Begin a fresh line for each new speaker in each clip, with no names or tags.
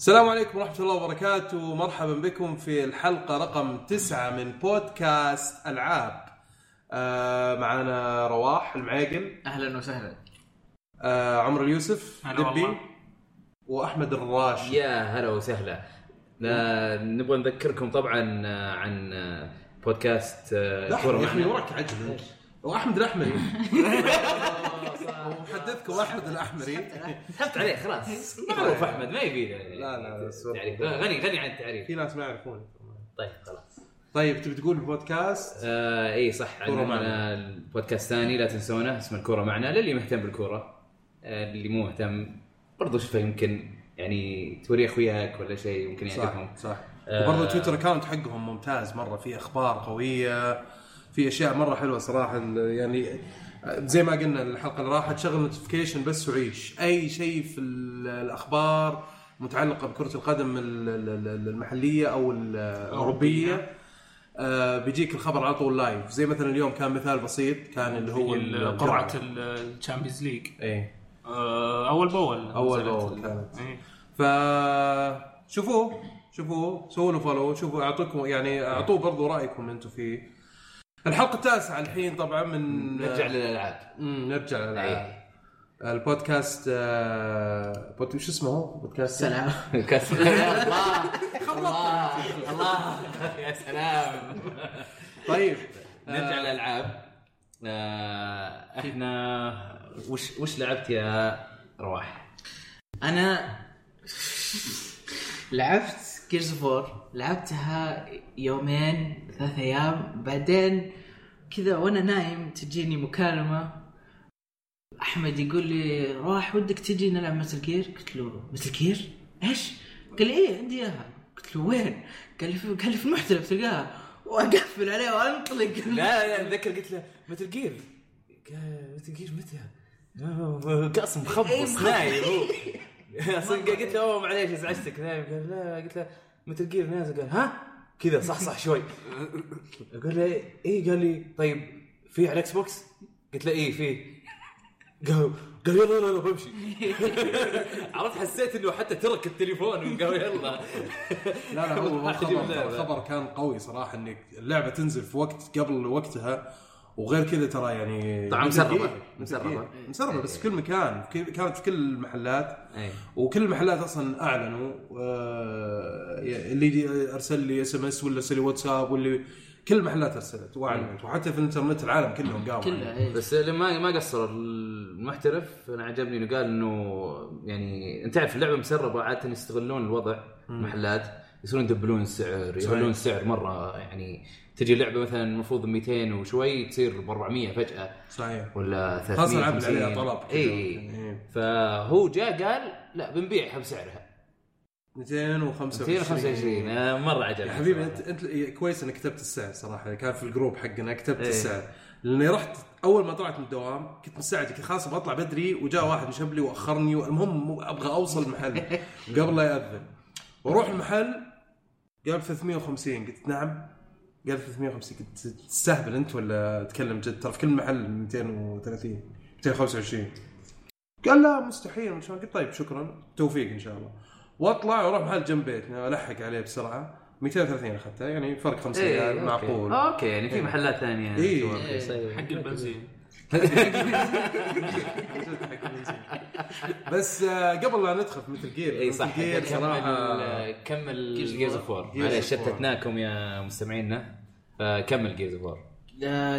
السلام عليكم ورحمة الله وبركاته مرحبا بكم في الحلقة رقم تسعة من بودكاست ألعاب آه معنا رواح المعيقل
اهلا وسهلا
آه عمر اليوسف
هلا
دبي
والله.
وأحمد الراشد
يا هلا وسهلا لا، نبغى نذكركم طبعا آه، عن آه، بودكاست آه،
لحظة
كورة
يا أخي
معنا
وراك عجل وأحمد الأحمري ومحدثكم أحمد الأحمري
سحبت عليه خلاص معروف احمد ما يبي
لا، لا، بس والله.
تعريف غني غني عن التعريف
في ناس ما يعرفوني
طيب خلاص
طيب تبي تقول بودكاست
آه اي صح
كورة معنا.
عندنا البودكاست ثاني لا تنسونه اسمه الكوره معنا للي مهتم بالكوره آه، اللي مو مهتم برضو شوفه يمكن يعني توري اخوياك ولا شيء يمكن يعجبهم
صح صح
آه.
وبرضه تويتر اكاونت حقهم ممتاز مره في اخبار قويه في اشياء مره حلوه صراحه يعني زي ما قلنا الحلقه اللي راحت شغل نوتيفيكيشن بس وعيش اي شيء في ال- الاخبار متعلقه بكره القدم ال- ال- ال- المحليه او الاوروبيه آه، بيجيك الخبر على طول لايف زي مثلا اليوم كان مثال بسيط كان اللي هو
ال-
الجرعة.
قرعه الشامبيونز ليج
ايه
آه، اول باول
أول
نزلت.
بأول كانت.
إيه.
ف شوفوه شوفوه سووا له فولو شوفوا اعطوكم يعني اعطوه برضو رايكم انتم فيه الحلقه التاسعه الحين طبعا من
نرجع للالعاب
مم، نرجع للالعاب
إيه.
البودكاست آه، بود... شو اسمه هو؟ بودكاست
سلام
كاس- الله الله الله يا سلام
طيب
نرجع للالعاب آه، احنا وش وش لعبت يا رواح؟
انا لعبت جيرز فور لعبتها يومين ثلاث ايام بعدين كذا وانا نايم تجيني مكالمه احمد يقول لي راح ودك تجي نلعب مثل جير قلت له مثل جير ايش قال لي ايه عندي اياها قلت له وين قال لي في قال لي في المحترف تلقاها واقفل عليه وانطلق
لا اتذكر قلت له مثل جير مثل جير متى؟ قاسم
إيه،
مخبص
مخبص.
نايم هو اصلا قلت له اوه معليش ازعجتك نايم قال لا قلت له مثل جير نازل قال ها؟ كذا صحصح شوي اقول له ايه قال لي طيب في على الاكس بوكس؟ قلت له ايه في قال قال يلا يلا يلا بمشي عرفت حسيت انه حتى ترك التليفون وقال يلا
لا لا هو
واحد يبدأ
الخبر
بقى.
الخبر كان قوي صراحه انك اللعبه تنزل في وقت قبل وقتها وغير كذا ترى يعني
طبعاً
مثل
مسربة.
جير، مثل جير.
مسربة.
مسربه بس في كل مكان في- كانت في كل المحلات
اي
وكل المحلات اصلا اعلنوا آه، اللي يجي ارسل لي اس ام اس ولا ارسل لي واتساب واللي كل المحلات ارسلت واعلنت وحتى في الانترنت العالم كلهم قاموا
كلها إيه.
بس ما ما قصر المحترف انا عجبني انه قال انه يعني انت تعرف اللعبه مسربه عاده يستغلون الوضع محلات يصيرون يدبلون السعر يغلون السعر مره يعني تجي لعبه مثلا المفروض 200 وشوي تصير ب 400 فجاه
صحيح
ولا 300
خاصه العاب اللي عليها طلب كذا.
اي
إيه.
فهو جاء قال لا بنبيعها بسعرها
225
225 آه، مره عجبني
يا حبيبي
صراحة.
انت انت كويس انك كتبت السعر صراحه كان في الجروب حقنا كتبت
إيه.
السعر لاني رحت اول ما طلعت من الدوام كنت مستعجل كنت خلاص بطلع بدري وجاء واحد مشبلي واخرني المهم مو- ابغى اوصل المحل قبل لا ياذن واروح المحل قال 350 قلت نعم قال 350 قلت تستهبل انت ولا تكلم جد ترى في كل محل 230 225 قال لا مستحيل مش عارف. قلت طيب شكرا توفيق ان شاء الله واطلع واروح محل جنب بيتنا الحق عليه بسرعه 230 اخذتها يعني فرق 5
إيه،
ريال
أوكي.
معقول
اوكي يعني في محلات ثانيه
إيه. إيه.
تسوي رخيصة. أيوة.
حق البنزين
بس آه، قبل لا ندخل في مثل جير
اي إيه، صح
مثل جير صراحه
كمل كمل
Gears of
جيرز اوف
War.
وور
Gears
معليش
of War.
شتتناكم يا مستمعينا فكمل جيرز اوف وور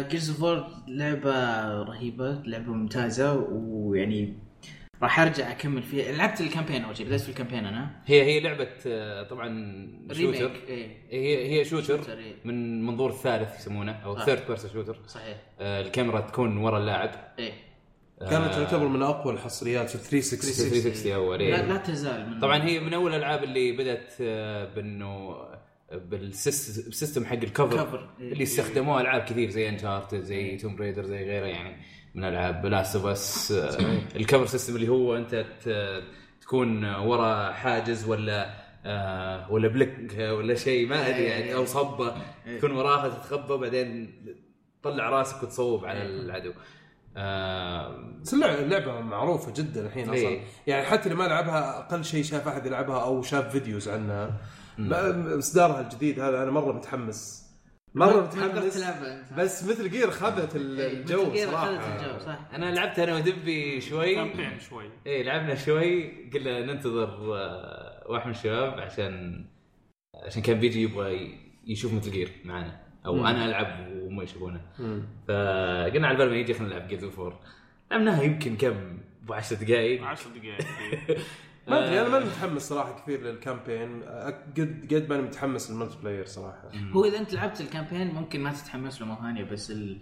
جيرز اوف وور لعبة رهيبة لعبة ممتازة ويعني راح ارجع اكمل فيها لعبت الكامبين اول شيء بدأت في الكامبين انا
هي هي لعبه آه، طبعا
ريميك
شوتر
إيه.
ايه
هي هي شوتر
شوتر، إيه.
من منظور ثالث يسمونه او
صح.
ثيرد بيرسون شوتر
صحيح
آه، الكاميرا تكون ورا اللاعب
إيه.
ايه
كانت
آه.
تعتبر من اقوى الحصريات في 360
360 اول
لا, لا
إيه.
تزال من
طبعا هي من اول الالعاب اللي بدات آه، بانه بالسيس- بالسيستم حق الكفر
كفر
إيه.
اللي استخدموه العاب كثير زي انشارتد زي توم بريدر زي غيره يعني من العاب لاست اوف اس الكفر سيستم آه، اللي هو انت ت- تكون ورا حاجز ولا آه، ولا بلك ولا شيء ما ادري يعني او
إيه.
صبه تكون وراها تتخبى بعدين تطلع راسك وتصوب على العدو آه
بس اللعبه اللعبة معروفه جدا الحين اصلا
إيه.
يعني حتى اللي ما لعبها اقل شيء شاف احد يلعبها او شاف فيديوز عنها ما- اصدارها الجديد هذا انا مره متحمس مره
ما قدرت
متحمس
تلعبها أنت.
بس مثل جير خذت ال-
إيه،
الجو
Metal Gear
صراحه
أخذت الجو صح
انا لعبت انا ودبي شوي
تابعين شوي
ايه لعبنا شوي قلنا ننتظر آه، واحد من الشباب عشان عشان كان بيجي يبغى ي- يشوف مثل جير معنا او
مم.
انا العب وهم يشوفونه
مم.
فقلنا على بال ما يجي خلينا نلعب جيرز اوف وور لعبناها يمكن كم ابو 10 دقائق
10 دقائق
ما ادري انا ماني متحمس صراحه كثير للكامبين أك- قد قد ماني متحمس للملتي بلاير صراحه
هو اذا انت لعبت الكامبين ممكن ما تتحمس له مره ثانيه بس ال...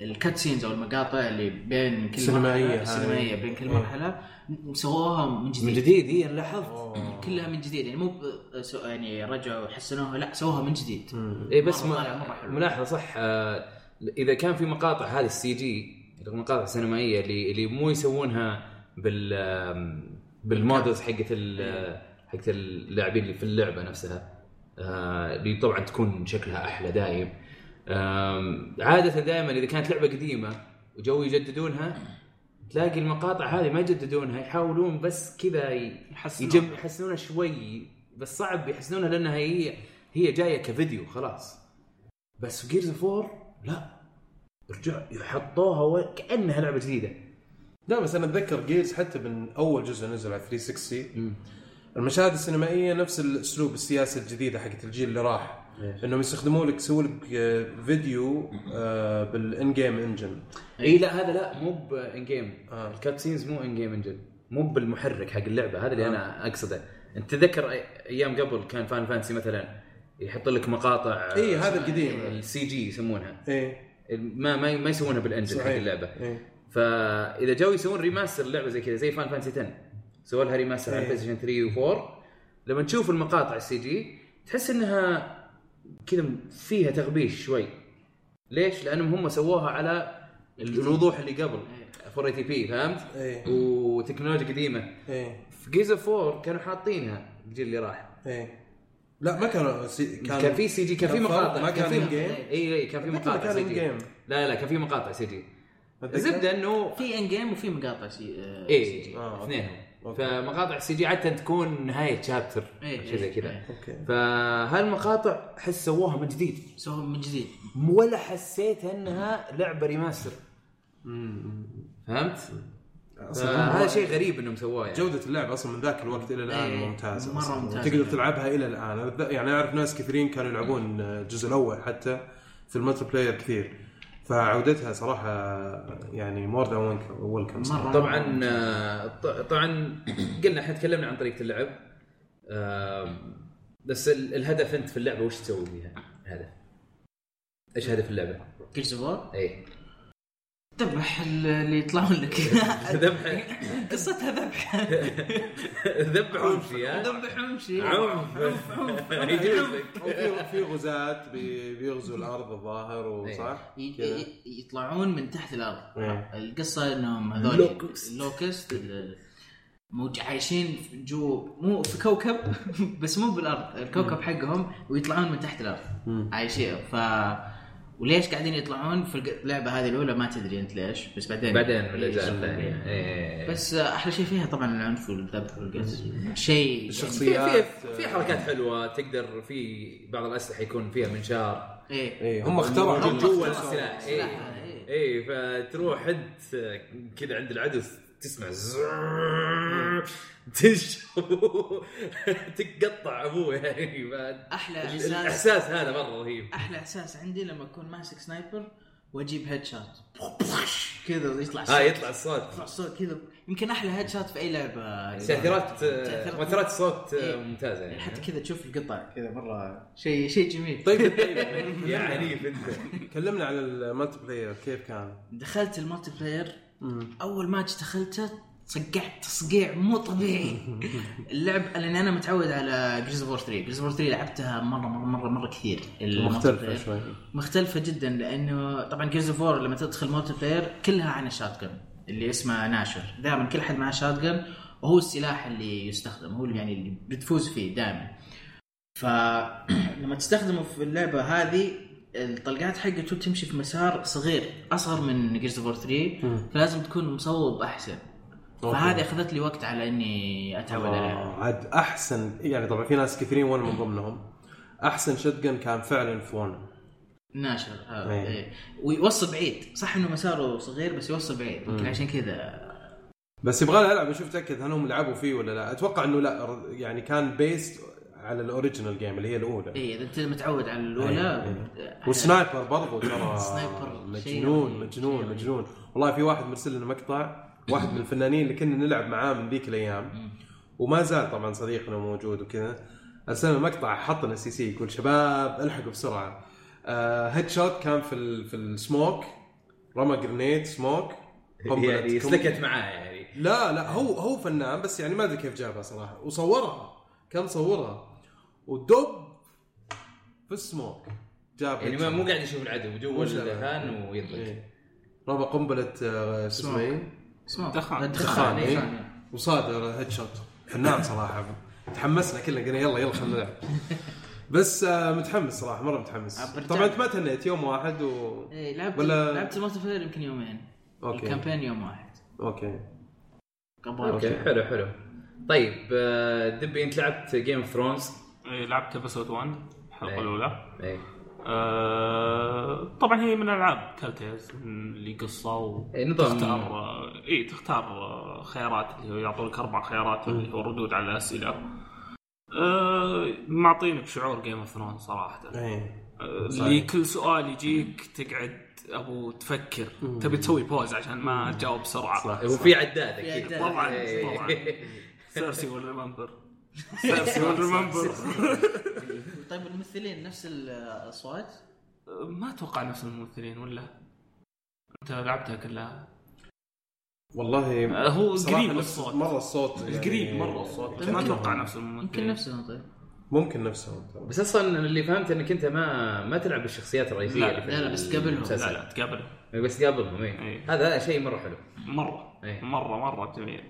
الكات سينز او المقاطع اللي بين كل
السينمائية
مرحله
هاي.
السينمائيه بين كل
إيه.
مرحله م- سووها من جديد,
من جديد اي انا لاحظت
أوه.
كلها من جديد يعني مو ب... سو... يعني رجعوا وحسنوها لا سووها من جديد
مم.
اي إيه، بس
مرة
ما-
طالع مرة حلو.
ملاحظه صح آه، اذا كان في مقاطع هذه السي جي المقاطع السينمائيه اللي اللي مو يسوونها بال آم، بالمودلز حقت ال- حقت اللاعبين اللي في اللعبه نفسها آه، اللي طبعا تكون شكلها احلى دايم آم، عاده دائما اذا كانت لعبه قديمه وجو يجددونها تلاقي المقاطع هذه ما يجددونها يحاولون بس كذا ي-
يحسنون.
يجم يحسنونها شوي بس صعب يحسنونها لانها هي هي جايه كفيديو خلاص بس جيرز فور لا رجع يحطوها و... كانها لعبه جديده
إيه. لا بس انا اتذكر جيرز حتى من اول جزء نزل على 360 المشاهد السينمائيه نفس الاسلوب السياسي الجديده حقت الجيل اللي راح
إيه.
انهم يستخدمون لك يسووا لك آه، فيديو آه، بالان جيم انجن
اي لا هذا لا مو بان جيم
آه.
الكات سينز مو ان جيم انجن مو بالمحرك حق اللعبه هذا اللي
آه.
انا اقصده انت تذكر أي- ايام قبل كان فان فانسي مثلا يحط لك مقاطع
اي إيه، هذا القديم
السي جي يسمونها
اي
ما ما ما يسوونها بالانجن حق
صحيح.
اللعبه
إيه.
فاذا جو يسوون ريماستر لعبه زي كذا زي فان فانسي 10 سووا لها ريماستر على
إيه.
بلاي ستيشن 3 و4 لما تشوف المقاطع السي جي تحس انها كذا فيها تغبيش شوي ليش؟ لانهم هم سووها على
إيه.
الوضوح اللي قبل 480 بي فهمت؟
اي
وتكنولوجيا قديمه
اي
في جيزا 4 كانوا حاطينها الجيل اللي راح
اي إيه. لا ما كانوا سي...
كان في سي جي كان في
كان فرق،
مقاطع
ما كان
في
in game.
اي اي كان في
أتذكر
مقاطع
كان
سي
in
جي
game.
لا لا كان في مقاطع سي جي
أتذكر.
الزبده انه
في ان جيم وفي مقاطع سي... آه، سي
ايه
جي.
آه، أوكي.
اثنينهم
أوكي.
فمقاطع السي جي عاده تكون نهايه شابتر
إيه،
شيء زي
إيه،
كذا
إيه.
اوكي
فهالمقاطع احس سووها من جديد
سووها من جديد
ولا حسيت انها لعبه ريماستر فهمت؟ آه،
أصلاً
هذا شيء غريب انهم سووه يعني
جودة اللعبة اصلا من ذاك الوقت الى الان
إيه،
ممتازة
مرة
أصلاً.
ممتازة.
تقدر تلعبها الى الان أنا أتذ- يعني اعرف ناس كثيرين كانوا يلعبون الجزء الاول حتى في الملتي بلاير كثير فعودتها صراحة يعني مور ذان ويلكم
مرة
طبعا آه، ط- طبعا قلنا احنا تكلمنا عن طريقه اللعب آم، بس ال- الهدف انت في اللعبه وش تسوي فيها؟ الهدف ايش هدف إيه. اللعبه؟
جيرز اوف
اي
ذبح ال- اللي يطلعون لك
ذبح
قصتها ذبح
ذبح وامشي ها
ذبح وامشي
عنف. يجوز لك
وفي- في غزاة بي- بيغزوا الارض الظاهر
إيه.
وصح؟
ي-
كذا.
ي- يطلعون من تحت الارض
إيه.
القصه انهم هذول
لوكست.
لوكست موج عايشين في جو مو في كوكب بس مو بالارض الكوكب حقهم ويطلعون من تحت الارض عايشين ف وليش قاعدين يطلعون في الق- اللعبه هذه الاولى ما تدري انت ليش بس بعدين
بعدين من الاجزاء
إيه.
الثانيه إيه.
بس احلى شيء فيها طبعا العنف والذبح والقتل شيء
الشخصية.
في في في حركات حلوه تقدر في بعض الاسلحه يكون فيها منشار
ايه
اي إيه. هم اخترعوا جوة
هم جوا
اخترعوا
السلاح
السلاح
إيه.
هذا، إيه.
اي فتروح انت كذا عند العدو تسمع زررررر، تش تقطع ابوه يعني ف-
احلى احساس
الاحساس هذا مره رهيب
احلى احساس عندي لما اكون ماسك سنايبر واجيب هيد شوت كذا يطلع
اه يطلع الصوت
يطلع صوت كذا يمكن احلى هيد شوت في اي لعبه
أيوة. تاثيرات
تأثيرات-
آه، مؤثرات الصوت
إيه.
ممتازه
يعني
يعني
حتى كذا تشوف القطع كذا مره شيء شيء جميل طيب
يا عنيف انت
كلمنا على الملتي بلاير كيف كان؟
دخلت المالتي بلاير اول ماتش دخلته صقعت تصقيع مو طبيعي اللعب لان انا متعود على جريز بور 3 جريز بور 3 لعبتها مره مره مره مره كثير المالتي
مختلفة
بلاير.
شوي
مختلفة جدا لانه طبعا جيرز اوف وور لما تدخل مالتي بلاير كلها عن الشاتجن اللي اسمه ناشر، دائما كل حد معه شاتجن وهو السلاح اللي يستخدم هو اللي يعني اللي بتفوز فيه دائما. فلما تستخدمه في اللعبة هذه
الطلقات حقته تمشي في مسار صغير اصغر من جيرز اوف 3 فلازم تكون مصوب احسن
أوكي.
فهذه اخذت لي وقت على اني اتعود عليها
آه، عاد احسن يعني طبعا في ناس كثيرين وانا من ضمنهم احسن شتجن كان فعلا في ون
ناشر هذا
إيه.
إيه. ويوصل بعيد صح انه مساره صغير بس يوصل بعيد يمكن عشان كذا
بس يبغى لي العب اشوف اتاكد هل هم لعبوا فيه ولا لا اتوقع انه لا ر- يعني كان بيست على الاوريجنال جيم اللي هي الاولى
اي اذا انت متعود على آه،
إيه،
الاولى
إيه.
أنا-
والسنايبر برضو ترى
سنايبر شيء
مجنون
رهيب،
مجنون
شيء رهيب.
مجنون والله في واحد مرسل لنا مقطع واحد من الفنانين اللي كنا نلعب معاه من ذيك الايام وما زال طبعا صديقنا موجود وكذا ارسلنا مقطع حط لنا سي سي يقول شباب الحقوا بسرعه آه هيد شوت كان في ال في السموك رمى جرنيت سموك قنبلة
يعني
كم-
سلكت معاه يعني
لا لا هو هو فنان بس يعني ما ادري كيف جابها صراحه وصورها كان صورها ودب في السموك جاب
يعني ما مو قاعد يشوف العدو جوا
وش
المكان ويطلق
إيه. رمى قنبله آه، شو اسمه إيه؟
اسمه
دخان
دخان.
دخان إيه.
إيه. وصادر هيد شوت فنان صراحه تحمسنا كلنا قلنا يلا يلا خلينا نلعب بس آه، متحمس صراحه مره
آه،
متحمس
أبرتاح.
طبعا انت ما تهنيت يوم واحد و
إيه، لعبت
ولا-
لعبت المالتي بلاير يمكن يومين
أوكي.
الكامبين يوم واحد
اوكي
قبل
اوكي حلو حلو طيب آه، دبي انت لعبت جيم اوف ثرونز
إيه، لعبت ابيسود 1 الحلقه
إيه.
الاولى
اي
آه، طبعا هي من العاب تلتيز اللي قصه و
إيه، نظام.
تختار آه، اي تختار آه، خيارات اللي هو يعطونك اربع خيارات اللي هو ردود على الاسئله آه، معطينك شعور جيم اوف ثرونز صراحه
إيه.
ايه
اللي كل آه، سؤال يجيك تقعد ابو تفكر تبي تسوي بوز عشان ما تجاوب بسرعه
صح
هو في عداد
في
اكيد
عداد.
طبعاً،
إيه.
طبعاً. سيرسي ويل ريمبر سيرسي ويل ريمبر
طيب الممثلين نفس الاصوات
ما اتوقع نفس الممثلين ولا انت لعبتها كلها
والله
آه، هو
صراحة
قريب
نفس-
الصوت.
مره الصوت يعني-
القريب مره الصوت بس ما
يمكن-
اتوقع نفس
يمكن
الممثلين
نفسهم طيب
ممكن نفسهم ترى.
بس اصلا اللي فهمت انك انت ما ما تلعب بالشخصيات الرئيسيه
لا،
اللي في
لا، لا، بس قبلهم.
المسلسل.
لا لا تقابله
بس قابلهم اي
إيه.
هذا شيء مره حلو
مره
إيه.
مره مره جميل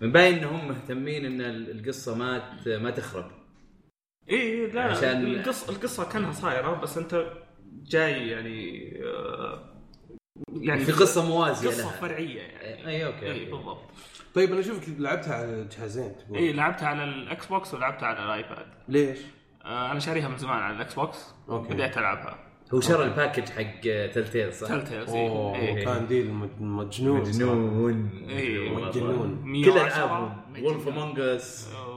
من باين انهم مهتمين ان ال- القصه ما ت- ما تخرب
اي إيه، لا
عشان-
عشان القصه القصه كانها صايره بس انت جاي يعني آه، يعني
في قصه موازيه
قصه
لها
فرعيه يعني
اي اوكي
اي
أوكي.
بالضبط
طيب انا اشوفك لعبتها على جهازين تقول
اي إيه، لعبتها على الاكس بوكس ولعبتها على الايباد
ليش؟
آه، انا شاريها من زمان على الاكس بوكس
أوكي.
بديت العبها
هو شرى الباكج حق تلتيل صح؟
تل تيلز
اوه
اي
كان ديل مج- مجنون
مجنون
إيه،
والله.
مجنون.
كل العابهم وولف امونج اس
أوه.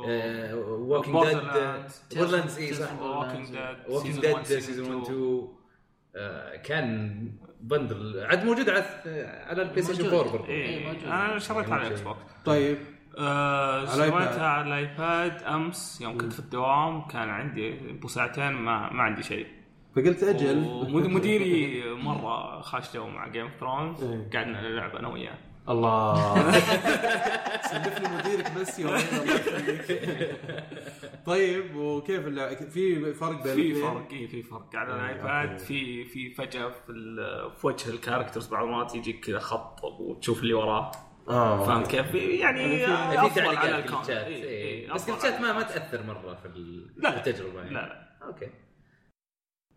ووكينج ديد
Borderlands.
بورلاندز اي آه، إيه، صح آه،
ووكينج ديد
ووكينج ديد سيزون 1 2 آه، كان بندل عاد موجود على على البلاي ستيشن
موجود.
4 برضه
إيه،
اي
موجود.
انا شريتها على
موجود.
الاكس بوكس
طيب
آه،
على الآيباد.
شريتها على الايباد امس يوم كنت في الدوام كان عندي ابو ساعتين ما ما عندي شيء
فقلت اجل
ومديري مره خاش جو مع جيم اوف ثرونز
إيه.
قعدنا نلعب انا وياه
الله سلفني مديرك بس يومين الله يخليك. طيب وكيف اللع... في فرق بين
في
الاثنين؟
فرق اي في فرق على
إيه،
الايباد في في فجاه في, ال- في وجه الكاركترز بعض المرات يجيك كذا خط وتشوف اللي وراه
اه
فهمت كيف؟ يعني
إيه، في
افضل على
تعليقات في
الكونت
الشات
إي،
إيه.
إي،
بس
أفضل
الشات
على-
ما ما تاثر مره في ال-
لا، لا.
التجربه يعني
لا لا
اوكي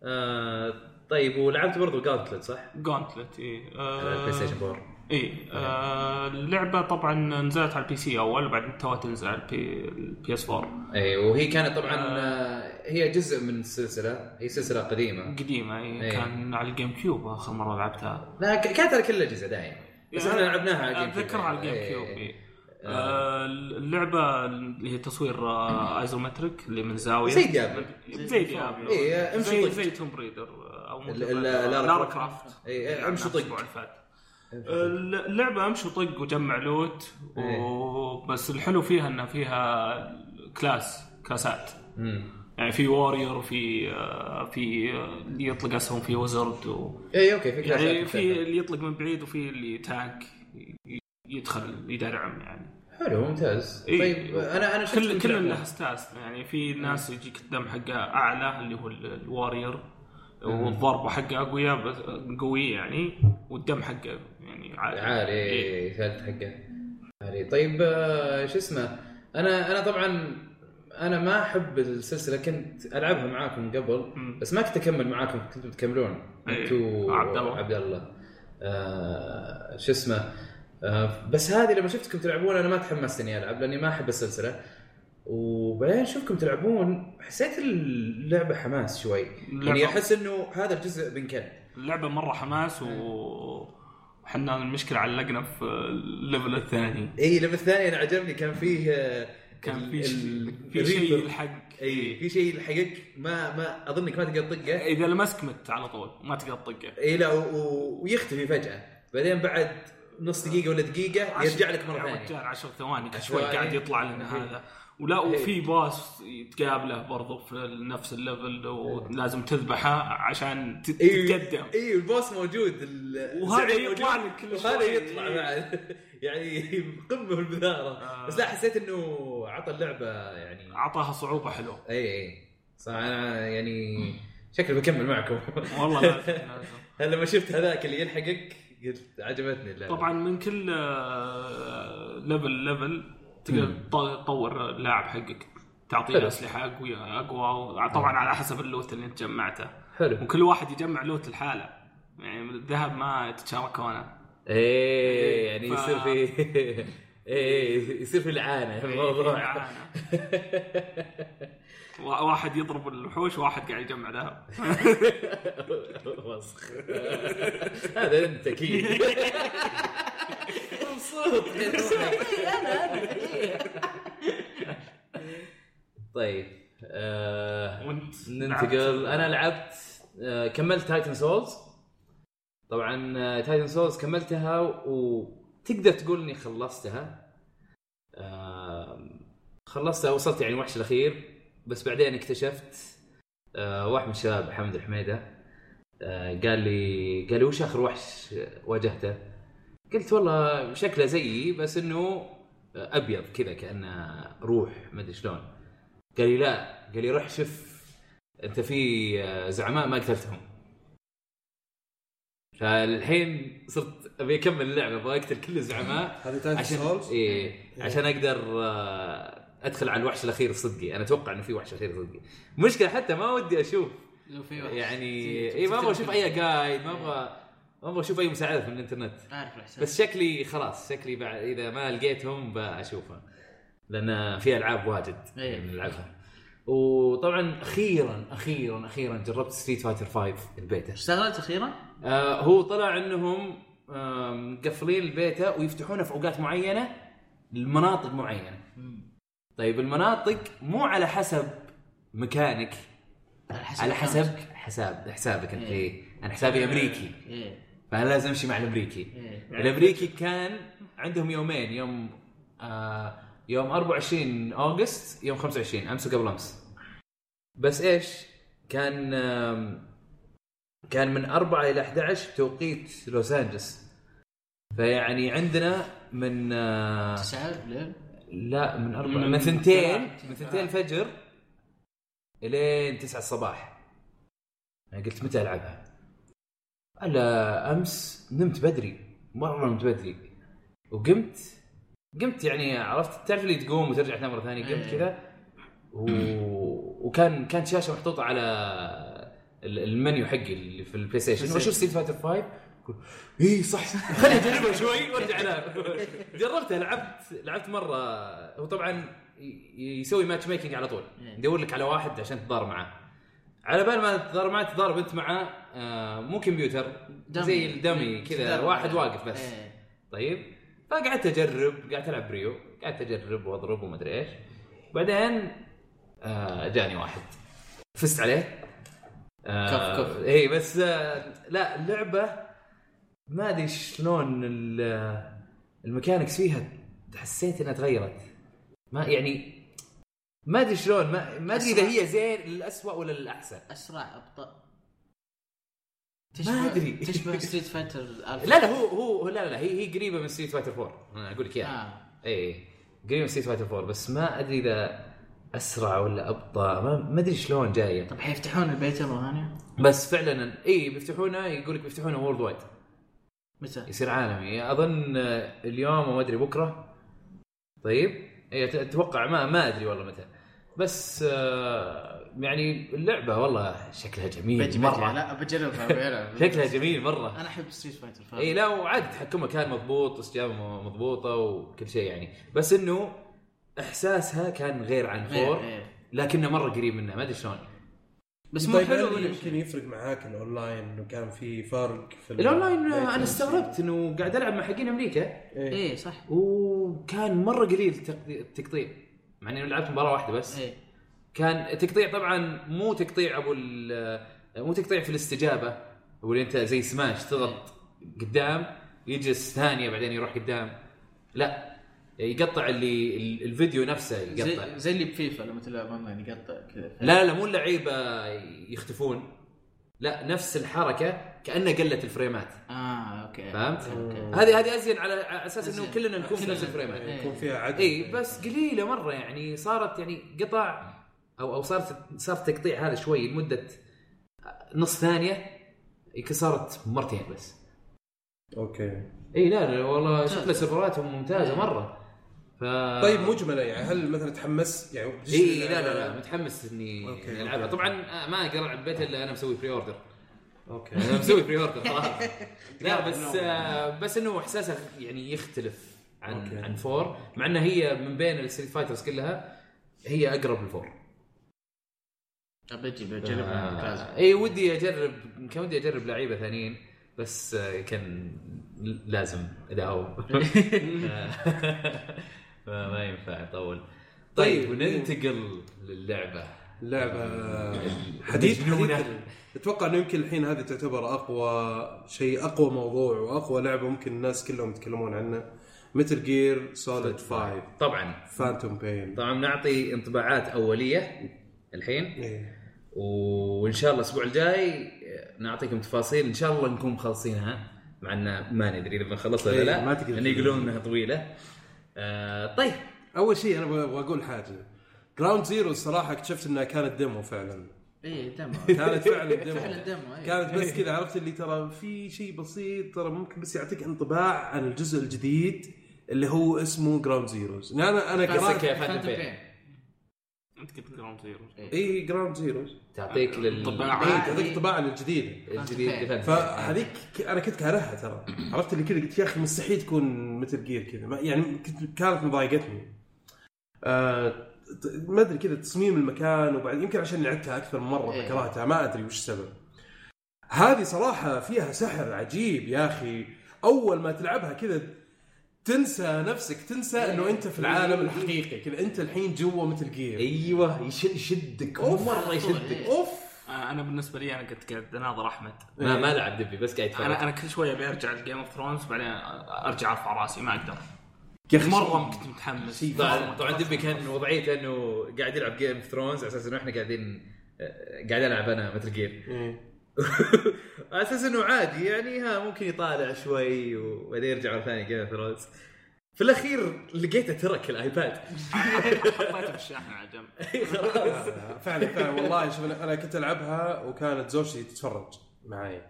آه طيب ولعبت برضه جاونتلت صح؟
جونتلت اي
على
آه.
البلاي ستيشن 4
اي إيه. آه، اللعبه طبعا نزلت على البي سي اول وبعدين توها تنزل على البي, البي اس 4
اي إيه، وهي كانت طبعا آه، هي جزء من السلسله هي سلسله قديمه
قديمه اي
إي.
إيه، كان على الجيم كيوب اخر مره لعبتها
لا ك- كانت على كل الاجهزه دائما بس احنا لعبناها على إيه. الجيم كيوب
اتذكرها على الجيم
إي،
كيوب
إي.
اي آه، اللعبه اللي هي تصوير آه، ايزومتريك اللي من زاويه
زي ديابلو
زي ديابلو
إي، امشي
زي
طق.
زي توم بريدر آه، او
إيه، ال- ال- لارا
لارا
كرافت.
كرافت
إي، إي، امشي
نفس
طق.
الأسبوع اللي فات. آه، اللعبه امشي طق وجمع لوت
إيه.
و... بس الحلو فيها انه فيها كلاس كلاسات
أمم.
يعني في واريور في آه، في آه، اللي يطلق اسهم في وزرد و...
اي اوكي في كلاسات
يعني في
مختلفة.
اللي يطلق من بعيد وفي اللي تانك ي- يدخل يدرعم يعني
حلو ممتاز
إي.
طيب انا انا شفت
إيه،
إيه.
كل
كنت
كل
لعبة.
له ستاس يعني في ناس يجيك الدم حقه اعلى اللي هو ال- الواريور والضربه حقه اقوياء بس قوي يعني والدم حقه يعني عالي إيه.
عالي ثالث حقه عالي طيب آه، شو اسمه انا انا طبعا انا ما احب السلسله كنت العبها معاكم قبل
مم.
بس ما كنت اكمل معاكم كنتوا بتكملون
أي.
انتوا
عبد الله.
عبد الله آه شو اسمه آه بس هذه لما شفتكم تلعبون انا ما تحمست اني العب لاني ما احب السلسله وبعدين اشوفكم تلعبون حسيت اللعبه حماس شوي يعني
اللعبة-
احس انه هذا الجزء بنكل
اللعبه مره حماس و
إيه.
احنا المشكله علقنا في الليفل الثاني
اي لما الثاني انا عجبني كان فيه آه،
كان
ال-
في ش-
ال- إيه.
في شيء
الريبر.
الحق
اي في شيء يلحقك ما ما اظنك ما تقدر تطقه
اذا إيه. لمسك مت على طول ما تقدر تطقه
اي لا و- و- ويختفي فجاه بعدين بعد نص دقيقه ولا دقيقه يرجع لك مره
آه. يا
ثانيه
رجال 10 ثواني كل
عشر
شوي
ثواني.
قاعد يطلع لنا
إيه.
هذا ولا وفي باص تقابله برضو في نفس الليفل ولازم تذبحه عشان تت-
إيه.
تتقدم
اي البوس موجود ال-
وهذا
الزعيم
يطلع
موجود،
لك كل
وهذا
شوي.
يطلع بعد يعني قمه في البذاره
آه.
بس لا حسيت انه عطى اللعبه يعني
اعطاها صعوبه حلوه
اي اي صح انا يعني شكلي بكمل معكم
والله لازم لازم
هلا لما شفت هذاك اللي يلحقك قلت عجبتني اللعبه
طبعا من كل آه، ليفل ليفل تقدر تط- تطور اللاعب حقك تعطيه
إيه. حلو.
اسلحه اقوى اقوى طبعا على حسب اللوت اللي انت جمعته
حلو
وكل واحد يجمع لوت الحالة يعني من الذهب ما تتشاركونه
ايه يعني
ف-
يصير في ايه يصير في لعانه الموضوع
معانا. وا- إيه، واحد يضرب الوحوش وواحد قاعد يجمع ذهب
وسخ هذا انت اكيد مبسوط طيب آه،
وانت
ننتقل انا لعبت آه، كملت تايتن سولز طبعا تايتن سولز آه، كملتها وتقدر تقول اني خلصتها آه، خلصتها وصلت يعني الوحش الاخير بس بعدين اكتشفت آه، واحد من الشباب حمد الحميده آه، قال لي قال لي وش اخر وحش واجهته؟ قلت والله شكله زيي بس انه ابيض كذا كانه روح ما ادري شلون قال لي لا قال لي روح شوف انت في آه، زعماء ما قتلتهم فالحين صرت ابي اكمل اللعبه ابغى اقتل كل الزعماء
هذه تايتن
عشان
سولز
إيه عشان اقدر آه، ادخل على الوحش الاخير صدقي انا اتوقع انه في وحش اخير صدقي المشكله حتى ما ودي اشوف
لو في واحد
يعني
زي-
إيه،
اي ما ابغى اشوف اي
تفتكر-
جايد ما ابغى ما ابغى اشوف اي مساعده من الانترنت
عارف الاحساس
بس شكلي خلاص شكلي بعد اذا ما لقيتهم بشوفها لان في العاب واجد يعني
إيه.
نلعبها وطبعا اخيرا اخيرا اخيرا جربت ستريت فايتر 5 البيتا
اشتغلت اخيرا؟
آه هو طلع انهم آه، مقفلين البيتا ويفتحونه في اوقات معينه لمناطق معينه طيب المناطق مو على حسب مكانك على حسب حساب حسابك انت
إيه.
إيه. انا حسابي امريكي
ايه
فانا لازم امشي مع الامريكي
ايه
إيه.
الامريكي يعني كان عندهم يومين يوم آه يوم 24 اوغست يوم 25 امس وقبل امس بس ايش كان آم، كان من 4 الى 11 بتوقيت لوس انجلس فيعني عندنا من آه
تسعة بالليل
لا من أربعة
من-
من ثنتين
من
من ثنتين الفجر الين تسعة الصباح أنا قلت متى ألعبها؟ ألا أمس نمت بدري مرة نمت بدري وقمت قمت يعني عرفت تعرف اللي تقوم وترجع تنام مرة ثانية قمت
إيه.
كذا و... وكان كانت شاشة محطوطة على ال- المنيو حقي اللي في البلاي ستيشن واشوف ستيت فايتر 5 اي إيه، صح خليني اجربها شوي وارجع العب جربتها لعبت لعبت مره هو طبعا ي- يسوي ماتش ميكنج على طول يدور لك على واحد عشان تضار معاه على بال ما تضار معاه تضارب انت معاه آه، مو كمبيوتر زي الدمي
إيه.
كذا
تضرب.
واحد واقف بس
إيه.
طيب فقعدت اجرب قعدت العب بريو قعدت اجرب واضرب وما ادري ايش بعدين آه، جاني واحد فزت عليه آه،
كف كف.
اي بس آه، لا اللعبه ما ادري شلون ال- الميكانكس فيها حسيت انها تغيرت ما يعني ما ادري شلون ما ما ادري اذا هي زين للاسوء ولا للاحسن
اسرع ابطا
ما أدري.
تشبه ستريت فايتر الالفا
لا لا هو هو لا لا هي هي قريبه من ستريت فايتر 4 انا اقول لك اياها
آه.
اي قريب ستريت فايتر 4 بس ما ادري اذا اسرع ولا ابطا ما, ما ادري شلون جايه
طب حيفتحون البيت مره ثانيه؟
بس فعلا اي بيفتحونه يقول لك بيفتحونه وورلد وايد
متى؟
يصير عالمي اظن آه، إيه، اليوم وما ادري بكره طيب اي أت- اتوقع ما ما ادري والله متى بس آه، يعني اللعبه والله شكلها جميل
بجي بجي
مره
لا بجربها بجربها.
شكلها جميل إيه. مره
انا احب ستريت فايتر فاهم.
اي لا وعاد تحكمها كان مضبوط استجابه مضبوطه وكل شيء يعني بس انه احساسها كان غير عن
غير-
فور
غير.
لكنه مره قريب منها ما ادري شلون
بس مو حلو ولا شيء.
طيب، يمكن يفرق معاك الاونلاين انه كان في فرق في ال-
الاونلاين آه، انا استغربت انه قاعد العب مع حقين امريكا
إيه.
ايه صح
وكان مره قليل التق- التقطيع مع اني لعبت مباراه واحده بس
ايه
كان تقطيع طبعا مو تقطيع ابو ال- مو تقطيع في الاستجابه هو اللي انت زي سماش تضغط قدام يجلس ثانيه بعدين يروح قدام لا يقطع اللي ال- الفيديو نفسه يقطع
زي, زي اللي بفيفا لما تلعب اونلاين يقطع كذا
لا لا مو اللعيبه يختفون لا نفس الحركه كانه قلت الفريمات
اه اوكي
فهمت؟ آه.
أوكي.
هذه هذه ازين على على اساس انه
أزين.
كلنا نكون في
كلنا-
نفس الفريمات
إيه.
يكون فيها عدل
اي بس قليله مره يعني صارت يعني قطع او او صارت صار تقطيع هذا شوي لمده نص ثانيه يمكن صارت مرتين بس
اوكي
اي لا لا والله
ممتاز.
شكله سيرفراتهم ممتازه مره ف
آه.
طيب مجملا يعني هل مثلا تحمس يعني
إيه،
اي لا لا لا متحمس اني
أوكي.
إني العبها طبعا ما اقدر العب بيتها الا انا مسوي بري اوردر
اوكي
انا مسوي بري اوردر خلاص لا بس آه، بس انه احساسها يعني يختلف عن
أوكي.
عن فور مع انها هي من بين الستريت فايترز كلها هي اقرب لفور
بجي بجربها ممتاز.
آه، اي ودي اجرب كان ودي اجرب لعيبه ثانيين بس آه، كان ل- لازم اداوم فما ينفع اطول طيب
طيب.
وننتقل للعبه
لعبه حديث حديث
مجنونة.
اتوقع انه يمكن الحين هذه تعتبر اقوى شيء اقوى موضوع واقوى لعبه ممكن الناس كلهم يتكلمون عنه متل جير سوليد 5
طبعا
فانتوم بين
طبعا نعطي انطباعات اوليه الحين
إيه.
وان شاء الله الاسبوع الجاي آه، نعطيكم تفاصيل ان شاء الله نكون مخلصينها مع ان ما ندري اذا بنخلصها ولا
إيه،
لا
ما تقدر
لان يقولون انها طويله آه طيب
اول شيء انا ابغى أبغى اقول حاجه جراوند زيرو الصراحه اكتشفت انها كانت ديمو فعلا
ايه دمو
كانت فعلا ديمو
فعلا دمو ايه
كانت بس كذا عرفت اللي ترى في شيء بسيط ترى ممكن بس يعطيك انطباع عن الجزء الجديد اللي هو اسمه جراوند زيروز انا انا
قصدك
قرأت
يا فانتوم
فانتوم
بين.
بين.
انت كنت جراوند زيرو
اي جراوند زيروز
تعطيك لل
طبعاً.
اي تعطيك انطباع عن الجديد
الجديد
فانتوم
ديفنس.
فهذيك ك- انا كنت كارهها ترى عرفت اللي كذا قلت يا اخي مستحيل تكون مثل جير كذا ما- يعني كنت كانت مضايقتني آه، ت- ما ادري كذا تصميم المكان وبعد يمكن عشان لعبتها اكثر من مره
إيه.
فكرهتها ما ادري وش السبب هذه صراحه فيها سحر عجيب يا اخي اول ما تلعبها كذا تنسى نفسك تنسى انه انت في العالم الحقيقي كذا انت الحين جوا مثل جير
ايوه يش- يشدك مره يشدك
اوف
انا بالنسبه آه، لي انا كنت قاعد اناظر احمد
ما ما لعب دبي بس قاعد
انا
يتفرج
انا كل شويه برجع لجيم اوف ثرونز بعدين ارجع ارفع راسي ما اقدر
يا أخي
مره كنت متحمس
طبعا طبعا دبي كان وضعيته انه قاعد يلعب جيم اوف ثرونز على اساس انه احنا قاعدين آه، قاعد العب انا متل جير
إيه.
على اساس انه عادي يعني ها ممكن يطالع شوي وبعدين يرجع مره ثانيه جيم اوف ثرونز في الاخير لقيته ترك الايباد
حطيته في الشاحن على جنب
فعلا فعلا والله شوف أنا- انا كنت العبها وكانت زوجتي تتفرج معي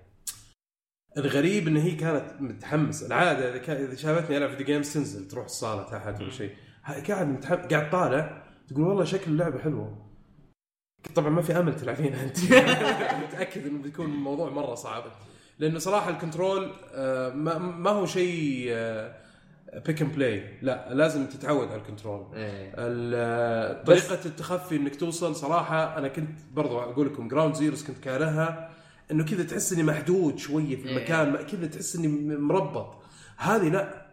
الغريب ان هي كانت متحمسه العاده اذا كان- اذا شافتني العب فيديو جيمز تنزل تروح الصاله تحت ولا شيء ها- قاعد متحمس قاعد طالع تقول والله شكل اللعبه حلوه طبعا ما في امل تلعبينها انت متاكد انه بيكون الموضوع مره صعب لانه صراحه الكنترول آه، ما, ما هو شيء آه، بيك اند بلاي لا لازم تتعود على الكنترول
إيه،
ال- طريقه التخفي انك توصل صراحه انا كنت برضو اقول لكم جراوند زيروز كنت كارهها انه كذا تحس اني محدود شويه في
إيه.
المكان ما- كذا تحس اني م- مربط هذه لا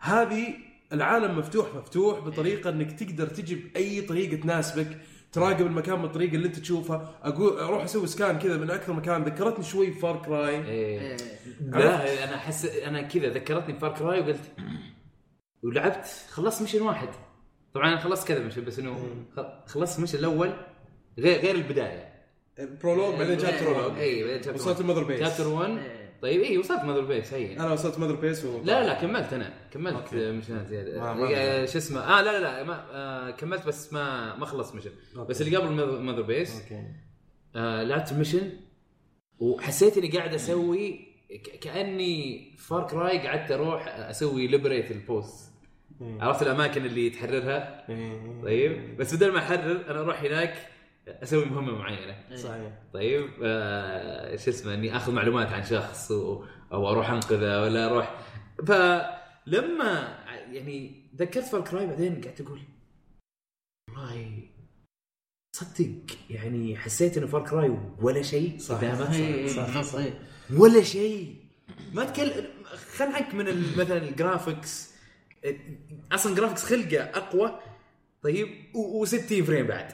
هذه العالم مفتوح مفتوح
إيه.
بطريقه انك تقدر تجي باي طريقه تناسبك تراقب المكان بالطريقه اللي انت تشوفها اقول اروح اسوي سكان كذا من اكثر مكان ذكرتني شوي بفار كراي
إيه.
إيه.
لا انا احس انا كذا ذكرتني بفار كراي وقلت ولعبت خلصت مشن واحد طبعا انا خلصت كذا مشن بس انه خ- خلصت المشن الاول غير غير البدايه
برولوج بعدين
إيه.
جاب برولوج
اي بعدين chapter
وصلت
one.
المذر بيس
شابتر 1
إيه.
طيب اي وصلت ماذر بيس هي
انا وصلت مذر بيس و...
لا لا كملت انا كملت مشنات زياده
ما- ما-
آه، شو اسمه اه لا لا لا ما آه كملت بس ما ما خلصت مشن
أوكي.
بس اللي قبل ماذر بيس
اوكي
آه لعبت ميشن وحسيت اني قاعد اسوي ك- كاني فار كراي قعدت اروح اسوي ليبريت البوست
إيه.
عرفت الاماكن اللي تحررها
إيه.
طيب بس بدل ما احرر انا اروح هناك اسوي مهمه معينه
صحيح
طيب آه شو اسمه اني اخذ معلومات عن شخص و... او اروح انقذه ولا اروح فلما يعني ذكرت فالكراي بعدين قعدت اقول والله صدق يعني حسيت انه فالكراي ولا شيء قدامه
صح صح
ولا شيء ما تكلم خل عنك من ال- مثلا الجرافكس اصلا جرافكس خلقه اقوى طيب و60 فريم بعد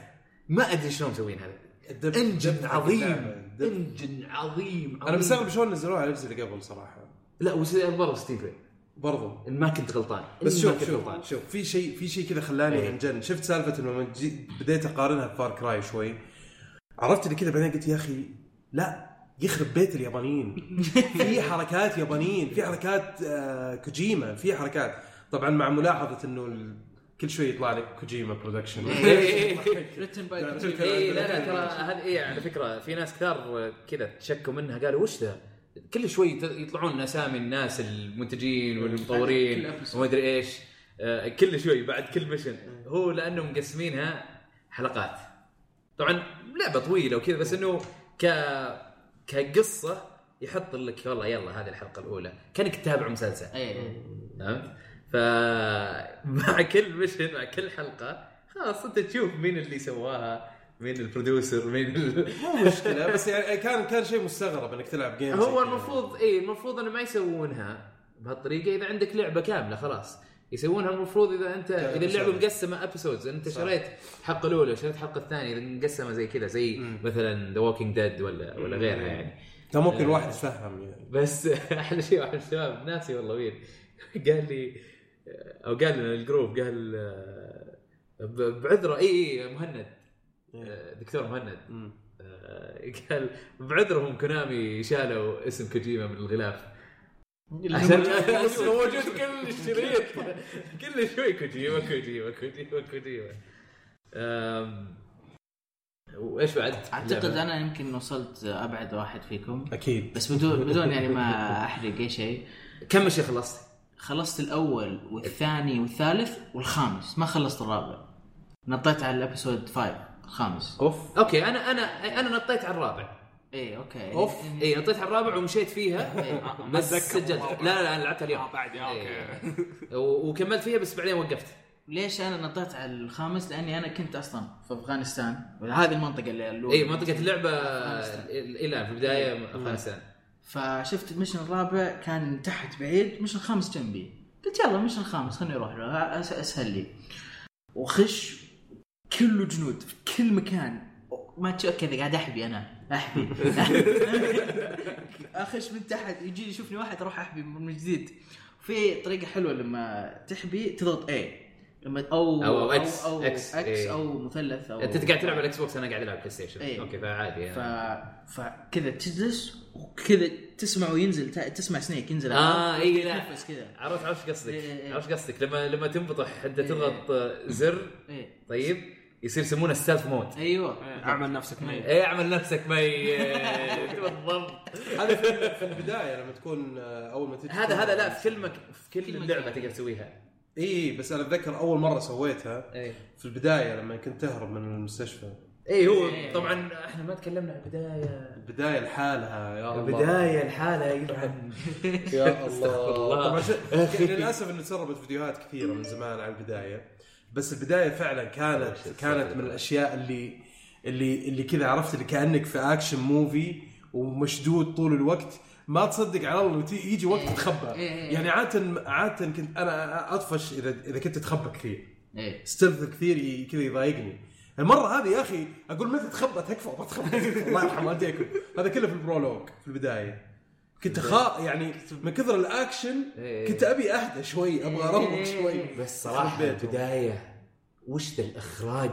ما ادري شلون مسوين هذا
الدب-
انجن
دب-
عظيم
دب-
انجن عظيم
انا
عظيم.
مستغرب شلون نزلوها على الاجهزه اللي قبل صراحه
لا برضه 60 فريم
برضو
إن ما كنت غلطان إن
بس
ما
شوف
كنت
شوف شوف في شيء في شيء كذا خلاني انجن شفت سالفه انه لما جي- بديت اقارنها بفار كراي شوي عرفت اللي كذا بعدين قلت يا اخي لا يخرب بيت اليابانيين في حركات يابانيين في حركات آه كوجيما في حركات طبعا مع ملاحظه انه ال- كل شوي يطلع لك كوجيما برودكشن
إيه.
ريتن باي
اي إيه، لا لا ترى هذه إيه على فكره في ناس كثار كذا تشكوا منها قالوا وش ذا؟ كل شوي ت- يطلعون اسامي الناس المنتجين والمطورين وما ادري ايش آه، كل شوي بعد كل مشن هو لانه مقسمينها حلقات طبعا لعبه طويله وكذا بس انه ك كقصه يحط لك والله يلا هذه الحلقه الاولى كانك تتابع مسلسل
اي
تمام فمع كل مشن مع كل حلقه خلاص انت تشوف مين اللي سواها مين البروديوسر مين ال...
مو مشكله بس يعني كان كان شيء مستغرب انك تلعب جيم زي
هو
كذا.
المفروض اي المفروض انه ما يسوونها بهالطريقه اذا عندك لعبه كامله خلاص يسوونها المفروض اذا انت اذا اللعبه
episodes.
مقسمه ابيسودز انت شريت الحلقه الاولى شريت الحلقه الثانيه اذا مقسمه زي كذا زي مثلا ذا ووكينج ديد ولا ولا غيرها يعني
كان ممكن الواحد يتفهم يعني
بس احلى شيء واحد من الشباب ناسي والله مين قال لي او قال لنا الجروب قال آه، ب- بعذره اي اي مهند آه، دكتور مهند
مم.
آه، قال بعذرهم كونامي شالوا اسم كوجيما من الغلاف عشان
عشان
عشان موجود كل الشريط كل شوي كوجيما كوجيما كوجيما كوجيما آم، وايش بعد؟
اعتقد انا يمكن وصلت ابعد واحد فيكم
اكيد
بس بدون بدون يعني ما احرق اي شيء
كم شيء خلصت؟
خلصت الاول والثاني والثالث والخامس ما خلصت الرابع نطيت على الابيسود 5 الخامس
اوف
اوكي انا انا انا نطيت على الرابع
اي اوكي
اوف
يعني-
اي نطيت على الرابع ومشيت فيها
إيه.
بس سجلت لا لا لا انا لعبتها اليوم
آه، بعد اوكي
إيه. و- وكملت فيها بس بعدين وقفت
ليش انا نطيت على الخامس لاني انا كنت اصلا في افغانستان هذه المنطقه اللي الاولى
اي منطقه اللعبه
أفغانستان.
الى في البدايه افغانستان
فشفت المشن الرابع كان تحت بعيد المشن الخامس جنبي قلت يلا المشن الخامس خليني اروح له أس- اسهل لي وخش كله جنود في كل مكان ما تشوف كذا قاعد احبي انا احبي اخش من تحت يجي يشوفني واحد اروح احبي من جديد في طريقه حلوه لما تحبي تضغط اي لما او
أو- أو X.
او, أو,
X.
X
إيه.
أو مثلث او
انت قاعد تلعب على الاكس بوكس انا قاعد العب بلاي ستيشن
إيه.
اوكي فعادي
ف...
يعني.
فكذا تجلس وكذا تسمع وينزل تا- تسمع سنيك ينزل
آه، إي، لا.
تنفس كذا
عرفت عرفت قصدك
إيه، إيه، إيه.
عرفت قصدك لما لما تنبطح انت
إيه.
تضغط زر
إيه.
طيب يصير يسمونه ستالث مود
ايوه
اعمل آه، نفسك ميت
اي اعمل نفسك مي بالضبط
هذا في- في البدايه لما تكون آه، اول ما تجي
هذا هذا لا في كل مك- في
كل
كل
مكان.
اللعبه تقدر تسويها
اي بس انا اتذكر اول مره سويتها
اي
في البدايه لما كنت تهرب من المستشفى
اي هو
إيه.
طبعا احنا ما تكلمنا عن البدايه
البدايه لحالها يا الله
البدايه الحاله يلعن
يا الله
الله.
طبعا ش- للاسف انه يعني تسربت فيديوهات كثيره من زمان عن البدايه بس البدايه فعلا كانت كانت من الاشياء اللي اللي اللي كذا عرفت اللي كانك في اكشن موفي ومشدود طول الوقت ما تصدق على الله وتي- يجي وقت تتخبى يعني عاده عاده كنت انا اطفش اذا اذا كنت اتخبى كثير
ايه
ستيلث كثير ي- كذا يضايقني المره هذه يا اخي اقول متى تخبى تكفى بتخبى الله يرحم والديكم هذا كله في البرولوج في البدايه كنت خا يعني من كثر الاكشن كنت ابي اهدى شوي ابغى اروق شوي
بس صراحه البدايه وش ذا الاخراج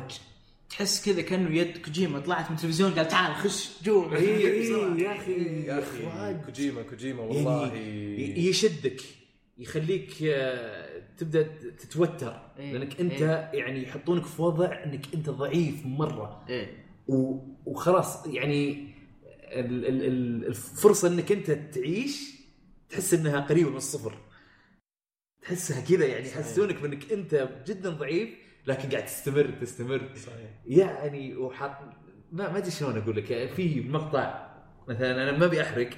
تحس كذا كانه يد كوجيما طلعت من التلفزيون قال تعال خش جوا
يا اخي
يا اخي كوجيما كوجيما
يعني
والله
ي- يشدك يخليك آه، تبدا تتوتر
إيه.
لانك انت
إيه.
يعني يحطونك في وضع انك انت ضعيف مره
ايه
و- وخلاص يعني ال- ال- ال- الفرصه انك انت تعيش تحس انها قريبه من الصفر
تحسها كذا يعني يحسونك بانك انت جدا ضعيف لكن قاعد تستمر تستمر
صحيح
يعني وحط ما ما ادري شلون اقول لك يعني في مقطع مثلا انا ما ابي احرق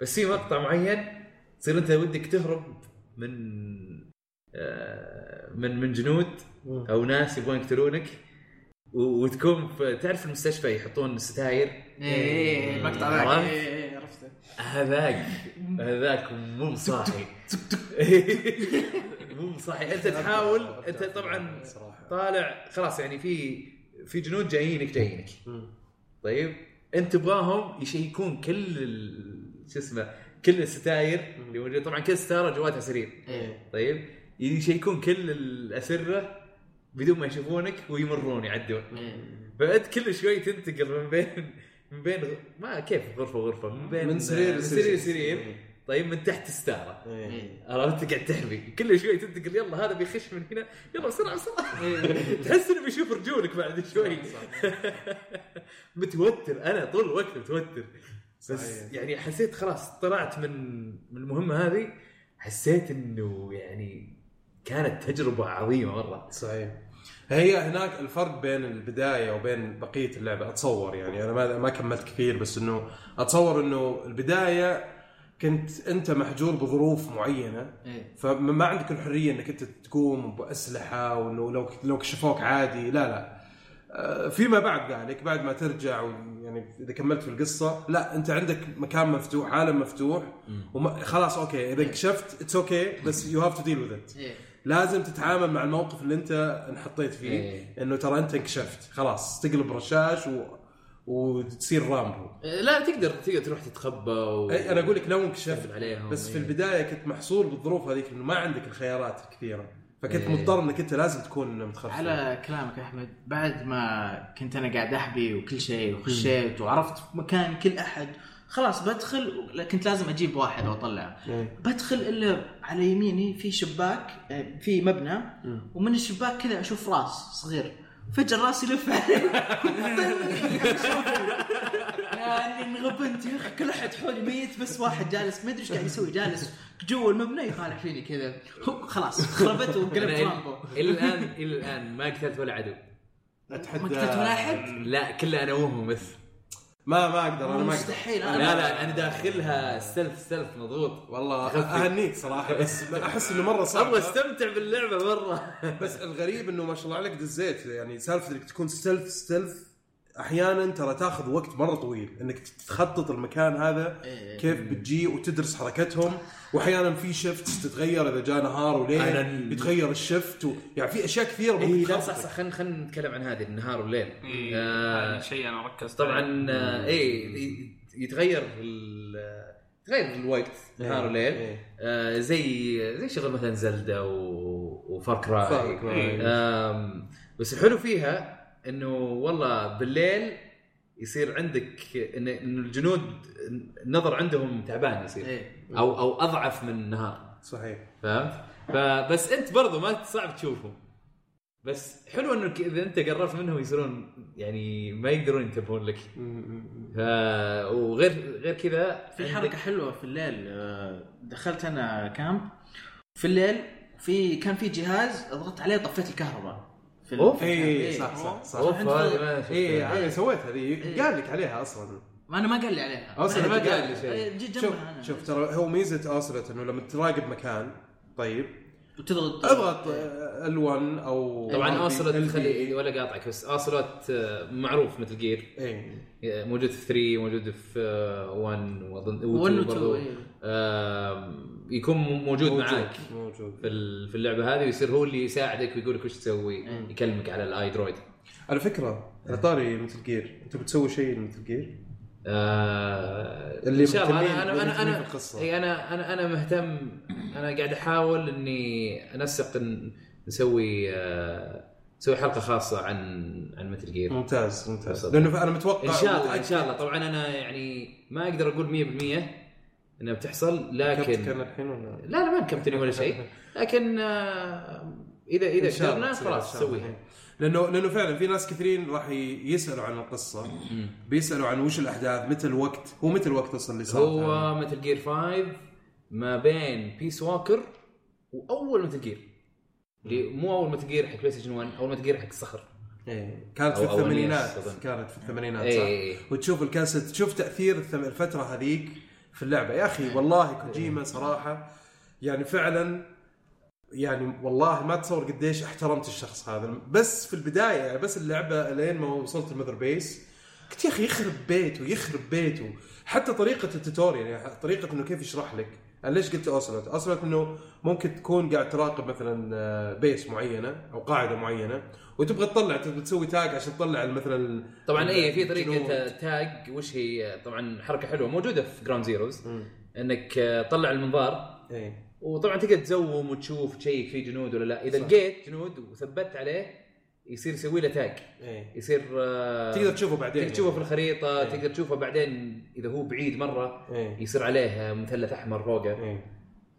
بس في مقطع معين تصير انت ودك تهرب من آه، من من جنود او ناس يبغون يقتلونك و- وتكون في تعرف المستشفى يحطون ستاير
ايه المقطع ذاك
عرفت؟
إيه، إيه، عرفته
هذاك هذاك مو صاحي مو صاحي انت تحاول انت طبعا
صراحه
طالع خلاص يعني في في جنود جايينك جايينك طيب انت تبغاهم يشيكون كل ال- شو اسمه كل الستاير اللي موجوده طبعا كل ستاره جواتها سرير
إيه.
طيب يشيكون كل الاسره بدون ما يشوفونك ويمرون يعدون
إيه.
فانت كل شوي تنتقل من بين من بين غ- ما كيف غرفه غرفه من بين
من سرير
سرير
لسرير.
سرير طيب من تحت ستاره
إيه.
عرفت قاعد تحمي كل شوي تنتقل يلا هذا بيخش من هنا يلا بسرعه بسرعه تحس انه بيشوف رجولك بعد شوي متوتر انا طول الوقت متوتر بس
صحيح.
يعني حسيت خلاص طلعت من من المهمه هذه حسيت انه يعني كانت تجربه عظيمه مره
صحيح هي هناك الفرق بين البدايه وبين بقيه اللعبه اتصور يعني انا ما ما كملت كثير بس انه اتصور انه البدايه كنت انت محجور بظروف معينه
إيه.
فما عندك الحريه انك انت تقوم باسلحه وانه لو لو كشفوك عادي لا لا آه، فيما بعد ذلك بعد ما ترجع و- يعني اذا كملت في القصه لا انت عندك مكان مفتوح عالم مفتوح وما خلاص اوكي اذا انكشفت اتس اوكي بس يو هاف تو ديل وذ ات
إيه.
لازم تتعامل مع الموقف اللي انت انحطيت فيه
إيه.
انه ترى انت انكشفت خلاص تقلب رشاش و... وتصير رامبو
لا تقدر تقدر تروح تتخبى و...
اي انا اقول لك لو انكشفت
عليهم،
بس في
إيه.
البدايه كنت محصور بالظروف هذيك انه ما عندك الخيارات الكثيره فكنت
إيه.
مضطر انك انت لازم تكون متخفي
على كلامك يا احمد بعد ما كنت انا قاعد احبي وكل شيء وخشيت وعرفت مكان كل احد خلاص بدخل كنت لازم اجيب واحد واطلعه
إيه.
بدخل الا على يميني في شباك آه، في مبنى ومن الشباك كذا اشوف راس صغير فجأة الراس يلف علي يعني انغبنت يا اخي كل احد حولي ميت بس واحد جالس ما ادري ايش قاعد يسوي جالس جوا المبنى يطالع فيني كذا هو خلاص خربت
يعني أنا
وقلبت
إل-
رامبو
الى الان الى الان ما قتلت ولا عدو
اتحدى
ما قتلت ولا احد
لا كله انا وهم بس
ما ما اقدر انا ما اقدر
مستحيل
لا
انا
لا انا داخلها سلف سلف مضغوط
والله اهنيك صراحه بس احس انه مره صعب
ابغى استمتع باللعبه مره
بس الغريب انه ما شاء الله عليك دزيت يعني سالفه انك تكون ستلف ستلف احيانا ترى تاخذ وقت مره طويل انك تخطط المكان هذا
إيه،
كيف بتجي وتدرس حركتهم واحيانا في شيفت تتغير اذا جاء نهار وليل
أنا-
يتغير الشفت و... يعني في اشياء كثيره
اي
ممكن
إيه، لا
تخبطك.
صح صح خلينا خلينا نتكلم عن هذه النهار والليل
إيه،
آه،
هذا شيء انا ركزت عليه.
طيب.
طبعا آه، اي يتغير ال- يتغير الوقت نهار وليل
إيه.
آه، زي زي شغل مثلا زلدة و... وفار كراي
فار كراي.
آم، بس الحلو فيها انه والله بالليل يصير عندك إن- انه الجنود النظر عندهم تعبان يصير
إيه.
او او اضعف من النهار
صحيح
فهمت؟ فبس انت برضو ما صعب تشوفهم بس حلو انك اذا انت قربت منهم يصيرون يعني ما يقدرون ينتبهون لك ف... وغير غير كذا
في حركه حلوه في الليل آه، دخلت انا كامب في الليل في كان في جهاز ضغطت عليه طفيت الكهرباء في ال-
أوف.
في الكامب.
اي إيه، صح صح إيه، صح
اوف هذه ما شفتها.
إيه، يعني
اي هذا سويتها ذي
إيه.
قال لك عليها اصلا
ما انا ما قال لي عليها
اصلا
ما
أنت
قال لي شيء.
إيه، جيت
شوف
جنبها انا
شوف ترى هو ميزه اوسلت انه لما تراقب مكان طيب
وتضغط
اضغط ال1 او
طبعا
RB
اوسلوت
LB.
خلي ولا قاطعك بس اوسلوت آه، معروف مثل جير
اي
آه، موجود في 3 موجود في آه، 1 واظن
ون
و2
وتو،
برضو
إيه.
آم، يكون م- موجود معاك
موجود
في ال- في اللعبه هذه ويصير هو اللي يساعدك ويقول لك وش تسوي
إيه.
يكلمك على الاي درويد
على فكره
إيه.
على طاري مثل جير انت بتسوي شيء مثل جير
آه
اللي
ان شاء الله
مهتمين-
انا انا انا
مهتمين
انا
في القصة.
اي انا انا انا مهتم انا قاعد احاول اني انسق إن نسوي آه نسوي حلقه خاصه عن عن متل جير
ممتاز ممتاز
بالضبط.
لانه انا متوقع
ان شاء الله ان شاء الله طبعا انا يعني ما اقدر اقول 100% انها بتحصل
كابتن كان
لكن
الحين ولا
لا لا ما نكبتني ولا شيء لكن آه، اذا
إن
اذا
شاء الله
قدرنا
تصير،
خلاص
إن شاء الله.
نسويها
لانه لانه فعلا في ناس كثيرين راح ي- يسالوا عن القصه بيسالوا عن وش الاحداث متى الوقت هو آه. متى الوقت اصلا اللي صار
هو مثل جير 5 ما بين بيس ووكر واول متل جير اللي مو اول متل جير حق بلاي ستيشن 1 اول متل جير حق الصخر
إيه. كانت في
أو- أو NES
الثمانينات
أظن.
كانت في
إيه،
الثمانينات صح
اي
وتشوف الكاسيت تشوف تاثير الثم- الفتره هذيك في اللعبه يا اخي والله كوجيما صراحه يعني فعلا يعني والله ما تصور قديش احترمت الشخص هذا بس في البدايه يعني بس اللعبه لين ما وصلت المذر بيس قلت يا اخي يخرب بيته يخرب بيته حتى طريقه التوتوريال يعني طريقه انه كيف يشرح لك انا ليش قلت اوسلوت؟ اوسلوت انه ممكن تكون قاعد تراقب مثلا آه، بيس معينه او قاعده معينه وتبغى تطلع تبغى تسوي تاج عشان تطلع مثلا
طبعا اي إيه، في
جنود.
طريقه تاج وش هي طبعا حركه حلوه موجوده في جراوند زيروز
مم.
انك آه، تطلع المنظار
ايه
وطبعا تقدر تزوم وتشوف تشيك فيه جنود ولا لا اذا لقيت جنود وثبت عليه يصير يسوي له تاج
ايه
يصير آه،
تقدر تشوفه بعدين
تقدر تشوفه في الخريطه
إيه.
تقدر تشوفه بعدين اذا هو بعيد مره
ايه
يصير عليه مثلث احمر فوقه
ايه
إيه.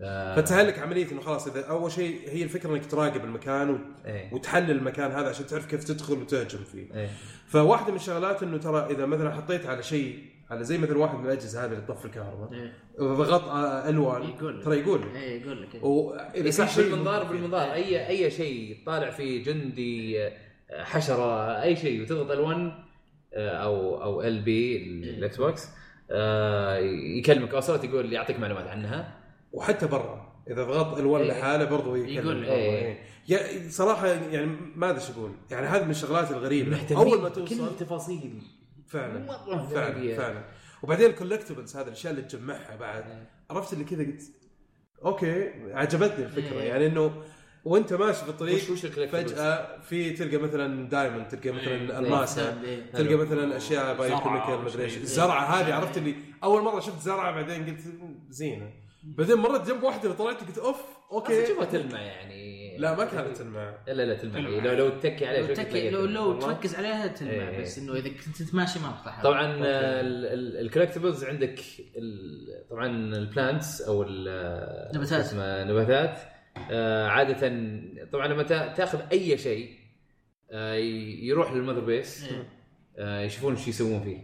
آه،
فتسهل لك عمليه انه خلاص اذا اول شيء هي الفكره انك تراقب المكان و...
إيه.
وتحلل المكان هذا عشان تعرف كيف تدخل وتهجم فيه
إيه.
فواحده من الشغلات انه ترى اذا مثلا حطيت على شيء على زي مثل واحد من الاجهزه هذه اللي تطفي الكهرباء
ايه
ضغط آه، الوان
يقول
طيب.
لك.
ترى يقول لك
ايه يقول لك إيه.
واذا
اي
في
صح
شيء
بالمنظار
ممكن-
بالمنظار اي اي شيء طالع فيه جندي آه، حشره اي شيء وتضغط ال1 او او آه، ال بي
إيه.
الاكس بوكس آه، يكلمك اوصلت يقول يعطيك معلومات عنها
وحتى برا اذا ضغط الوان
إيه.
لحاله برضو يكلم
يقول
برا،
إيه.
إيه. يا- صراحه يعني ما ادري ايش اقول يعني هذه من الشغلات الغريبه
مهتمين
اول ما
بكل
توصل
التفاصيل
فعلا
مرة
فعلا
غريبة.
فعلا وبعدين الكولكتبلز هذا الاشياء اللي تجمعها بعد
إيه.
عرفت اللي كذا قلت اوكي عجبتني الفكره
إيه.
يعني انه وانت ماشي في الطريق
وش إيه. وش الكولكتبلز؟
فجاه في تلقى مثلا دايموند تلقى مثلا الماسه
إيه.
طيب،
تلقى مثلا اشياء
زرعة
بايوكيميكال
أو
مدري ايش
شيء.
إيه.
الزرعه هذه عرفت اللي اول مره شفت زرعه بعدين قلت زينه بعدين مرت جنب واحده وطلعت قلت اوف
اوكي
اوكي
تشوفها تلمع يعني
لا ما كانت تلمع
لا لا تلمع إيه،
تلمع.
لو لو تتكي عليه
لو
شوي
تك-
تلاقيها
لو لو
تلمع.
تركز عليها
إيه.
تلمع بس انه اذا كنت ماشي ما راح تلاحظ
طبعا الكولكتبلز عندك ال- طبعا البلانتس او ال-
نباتات.
شو اسمه نباتات آه، عاده طبعا لما تا- تاخذ اي شيء آه، ي- يروح للمذر بيس
إيه.
آه، يشوفون شو يسوون فيه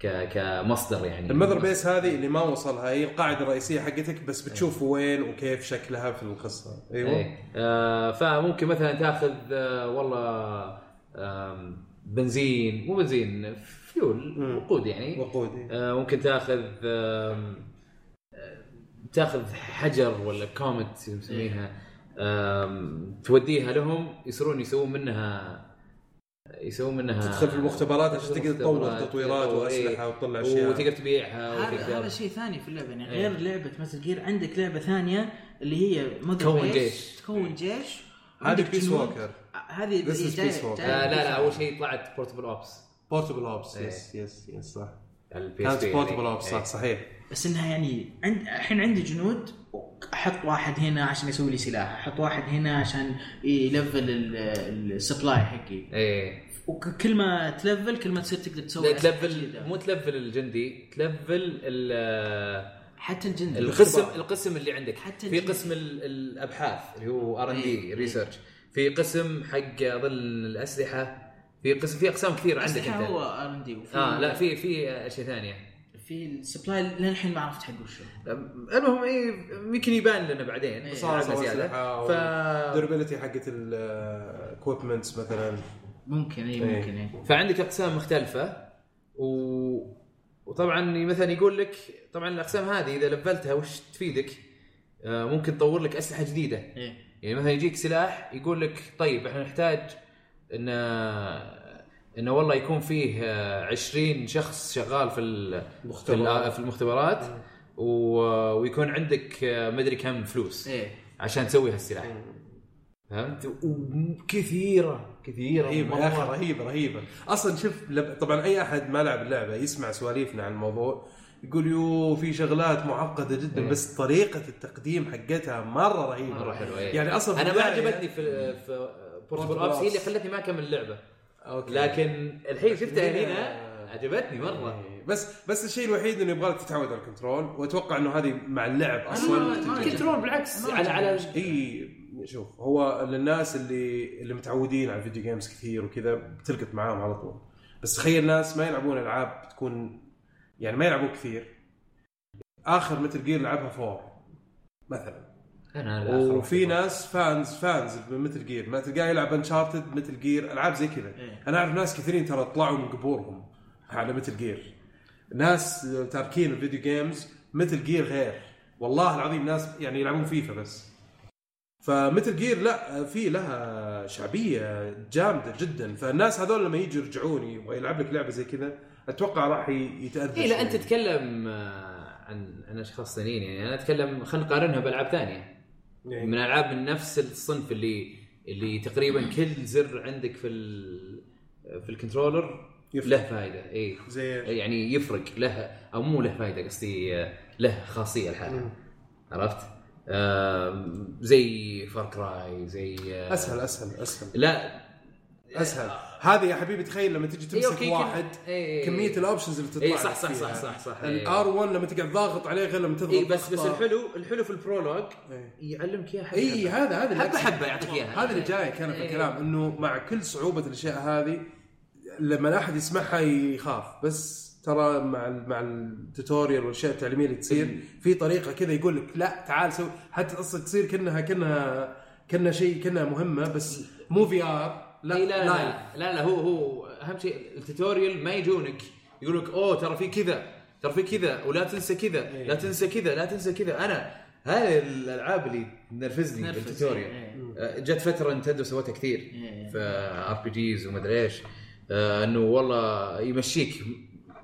ك- كمصدر يعني
المذر بيس هذه اللي ما وصلها هي القاعده الرئيسيه حقتك بس بتشوف وين وكيف شكلها في القصه ايوه
إيه. آه، فممكن مثلا تاخذ آه، والله آم، بنزين مو بنزين فيول
مم.
وقود يعني
وقودي
آه، ممكن تاخذ آم، آه، تاخذ حجر ولا كومت يسميها آم، توديها لهم يصيرون يسوون منها يسوون منها
تدخل في المختبرات عشان تقدر تطور
مختبرات،
تطويرات
تطور،
واسلحه وتطلع
إيه، وتقدر
اشياء
تبيعها
هذا هذا
وتقدر
شيء ثاني في اللعبه يعني
إيه.
غير لعبه مثل جير عندك لعبه ثانيه اللي هي مذر
تكون
بيس،
جيش. إيه.
تكون جيش
هذه
عندك
بيس
جنود.
ووكر
آه، هذه
This is
جاية-
Peace Walker.
آه،
جاية
لا لا
Peace
اول
Walker.
شيء طلعت بورتبل اوبس
بورتبل اوبس
إيه.
يس يس يس صح كانت
كانت
بورتبل اوبس صح صحيح
بس انها يعني عند الحين عندي جنود احط واحد هنا عشان يسوي لي سلاح، احط واحد هنا عشان يلفل ال- السبلاي حقي،
ايه
وكل ما تلفل كل ما تصير تقدر تسوي
لا،
أشياء
تلفل
جديدة.
مو تلفل الجندي تلفل ال-
حتى الجندي
القسم القسم اللي عندك
حتى
في
الجيل.
قسم ال- الابحاث اللي هو ار ان دي
إيه.
ريسيرش في قسم حق اظن الاسلحه في قسم في اقسام كثير عندك
عندك هو
انت
ار ان دي وفي
اه لا في في اشياء ثانيه
في السبلاي للحين ما عرفت حقه وشو
المهم اي يمكن يبان لنا بعدين
إيه.
صار
صار
زياده
أسلحة
يعني. ف
الدوربيلتي حقت آه، الاكوبمنتس مثلا
ممكن اي
إيه.
ممكن اي
فعندك اقسام مختلفه و... وطبعا مثلا يقول لك طبعا الاقسام هذه اذا لفلتها وش تفيدك؟ آه، ممكن تطور لك اسلحه جديده
ايه
يعني مثلا يجيك سلاح يقول لك طيب احنا نحتاج ان انه والله يكون فيه آه، 20 شخص شغال في ال- في ال-
مختبرات
في المختبرات و- ويكون عندك آه، مدري كم
إيه.
فلوس
ايه
عشان تسوي هالسلاح فهمت؟ وكثيره كثيره
رهيبه
مرة.
إيه، يا اخي رهيبه رهيبه اصلا شوف لب- طبعا اي احد ما لعب اللعبه يسمع سواليفنا عن الموضوع يقول يو في شغلات معقده جدا
إيه.
بس طريقه التقديم حقتها مره رهيبه
مره حلوه يعني
يعني اصلا
انا ما
بالبداية-
عجبتني في آه، في بورتبل
Portable
ابس هي اللي
Ops.
خلتني ما اكمل اللعبه
أوكي.
لكن الحين شفتها
هنا-
هنا عجبتني مره
إيه. بس بس الشيء الوحيد انه يبغى لك تتعود على الكنترول واتوقع انه هذه مع اللعب اصلا
ما-
تجي.
كنترول بالعكس على على
اي شوف هو للناس اللي اللي متعودين على الفيديو جيمز كثير وكذا بتلقط معاهم على طول بس تخيل ناس ما يلعبون العاب تكون يعني ما يلعبون كثير اخر متل جير لعبها فور مثلا
انا الآخر
وفي
واحد.
ناس فانز فانز مثل جير ما تلقاه يلعب انشارتد مثل جير العاب زي كذا
إيه.
انا اعرف ناس كثيرين ترى طلعوا من قبورهم على مثل جير ناس تاركين الفيديو جيمز مثل جير غير والله العظيم ناس يعني يلعبون فيفا بس فمثل جير لا في لها شعبيه جامده جدا فالناس هذول لما يجوا يرجعون يبغى يلعب لك لعبه زي كذا اتوقع راح ي- يتاذى
اي إيه، لا انت
شوي.
تتكلم آه، عن عن اشخاص ثانيين يعني انا اتكلم خلينا نقارنها بالعاب ثانيه
إيه.
من العاب من نفس الصنف اللي اللي تقريبا كل زر عندك في ال في الكنترولر
يفرق.
له فائده اي
زي
يعني يفرق له او مو له فائده قصدي آه، له خاصيه لحالها عرفت؟ آم، زي فار كراي زي آه،
اسهل اسهل اسهل
لا
اسهل هذه يا حبيبي تخيل لما تجي
إيه،
تمسك
أوكي، كل-
واحد
إيه.
كميه الاوبشنز اللي تطلع
اي
لك
صح صح
فيها.
صح صح صح إيه.
الار 1 لما تقعد ضاغط عليه غير لما تضغط
اي إيه، بس بس
ضغطة.
الحلو الحلو في البرولوج
إيه.
يعلمك اياها حبة
اي هذا هذا اللي
حبه
أقصده.
حبه يعطيك اياها
هذا اللي جايك انا في
إيه.
الكلام انه مع كل صعوبه الاشياء هذه لما احد يسمعها يخاف بس ترى مع ال- مع التوتوريال والاشياء التعليميه اللي تصير
إيه.
في طريقه كذا يقول لك لا تعال سوي حتى اصلا تصير كانها كانها كانها شيء كانها مهمه بس مو في ار لا
إيه لا, لا,
لايف.
لا لا لا هو هو اهم شيء التوتوريال ما يجونك يقول لك اوه ترى في كذا ترى في كذا ولا تنسى كذا لا تنسى كذا لا تنسى كذا انا هذه الالعاب اللي تنرفزني
تنرفز،
بالتوتوريال
إيه.
آه، جت فتره نتندو سوتها كثير
إيه.
في ار بي جيز ومدري ايش آه، انه والله يمشيك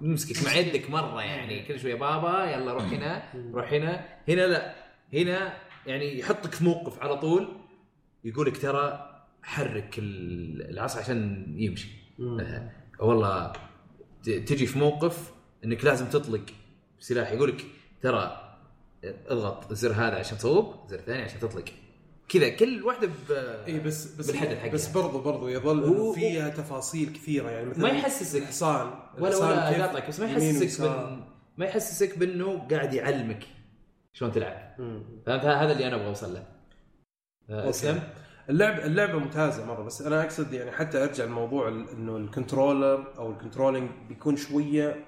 يمسكك مع يدك مره يعني كل شويه بابا يلا روح هنا روح هنا هنا لا هنا يعني يحطك في موقف على طول يقول لك ترى حرك ال- العصا عشان يمشي آه، والله ت- تجي في موقف انك لازم تطلق سلاح يقول لك ترى اضغط الزر هذا عشان تصوب زر ثاني عشان تطلق كذا كل واحده ب
اي إيه، بس بس
بالحدث حقها.
بس برضو برضو يظل
يعني. هو-
إنه فيها تفاصيل كثيره يعني مثلا
ما يحسسك
الحصان
ولا
الحصان
ولا
كيف
اقاطعك بس ما
يمين
يحسسك
ويسار.
بال... ما يحسسك بانه قاعد يعلمك شلون تلعب فهمت هذا اللي انا ابغى اوصل له آه،
أوكي.
اسلم
اللعبه اللعبه ممتازه مره بس انا اقصد يعني حتى ارجع لموضوع ال- انه الكنترولر او الكنترولينج بيكون شويه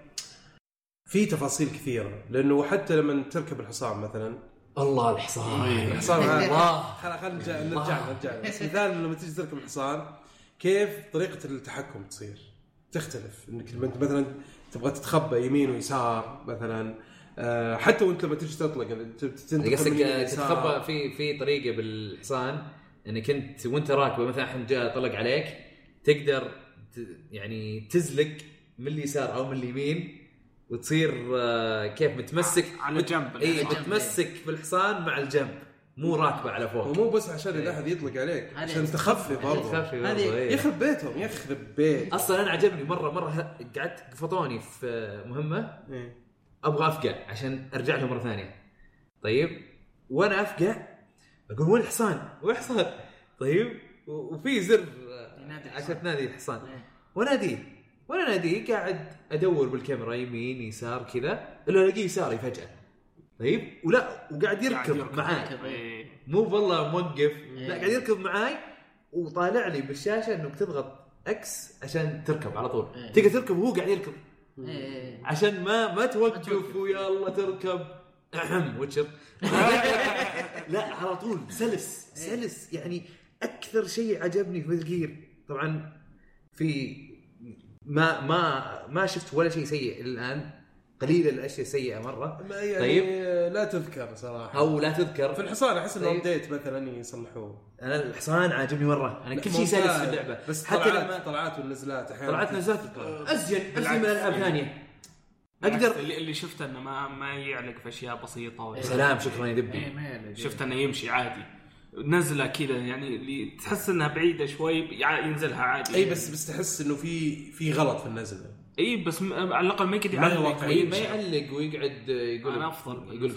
في تفاصيل كثيره لانه حتى لما تركب الحصان مثلا
الله الحصان
الحصان هذا
الله
خل- خل نرجع نرجع له- نرجع له. بس مثال لما تجي تركب الحصان كيف طريقه التحكم تصير تختلف انك لما أنت مثلا تبغى تتخبى يمين ويسار مثلا آه، حتى وانت لما تجي تطلق ت- تنتقل
قصدك
يمين
آه،
ويسار.
تتخبى في في طريقه بالحصان انك انت وانت راكبه مثلا احد جاء طلق عليك تقدر ت- يعني تزلق من اليسار او من اليمين وتصير آه، كيف متمسك
على جنب
اي
الحصان.
متمسك بالحصان مع الجنب مو راكبه على فوق
ومو بس عشان
إيه.
اذا احد يطلق عليك
هذه
عشان تخفي برضه
تخفي
هذه-
برضو، إيه.
يخرب بيتهم يخرب بيت
اصلا انا عجبني مره مره ه- قعدت فطوني في مهمه
إيه.
ابغى افقع عشان ارجع له مره ثانيه طيب وانا افقع اقول وين الحصان؟ وين الحصان؟ طيب و- وفي زر آه،
ينادي الحصان.
عشان تنادي الحصان
إيه.
واناديه وانا اناديه قاعد ادور بالكاميرا يمين يسار كذا الا الاقيه يساري فجاه طيب ولا وقاعد يركض معاي
إيه.
مو والله موقف
إيه.
لا قاعد يركض معاي وطالع لي بالشاشه انك تضغط اكس عشان تركب على طول
إيه.
تقدر تركب وهو قاعد يركب
إيه.
عشان ما ما توقف
توقف.
ويا الله تركب اهم وتشر لا على طول سلس سلس يعني اكثر شيء عجبني في الجير طبعا في ما ما ما شفت ولا شيء سيء الان قليل الاشياء سيئه مره
ما يعني
طيب.
لا تذكر صراحه
او لا تذكر
في الحصان احس انه
طيب.
ابديت مثلا يصلحوه
انا الحصان عاجبني مره انا كل شيء
ممتاز.
سلس في اللعبه
بس
حتى
طلعات
لما أه،
طلعات والنزلات احيانا
طلعت نزلت ازين ازين من العاب ثانيه
بالعكس،
اقدر
اللي اللي شفته انه ما ما يعلق في اشياء بسيطه
يا
ولا
سلام شكرا يا
إيه،
دبي
ما يعلق.
شفت انه يمشي عادي نزله كذا يعني اللي تحس انها بعيده شوي يع- ينزلها عادي يعني.
اي بس بس تحس انه في في غلط في النزله
اي بس م- على الاقل ما يقعد
ما هي
يعلق
واقعية.
إيه،
إيه.
ما يعلق
آه،
ويقعد يقول
انا افضل
يقول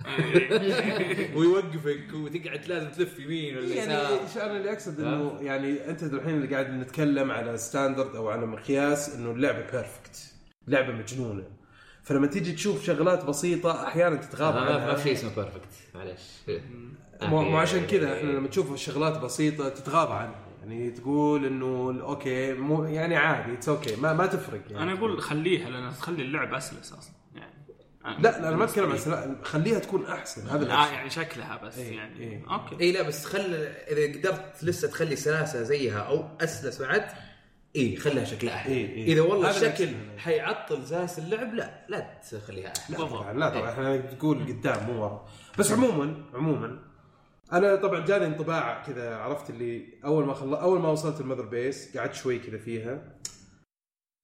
إيه.
ويوقفك وتقعد لازم تلف يمين ولا
يعني
يسار
ايش انا اللي اقصد انه يعني انت الحين اللي قاعد نتكلم على ستاندرد او على مقياس انه اللعبه بيرفكت لعبه مجنونه فلما تيجي تشوف شغلات بسيطه احيانا تتغاضى
ما- آه، ما
عنها
ما في شيء اسمه بيرفكت معلش
مو مو عشان
آه،
كذا
إيه.
احنا لما تشوف شغلات بسيطه تتغاضى عنها يعني تقول انه اوكي مو يعني عادي اتس اوكي ما ما تفرق يعني
انا اقول خليها لان خلي اللعب اسلس اصلا يعني
لا لا انا ما اتكلم عن سلا... خليها تكون احسن هذا
اه
الأحسن.
يعني شكلها بس
إيه،
يعني
إيه.
اوكي
اي لا بس خل اذا قدرت لسه تخلي سلاسه زيها او اسلس بعد اي خلها شكلها احلى
إيه، إيه.
اذا والله
هذا اللي
الشكل
أقصده أنا.
حيعطل سلاسه اللعب لا لا تخليها احلى
لا طبعا لا طبعا احنا تقول قدام مو ورا بس عموما عموما انا طبعا جاني انطباع كذا عرفت اللي اول ما خل... اول ما وصلت المذر بيس قعدت شوي كذا فيها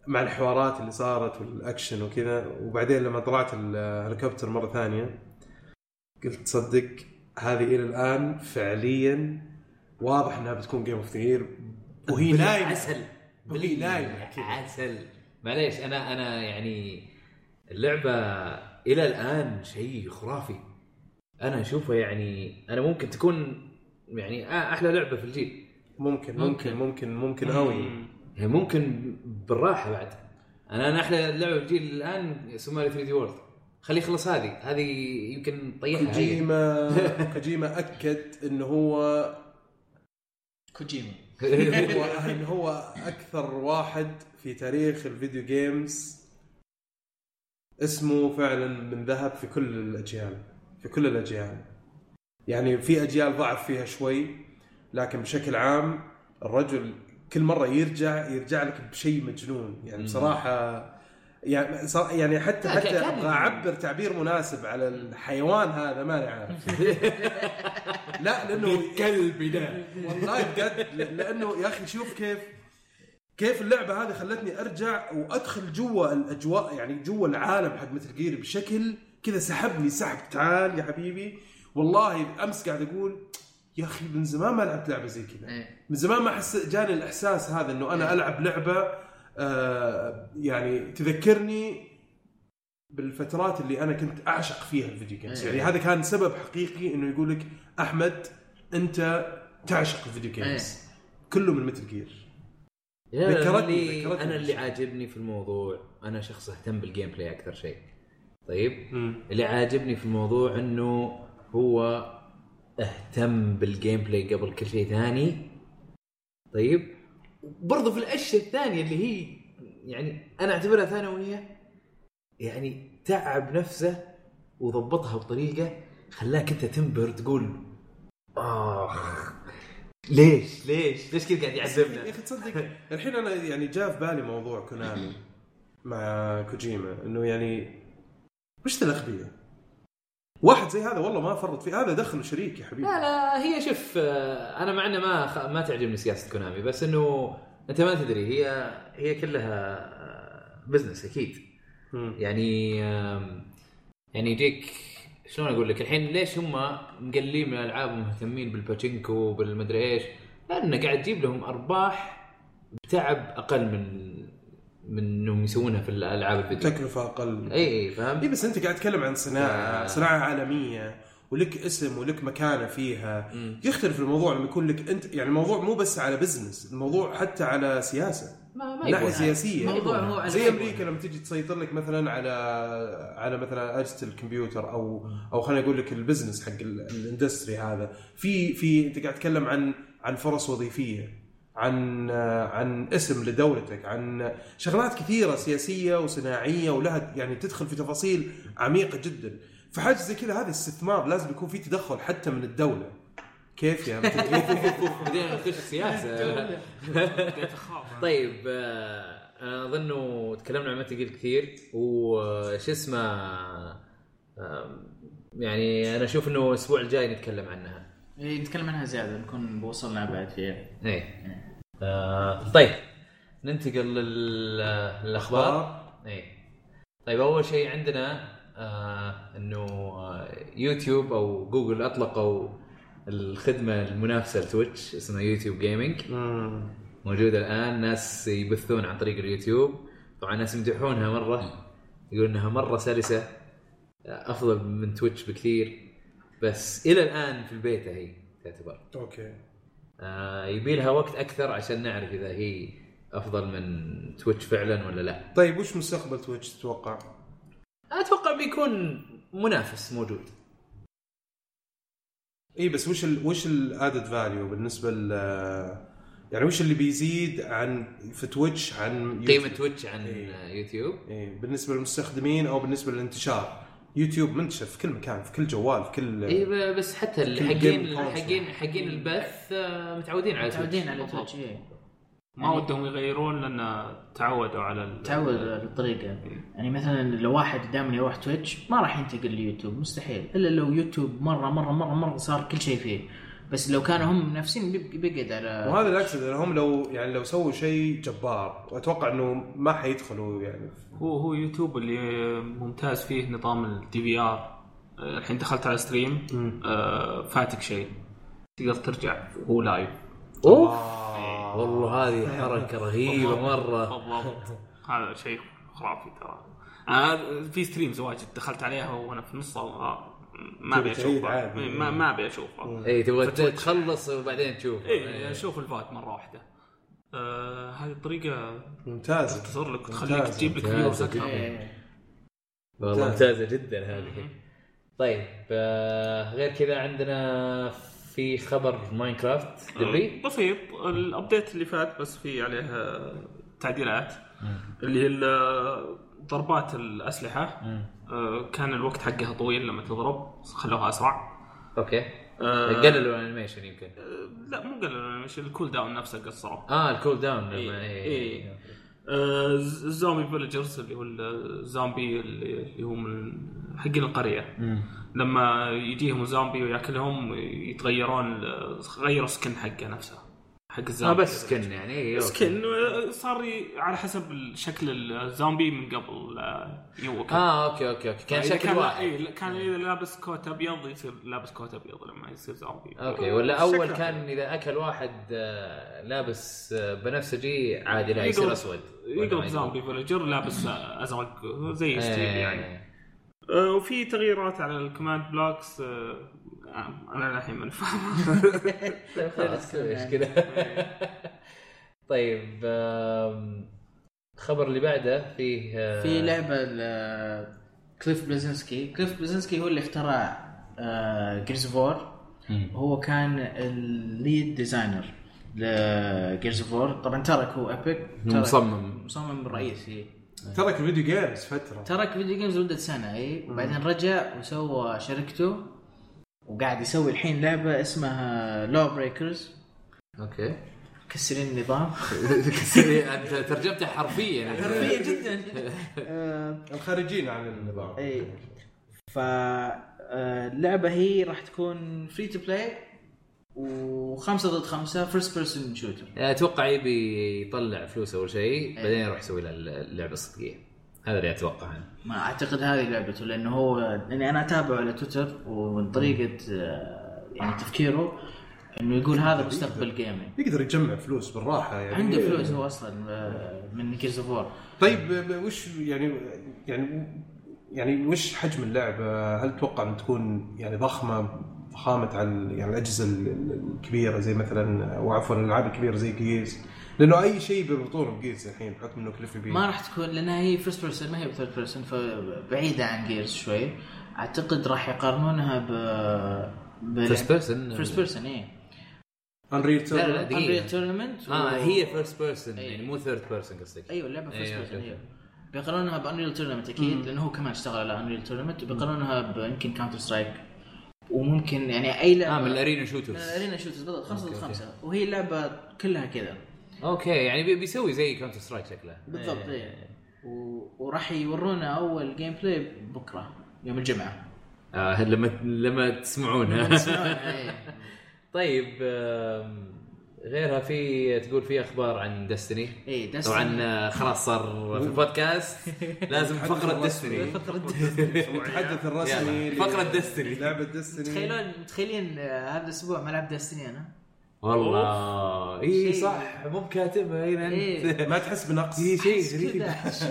مع الحوارات اللي صارت والاكشن وكذا وبعدين لما طلعت الهليكوبتر مره ثانيه قلت صدق هذه الى الان فعليا واضح انها بتكون جيم اوف ثير وهي نايمه
عسل
وهي نايمه كذا
عسل معليش انا انا يعني اللعبه الى الان شيء خرافي انا اشوفها يعني انا ممكن تكون يعني آه، احلى لعبه في الجيل
ممكن ممكن ممكن ممكن قوي
يعني ممكن بالراحه بعد انا انا احلى لعبه في الجيل الان سوماري 3 دي وورد خليه يخلص هذه هذه يمكن طيحها هي.
كوجيما كوجيما اكد انه هو
كوجيما
هو ان هو اكثر واحد في تاريخ الفيديو جيمز اسمه فعلا من ذهب في كل الاجيال في كل الاجيال يعني في اجيال ضعف فيها شوي لكن بشكل عام الرجل كل مره يرجع يرجع لك بشيء مجنون يعني بصراحه يعني صار- يعني حتى
لا،
حتى
كان-
ابغى اعبر تعبير مناسب على الحيوان هذا ماني عارف لا لانه
كلبي ده
والله بجد ل- لانه يا اخي شوف كيف كيف اللعبه هذه خلتني ارجع وادخل جوا الاجواء يعني جوا العالم حق مثل جير بشكل كذا سحبني سحب تعال يا حبيبي والله امس قاعد اقول يا اخي من زمان ما لعبت لعبه زي كذا
إيه.
من زمان ما حس جاني الاحساس هذا انه
إيه.
انا العب لعبه آه يعني تذكرني بالفترات اللي انا كنت اعشق فيها الفيديو جيمز
إيه.
يعني هذا كان سبب حقيقي انه يقول لك احمد انت تعشق الفيديو
إيه.
جيمز
إيه.
كله من مثل جير
لا، لا،
ذكرتني-
أنا اللي-
ذكرتني
انا اللي
بشيء.
عاجبني في الموضوع انا شخص اهتم بالجيم بلاي اكثر شيء طيب اللي عاجبني في الموضوع انه هو اهتم بالجيم بلاي قبل كل شيء ثاني طيب برضو في الاشياء الثانيه اللي هي يعني انا اعتبرها ثانويه يعني تعب نفسه وضبطها بطريقه خلاك انت تنبهر تقول اخ ليش ليش ليش كذا قاعد يعذبنا
يا اخي تصدق الحين انا يعني جاء في بالي موضوع كونامي مع كوجيما انه يعني وش ذا الاغبياء؟ واحد زي هذا والله ما فرط فيه هذا دخل شريك يا حبيبي
لا لا هي شوف آه، انا مع انه ما خ- ما تعجبني سياسه كونامي بس انه انت ما تدري هي هي كلها بزنس اكيد
مم.
يعني آم، يعني يجيك شلون اقول لك الحين ليش هم مقللين من الالعاب ومهتمين بالباتشينكو وبالمدري ايش؟ لانه قاعد تجيب لهم ارباح بتعب اقل من من انهم يسوونها في الالعاب الفيديو
تكلفه اقل
اي اي فاهم؟
اي إيه، بس انت قاعد تتكلم عن صناعه
آه.
صناعه عالميه ولك اسم ولك مكانه فيها يختلف الموضوع لما يكون لك انت يعني الموضوع مو بس على بزنس الموضوع حتى على سياسه
ما
أيوة.
ما
ناحيه
يبون.
سياسيه
الموضوع هو على
زي امريكا لما تجي تسيطر لك مثلا على على مثلا اجهزه الكمبيوتر او او خليني اقول لك البزنس حق ال- الاندستري هذا في في انت قاعد تتكلم عن عن فرص وظيفيه عن عن اسم لدولتك عن شغلات كثيره سياسيه وصناعيه ولها يعني تدخل في تفاصيل عميقه جدا فحاجه زي كذا هذا استثمار لازم يكون في تدخل حتى من الدوله كيف يا
بعدين نخش سياسه
بديت اخاف أنا.
طيب آه، انا اظن إنه تكلمنا عن متل كثير وش اسمه آه، يعني انا اشوف انه الاسبوع الجاي نتكلم عنها
إيه، نتكلم عنها زياده نكون وصلنا بعد فيها
اي إيه. آه، طيب ننتقل لل- للاخبار اي طيب اول شيء عندنا آه، انه آه، يوتيوب او جوجل اطلقوا الخدمه المنافسه لتويتش اسمها يوتيوب جيمنج
مم.
موجودة الآن ناس يبثون عن طريق اليوتيوب طبعا ناس يمدحونها مرة يقولون إنها مرة سلسة أفضل من تويتش بكثير بس إلى الآن في البيت هي تعتبر
اوكي
آه يبي لها وقت أكثر عشان نعرف إذا هي أفضل من تويتش فعلا ولا لا
طيب وش مستقبل تويتش تتوقع؟
أتوقع بيكون منافس موجود
اي إيه، بس وش ال وش الادد فاليو بالنسبه ل يعني وش اللي بيزيد عن في تويتش عن
قيمة تويتش عن
إيه.
آه، يوتيوب
اي بالنسبه للمستخدمين او بالنسبه للانتشار يوتيوب منتشر في كل مكان في كل جوال في كل
اي إيه، بس حتى
إيه. كل game
الحقين
console.
حقين حقين البث آه، متعودين على
إيه. متعودين على
بالضبط.
تويتش إيه.
ما ودهم يغيرون لان تعودوا على ال...
تعود على الطريقه يعني مثلا لو واحد دائما يروح تويتش ما راح ينتقل ليوتيوب مستحيل الا لو يوتيوب مره مره مره مره صار كل شيء فيه بس لو كانوا هم نفسين بيب- بيقعد على
وهذا اللي اقصده هم لو يعني لو سووا شيء جبار واتوقع انه ما حيدخلوا يعني
هو هو يوتيوب اللي ممتاز فيه نظام الدي في ار الحين دخلت على ستريم آه، فاتك شيء تقدر ترجع هو لايف
اوف
آه.
والله هذه حركه رهيبه مره
بالضبط هذا شيء خرافي ترى انا في ستريمز واجد دخلت عليها وانا في نصها آه، ما ابي
تبي تعيد
اشوفها
عادي.
ما ما ابي اشوفها
إيه،
اي تبغى تخلص وبعدين تشوف
اي اشوف إيه، الفات مره واحده آه، هذه الطريقه
ممتاز
تختصر لك وتخليك
ممتاز،
تجيب لك
ممتاز
فيوز اكثر
إيه.
طيب.
والله ممتازه جدا هذه
طيب آه، غير كذا عندنا في خبر ماينكرافت دري
بسيط الابديت اللي فات بس في عليه تعديلات اللي هي ال- ضربات الاسلحه آه، كان الوقت حقها طويل لما تضرب خلوها اسرع
اوكي
آه،
قللوا الانيميشن يمكن
لا مو قللوا مش الكول داون نفسه قصروا
اه الكول داون
إيه،
لما- إيه،
إيه.
إيه.
آه، الز- الزومبي فيلجرز اللي هو الزومبي اللي اللي هو من حقين القريه لما يجيهم زومبي وياكلهم يتغيرون غيروا سكن حقه نفسه حق
اه
الزومبي
بس سكن يعني إيه، أوكي.
سكن آه، صار ي- على حسب شكل الزومبي من قبل آه، يوكل
اه اوكي اوكي اوكي كان
إذا
شكل
كان
واحد
إيه كان اذا لابس كوت ابيض يصير لابس كوت ابيض لما يصير زومبي
اوكي ولا اول
شكله.
كان اذا اكل واحد آه، لابس آه، بنفسجي عادي لا يصير
يقلب-
اسود
يقلب زومبي فيلجر لابس آه، ازرق زي ستيف يعني
يعني
آه، وفي تغييرات على الكوماند بلوكس آه، انا الحين ماني فاهم
طيب، خلاص ايش كذا طيب آم، الخبر اللي بعده فيه آه،
في لعبه ل- كليف بلزنسكي كليف بلزنسكي هو اللي اخترع آه، جيرز فور هو كان الليد ديزاينر لجيرز فور طبعا ترك هو ابيك ترك-
مصمم.
مصمم رئيسي
ترك الفيديو جيمز فتره
ترك فيديو جيمز لمده سنه اي وبعدين رجع وسوى شركته وقاعد يسوي الحين لعبه اسمها لو بريكرز
اوكي
مكسرين النظام
انت ترجمته حرفيا
حرفيا جدا آه،
الخارجين عن النظام
اي فاللعبه هي راح تكون فري تو بلاي وخمسة ضد خمسة فيرست بيرسون شوتر
اتوقع يبي يطلع فلوس اول شيء بعدين يروح يسوي له اللعبه الصجيه هذا اللي يعني. اتوقع عنه
ما اعتقد هذه لعبته لانه هو لاني انا اتابعه على تويتر ومن طريقة آه، يعني تفكيره انه يقول هذا مستقبل جيمنج
يقدر يجمع فلوس بالراحه يعني
عنده فلوس هو اصلا آه، من جيرز اوف
طيب ب- وش يعني يعني يعني وش حجم اللعبه؟ هل تتوقع ان تكون يعني ضخمه ضخامه على ال- يعني الاجهزه ال- ال- الكبيره زي مثلا وعفوا الالعاب الكبيره زي جيز لانه اي شيء بيربطونه بجيز الحين بحكم انه كليف بي
ما راح تكون لانها هي فيرست بيرسون ما هي ثيرد بيرسون فبعيده عن جيرز شوي اعتقد راح يقارنونها ب
فيرست بيرسون
فيرست بيرسون اي
انريل
لا لا
انريل
دقيقه
تورنمنت
اه هي فيرست بيرسون
إيه.
يعني مو ثيرد بيرسون قصدك
ايوه اللعبه فيرست
أيوة،
بيرسون
أوكي.
ايوه بيقارنونها بانريل تورنمنت اكيد لانه هو كمان اشتغل على انريل تورنمنت وبيقارنونها بيمكن كاونتر سترايك وممكن يعني اي لعبه
اه من الارينا
من
شوترز
الارينا شوترز بالضبط 5 ضد
أوكي، أوكي.
5 وهي اللعبه كلها كذا
اوكي يعني بي- بيسوي زي كاونتر سترايك شكله
بالضبط
إيه.
اي وراح يورونا اول جيم بلاي بكره يوم الجمعه
آه لما لما تسمعونها
إيه.
طيب آم، غيرها في تقول في اخبار عن دستني
اي دستني
طبعا آه، خلاص صار في البودكاست لازم فقره دستني
المتحدث الرسمي
يلا، فقرة
ل-
ديستني.
لعبه ديستني
تخيلون متخيلين آه، هذا الاسبوع ما لعب دستني انا
والله اي
شيء.
صح مو كاتبها هنا
إيه.
انت
ما تحس بنقص
في شيء غريب
كذا أحس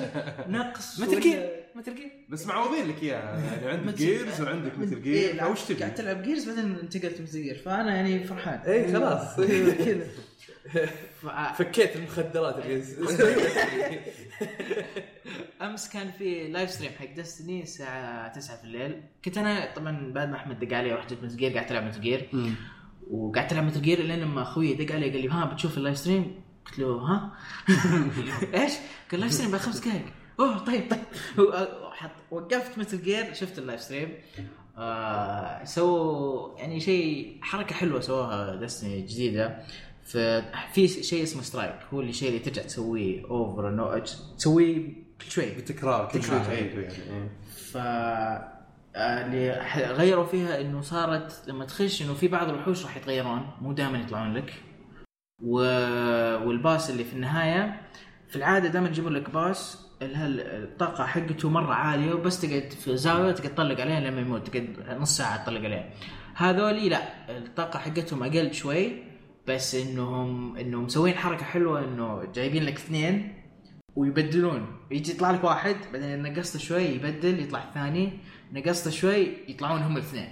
نقص
متل جير متل جير
بس معوضين لك اياها يعني عندك
متل-
جيرز وعندك مثل
إيه،
جير او وش تبي؟
قاعد تلعب جيرز بعدين انتقلت مثل جير فانا يعني فرحان
إيه،
اي خلاص
كذا فع-
فكيت المخدرات اللي
امس كان في لايف ستريم حق دستني الساعه 9 في الليل كنت انا طبعا بعد ما احمد دق علي ورحت جبت مثل جير قاعد العب مثل جير وقعدت العب مثل جير لين لما اخوي دق علي قال لي ها بتشوف اللايف ستريم؟ قلت له ها؟ ايش؟ قال لايف ستريم بعد خمس دقائق اوه طيب طيب و- وحط وقفت مثل جير شفت اللايف ستريم آه سووا يعني شيء حركه حلوه سواها دستني جديده ف- في شيء اسمه سترايك هو اللي شيء اللي ترجع تسويه اوفر نو تسويه كل شوي
بتكرار كل شوي
تكرار،
تغير
إيه.
فيه يعني.
ف آه، اللي ح- غيروا فيها انه صارت لما تخش انه في بعض الوحوش راح يتغيرون مو دائما يطلعون لك و... والباص اللي في النهايه في العاده دائما يجيبون لك باص اللي هال- الطاقه حقته مره عاليه وبس تقعد في زاويه تقعد تطلق عليه لما يموت تقعد نص ساعه تطلق عليه هذولي لا الطاقه حقتهم اقل شوي بس انهم انهم مسوين حركه حلوه انه جايبين لك اثنين ويبدلون يجي يطلع لك واحد بعدين نقصته شوي يبدل يطلع الثاني نقصته شوي يطلعون هم الاثنين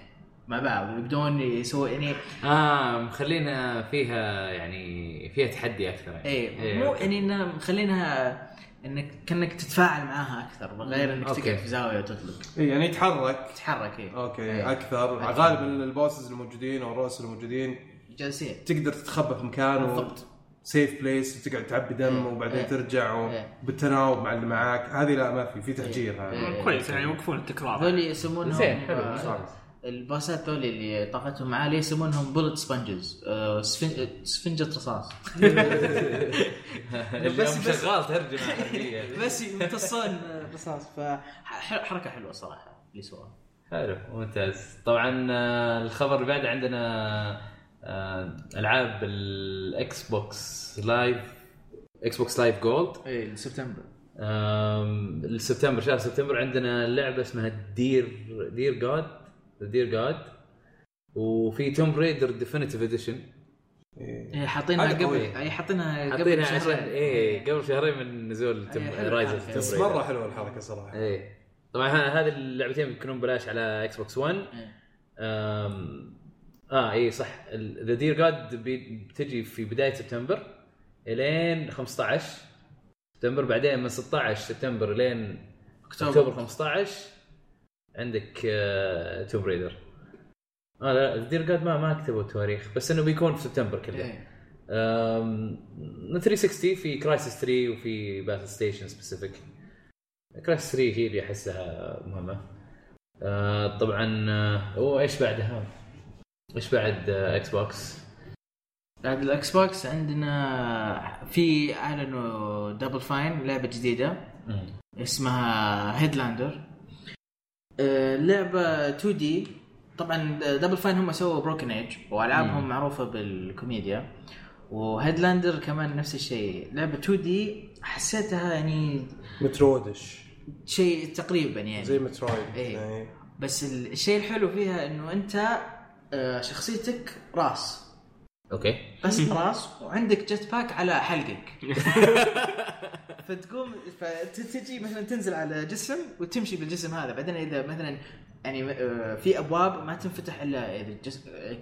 مع بعض ويبدون يسووا يعني
اه مخلينا فيها يعني فيها تحدي اكثر يعني
اي مو يعني انها مخلينها انك كانك تتفاعل معاها اكثر غير انك
أوكي.
تقعد في زاويه وتطلق
إيه، يعني يتحرك
تتحرك اي
اوكي
إيه.
اكثر
أكثر.
غالبا البوسز الموجودين او الرؤس الموجودين
جالسين
تقدر تتخبى في مكان و...
بالضبط
سيف بليس وتقعد تعبي دم
إيه.
وبعدين
إيه.
ترجع و...
إيه.
بالتناوب مع اللي معاك هذه لا ما في في تهجير هذا
إيه.
كويس يعني يوقفون التكرار
هذول يسمونهم
زين، حلو،
آه،
صار.
الباسات هذول اللي طاقتهم عاليه يسمونهم آه، بولت سبنجز سفنجه رصاص
بس شغال ترجمه عربيه
بس يمتصون رصاص فحركه حلوه صراحه اللي سووها
حلو ممتاز طبعا آه، الخبر اللي بعد عندنا آه، العاب الاكس بوكس لايف اكس بوكس لايف جولد
اي سبتمبر
آم، سبتمبر شهر سبتمبر عندنا لعبه اسمها دير دير جاد دير جاد وفي توم ريدر ديفينيتيف اديشن
إيه.
اي إيه، حاطينها
هذا
قبل
قوي.
اي حاطينها قبل
حاطينها عشان
شهرين
ايه قبل شهرين من نزول توم
إيه، حلو
رايز
الحركة.
بس مره حلوه الحركه صراحه
ايه طبعا ه- هذه اللعبتين بيكونون ببلاش على اكس بوكس 1
إيه.
أم... اه اي صح ذا دير جاد بتجي في بدايه سبتمبر الين 15 سبتمبر بعدين من 16 سبتمبر الين
اكتوبر.
اكتوبر 15 عندك آه، توم ريدر اه لا دير جاد ما ما كتبوا التواريخ بس انه بيكون في سبتمبر كله
إيه.
أم، 360 في كرايسس 3 وفي باتل ستيشن سبيسيفيك كرايسس 3 هي اللي احسها مهمه أه، طبعا أه، وايش بعدها؟ ايش بعد أه، اكس بوكس؟
بعد الاكس بوكس عندنا في اعلنوا دبل فاين لعبه جديده اسمها أه، هيدلاندر لعبه 2 دي طبعا دبل فاين هم سووا بروكن ايج والعابهم معروفه بالكوميديا وهيدلاندر كمان نفس الشيء لعبه 2 دي حسيتها يعني
مترودش
شيء تقريبا يعني
زي مترويد
إيه.
يعني.
بس الشيء الحلو فيها انه انت آه، شخصيتك راس
اوكي
بس راس وعندك جت باك على حلقك فتقوم فتجي مثلا تنزل على جسم وتمشي بالجسم هذا بعدين اذا مثلا يعني آه، في ابواب ما تنفتح الا اذا الجس- آه،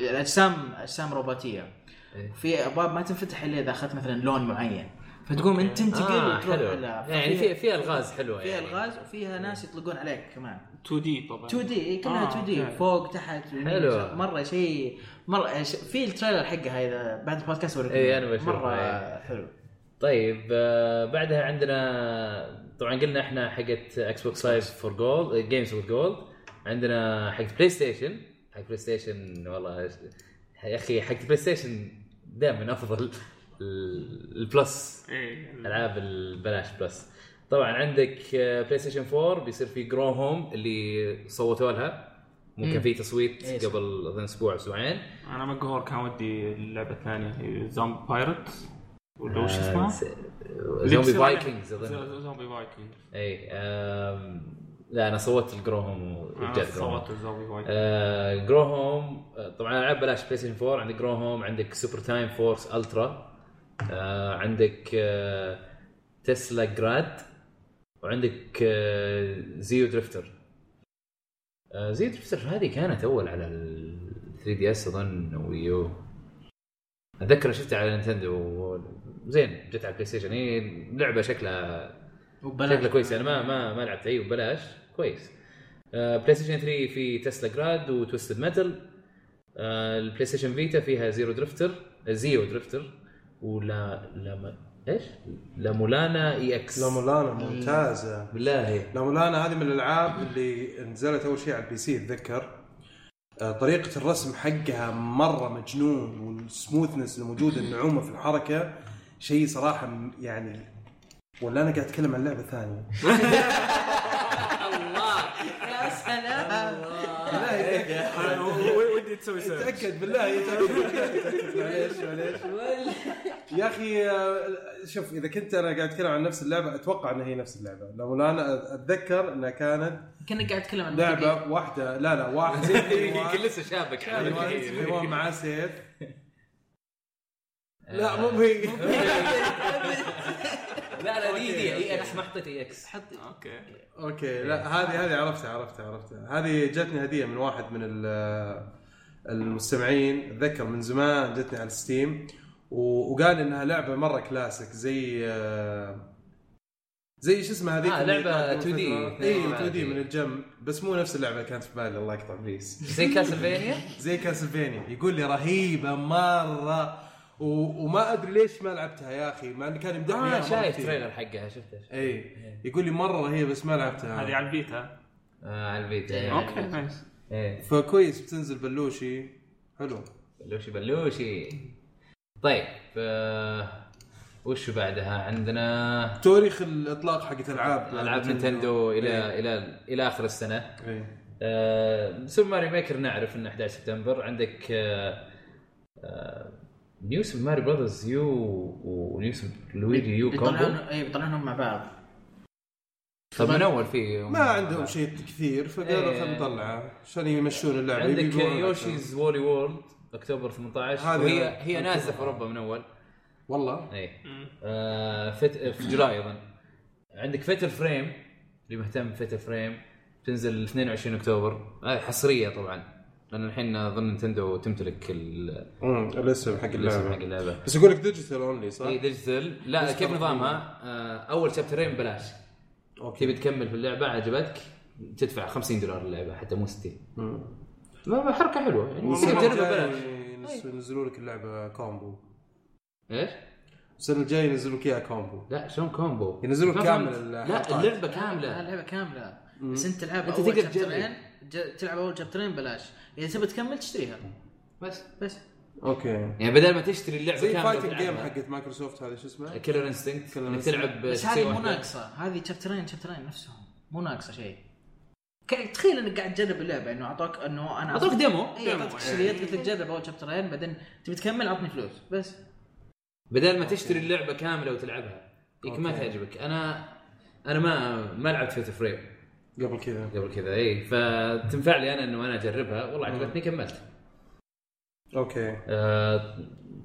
الاجسام اجسام روبوتيه
إيه.
في ابواب ما تنفتح الا اذا اخذت مثلا لون معين فتقوم انت تنتقل
آه
وتروح
حلو
على
يعني في في الغاز حلوه
فيها
يعني
الغاز وفيها ناس يطلقون عليك كمان
2 دي طبعا
2 دي إيه، كلها
آه،
2 دي
أوكي.
فوق تحت يمين،
حلو.
يسار. مره شيء مره ش... في التريلر حقها اذا بعد البودكاست ولا
إيه، أنا بشوفها،
مره
إيه.
حلو
طيب آه، بعدها عندنا طبعا قلنا احنا حقت اكس بوكس لايف فور جولد جيمز فور جولد عندنا حقت بلاي ستيشن حق بلاي ستيشن والله يا اخي حقت بلاي ستيشن دائما افضل ال- البلس
ايه
العاب البلاش بلس طبعا عندك آه، بلاي ستيشن 4 بيصير في جرو هوم اللي صوتوا لها ممكن
مم.
في تصويت
إيه، صح.
قبل اظن اسبوع اسبوعين
انا مقهور كان ودي اللعبه الثانيه زومبي بايرت ولا وش
آه،
اسمها؟
زومبي فايكنگز اظن
زومبي فايكنج
اي آم، إيه، لا انا صوت الجروهوم وجت
صوت زومبي فايكنج
آه جروهوم آه، طبعا العاب بلاش بلاي ستيشن 4 عندك جروهوم عندك سوبر تايم فورس الترا آه عندك آه تسلا جراد وعندك آه زيو درفتر آه زيو درفتر هذه كانت اول على ال 3 دي اس اظن ويو اتذكر شفتها على نينتندو زين جت على البلاي ستيشن هي لعبه شكلها
وبلاش
شكله كويس انا ما ما ما لعبت اي وبلاش كويس آه، بلاي ستيشن 3 في تسلا جراد وتوستد ميتال البلاي ستيشن فيتا فيها زيرو درفتر آه، زيو درفتر آه، ولا لا ما ايش؟ لامولانا اي اكس
لا مولانا ممتازه
بالله هي
لا مولانا هذه من الالعاب اللي نزلت اول شيء على البي سي اتذكر آه، طريقة الرسم حقها مرة مجنون والسموثنس الموجودة النعومة في الحركة شيء صراحة م- يعني ولا انا قاعد اتكلم عن لعبة ثانية
يا سلام
آه.
أنا و- ودي تسوي سيرش
تاكد بالله تاكد معليش معليش يا اخي آه، شوف اذا كنت انا قاعد اتكلم عن نفس اللعبه اتوقع انها هي نفس اللعبه لو لا انا اتذكر انها كانت
كنا قاعد اتكلم عن الفيديو.
لعبه واحده لا لا واحد
يمكن لسه شابك
حيوان- حيوان معاه سيف لا مو هي
لا لا دي إيه، دي اي انا حطيت اي اكس
اوكي
اوكي لا هذه هذه عرفتها عرفتها عرفتها هذه جتني هديه من واحد من ال- المستمعين اتذكر من زمان جتني على ستيم وقال انها لعبه مره كلاسيك زي آه، زي شو اسمها هذيك
آه،
اللي
لعبة
كانت قبل
2D.
فترة. اي
آه،
2 دي
2D.
من الجنب بس مو نفس اللعبه اللي كانت في بالي الله يقطع ابليس
زي كاسلفينيا
زي كاسلفينيا يقول لي رهيبه مره و... وما ادري ليش ما لعبتها يا اخي مع انه كان يمدحني
اه
إياها مرة
شايف
كثير.
تريلر إيه. حقها شفته
اي يقول لي مره رهيبه بس ما لعبتها
هذه على البيتا
آه على الفيتا
اوكي نايس
ايه
فكويس بتنزل بلوشي حلو
بلوشي بلوشي طيب آه وش بعدها عندنا
تاريخ الاطلاق حقت العاب
العاب نينتندو الى الى الى اخر السنه
إيه.
آه، سوبر ماريو ميكر نعرف انه 11 سبتمبر عندك آه، آه، نيو سوبر ماريو براذرز يو ونيو سوبر لويجي يو كومبو
بيطلعون اي بيطلعونهم مع بعض
طب من اول في
ما عندهم شيء كثير فقالوا
إيه.
خلينا نطلعه عشان يمشون اللعبه
عندك
يبيعون أكثر.
يوشيز وولي وورلد اكتوبر 18
هذه
وهي
أنا-
هي نازله في اوروبا من اول
والله
اي إيه. آه فت... في جولاي اظن عندك فتر فريم اللي مهتم بفتر فريم تنزل 22 اكتوبر آه حصريه طبعا لان الحين اظن نتندو تمتلك ال-
امم الاسم حق
الاسم حق إيه.
اللعبه
اللعبه
بس يقول لك ديجيتال اونلي صح؟
اي ديجيتال لا كيف نظامها؟ آه اول شابترين ببلاش تبي تكمل في اللعبه عجبتك تدفع 50 دولار اللعبه حتى مو 60
مم.
ما- ما حركه حلوه يعني
والسنة
تجربه
الجاية
ببلاش
ينس- ينزلوا لك اللعبه كومبو
ايش؟
السنه الجايه ينزلوا لك اياها كومبو
لا شلون كومبو
ينزلوا
ما
كامل
فهمت.
الحلقات.
لا اللعبه
لا،
كامله
اللعبه كامله آه، بس انت تلعب
أنت
اول
تقدر تجرب.
شابترين ج- تلعب اول شابترين ببلاش اذا تبي تكمل تشتريها
بس
بس
إيه،
اوكي
يعني بدل ما تشتري اللعبه
زي
كامله
فايتنج جيم
وتلعبها.
حقت مايكروسوفت هذه شو اسمها؟
كيلر انستنكت
كيلر
انك
إنستنكت.
تلعب
بس
شخصية
هذه مو
واحدة.
ناقصه هذه شابترين شابترين نفسهم مو ناقصه شيء ك- تخيل انك قاعد تجرب اللعبه انه اعطوك انه انا
اعطوك ديمو
اي اعطوك تشتريات قلت لك جرب اول شابترين بعدين تبي تكمل عطني فلوس بس
بدل ما تشتري اللعبه كامله وتلعبها يمكن ما تعجبك انا انا ما ما لعبت فيت فريم
قبل كذا
قبل كذا اي فتنفع لي انا انه انا اجربها والله عجبتني كملت
اوكي
آه،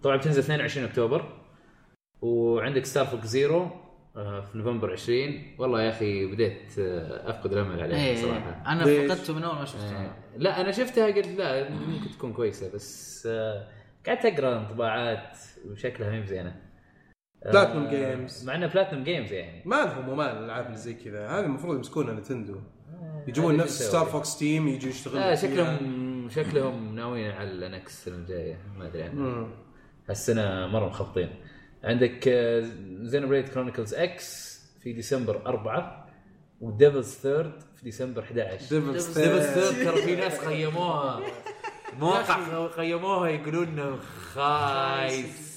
طبعا بتنزل 22 اكتوبر وعندك ستار فوك زيرو آه، في نوفمبر 20 والله يا اخي بديت آه، افقد الامل عليها
ايه
صراحه
انا
ليش؟
فقدته من اول ما شفته
آه، لا انا شفتها قلت لا ممكن تكون كويسه بس آه، قعدت اقرا انطباعات وشكلها ما هي بزينه آه،
Platinum Games.
مع انها بلاتنوم جيمز يعني
ما لهم وما الالعاب اللي زي كذا هذه المفروض يمسكونها نتندو
آه، هذه
يجيبون نفس
بتسوي.
ستار فوكس تيم يجي يشتغل
لا
فيها.
آه، شكلهم شكلهم ناويين على الانكس السنه الجايه ما ادري عنها
مم.
هالسنه مره مخبطين عندك آه، زينوبريد كرونيكلز اكس في ديسمبر 4 وديفلز ثيرد في ديسمبر 11
Devil's
ديفلز
Third.
ثيرد ترى في ناس قيموها مواقع قيموها يقولون خايسه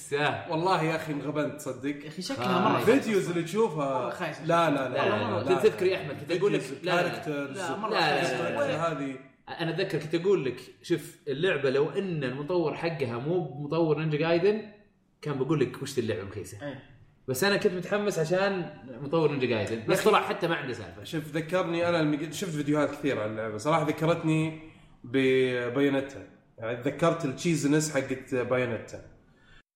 والله يا اخي انغبنت تصدق
يا اخي شكلها مره
الفيديوز اللي تشوفها
خايس.
لا لا
لا
لا
لا لا تذكر يا احمد كنت اقول لك لا لا لا.
كاركترز
لا، مرة
لا، لا، لا.
هذه
انا اتذكر كنت اقول لك شوف اللعبه لو ان المطور حقها مو مطور نينجا جايدن كان بقول لك وش ذي اللعبه مخيسه
إيه.
بس انا كنت متحمس عشان مطور نينجا جايدن بس طلع حتى ما عنده سالفه
شوف ذكرني انا لما قد- شفت فيديوهات كثير عن اللعبه صراحه ذكرتني ببايونيتا يعني تذكرت التشيزنس حقت بايونيتا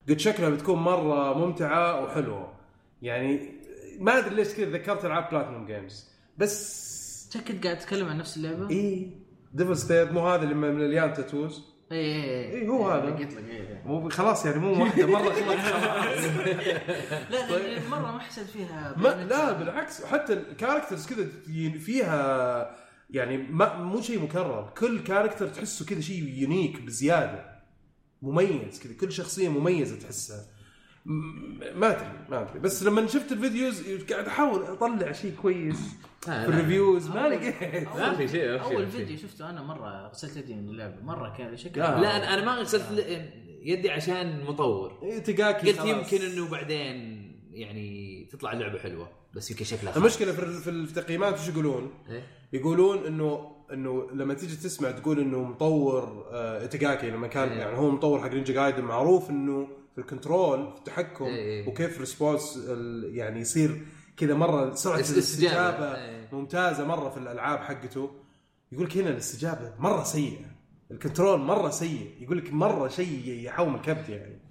قلت شكلها بتكون مره ممتعه وحلوه يعني ما ادري ليش كذا ذكرت العاب بلاتنوم جيمز بس
تاكد قاعد تتكلم عن نفس اللعبه؟
اي ديفل ثيرد مو هذا اللي من اليان تاتوز
اي اي
إيه، هو هذا.
قلت لك إيه.
مو خلاص يعني مو واحده مره خلاص
لا لأن مره ما حسيت فيها
ما
يعني
لا بالعكس حتى الكاركترز كذا ي- فيها يعني ما مو شيء مكرر كل كاركتر تحسه كذا شيء يونيك بزياده مميز كذا كل شخصيه مميزه تحسها م- ما ادري ما ادري بس لما شفت الفيديوز قاعد احاول اطلع شيء كويس
آه،
في الريفيوز ما لقيت
ما في شيء ما في
اول
شيء، ما في شيء
فيديو شفته انا مره غسلت يدي من اللعبه مره كان شكل
لا.
لا انا انا ما غسلت ل- يدي عشان مطور
إيه، تقاكي
قلت
خلاص.
يمكن انه بعدين يعني تطلع اللعبه حلوه بس يمكن شكلها خايس.
المشكله في ال- في التقييمات وش يقولون؟
إيه.
يقولون انه انه لما تيجي تسمع تقول انه مطور آه، اتاكاكي لما كان
إيه.
يعني هو مطور حق نينجا جايدن معروف انه في الكنترول في التحكم
إيه.
وكيف ريسبونس يعني يصير كذا مره سرعه
است- استجابة.
الاستجابه
إيه.
ممتازه مره في الالعاب حقته يقول لك هنا الاستجابه مره سيئه الكنترول مره سيء يقول لك مره شيء يحوم الكبت يعني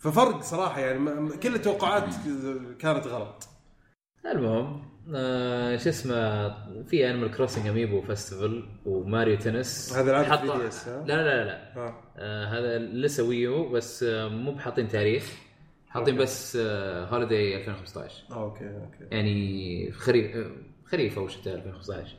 ففرق صراحه يعني ما- ما- كل التوقعات كانت غلط
المهم آه شو اسمه في انيمال كروسنج اميبو فيستيفال وماريو تنس
هذا العاب
حطوا-
3DS ها؟
لا لا لا, لا.
آه.
آه هذا لسه ويو بس آه مو بحاطين تاريخ حاطين
أوكي.
بس آه هوليداي 2015
اوكي اوكي
يعني خريف آه، خريف او شتاء 2015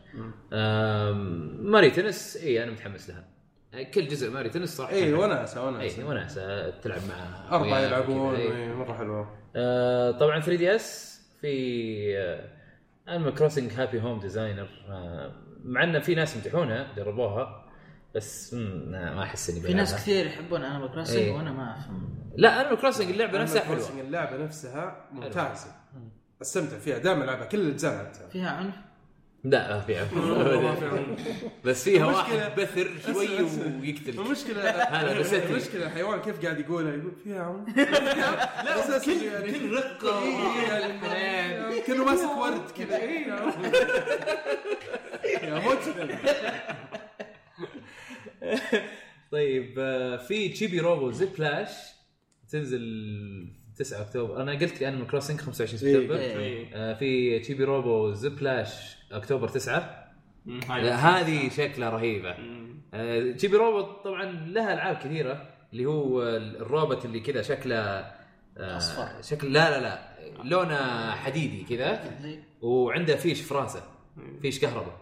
آه ماريو تنس اي انا متحمس لها آه، كل جزء ماريو تنس صراحه
اي وناسه
اي
وناسه
وناسه تلعب مع
اربعه
وياك
يلعبون إيه.
وكذا، إي.
إي، مره حلوه
آه، طبعا 3 دي اس في آه، انيمال كروسنج هابي هوم ديزاينر آه، مع ان في ناس يمدحونها جربوها بس مم، لا، ما احس اني
في ناس
بلعبها.
كثير يحبون انيمال كروسنج
إيه.
وانا ما افهم
لا انيمال كروسنج اللعبه نفسها
أما الكروسنج
حلوه
اللعبه نفسها ممتازه استمتع فيها دائما العبها كل الاجزاء لعبتها
فيها عنف
لا ما في عفو. بس فيها
المشكلة-
واحد بثر شوي
أسمع، أسمع.
ويقتل
المشكلة
هلا بس أدري.
المشكلة الحيوان كيف قاعد يقولها يقول فيها عم يعني لا كل كل إيه، يعني رقة كأنه ماسك ورد كذا إي، يا عم. يا مجرم
طيب آه، في تشيبي روبو زبلاش تنزل 9 اكتوبر انا قلت لي انيمال كروسنج 25 سبتمبر
إيه.
آه، في تشيبي روبو زبلاش اكتوبر 9
مم،
لا،
هاي.
هذه شكلها رهيبه
مم.
آه، تشيبي روبوت طبعا لها العاب كثيره اللي هو الروبوت اللي كذا شكله آه،
أصفر.
شكل لا لا لا لونه حديدي كذا وعنده فيش في راسه فيش كهرباء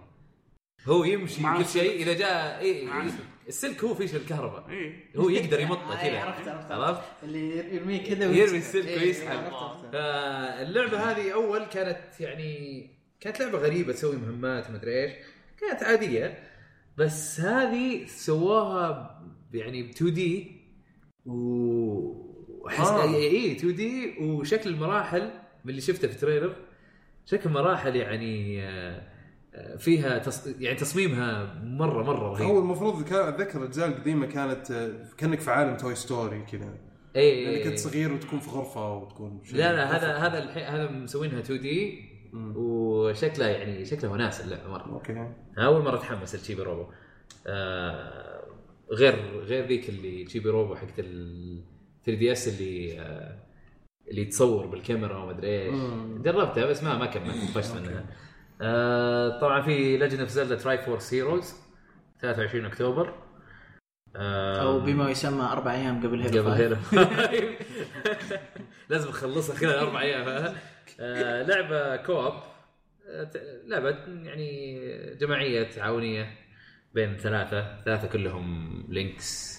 هو يمشي
مع
كل شيء اذا جاء إيه
مع
إيه، السلك هو فيش الكهرباء
إيه.
هو يقدر يمطه
آه، إيه،
كذا
عرفت عرفت عرفت.
عرفت
اللي يرميه كذا
يرمي السلك
إيه،
ويسحب.
عرفت، عرفت.
فاللعبه هذه اول كانت يعني كانت لعبه غريبه تسوي مهمات ومدري ايش كانت عاديه بس هذه سواها ب- يعني ب 2 دي و احس
آه.
اي إي، 2 دي وشكل المراحل من اللي شفته في تريلر شكل مراحل يعني آه، آه، فيها تص... يعني تصميمها مره مره
هو
رهيب
المفروض كان اتذكر الاجزاء القديمه كانت آه، كانك في عالم توي ستوري كذا
اي
لانك يعني كنت صغير وتكون في غرفه وتكون شيء.
إيه، لا لا هذا هذا الحين هذا مسوينها 2 دي
مم.
وشكلها يعني شكلها وناس اللعبه مره
اوكي
أنا اول مره اتحمس لتشيبي روبو آه غير غير ذيك اللي تشيبي روبو حقت ال 3 دي اس اللي آه اللي تصور بالكاميرا وما ادري ايش
مم.
جربتها بس ما ما كملت طفشت منها آه طبعا في ليجند اوف زلدا تراي فورس هيروز 23 اكتوبر آه
او بما يسمى اربع ايام قبل هيرو
قبل
فايف.
هيلو لازم اخلصها خلال اربع ايام آه، لعبه كوب آه، ت- لعبه يعني جماعيه تعاونيه بين ثلاثه ثلاثه كلهم لينكس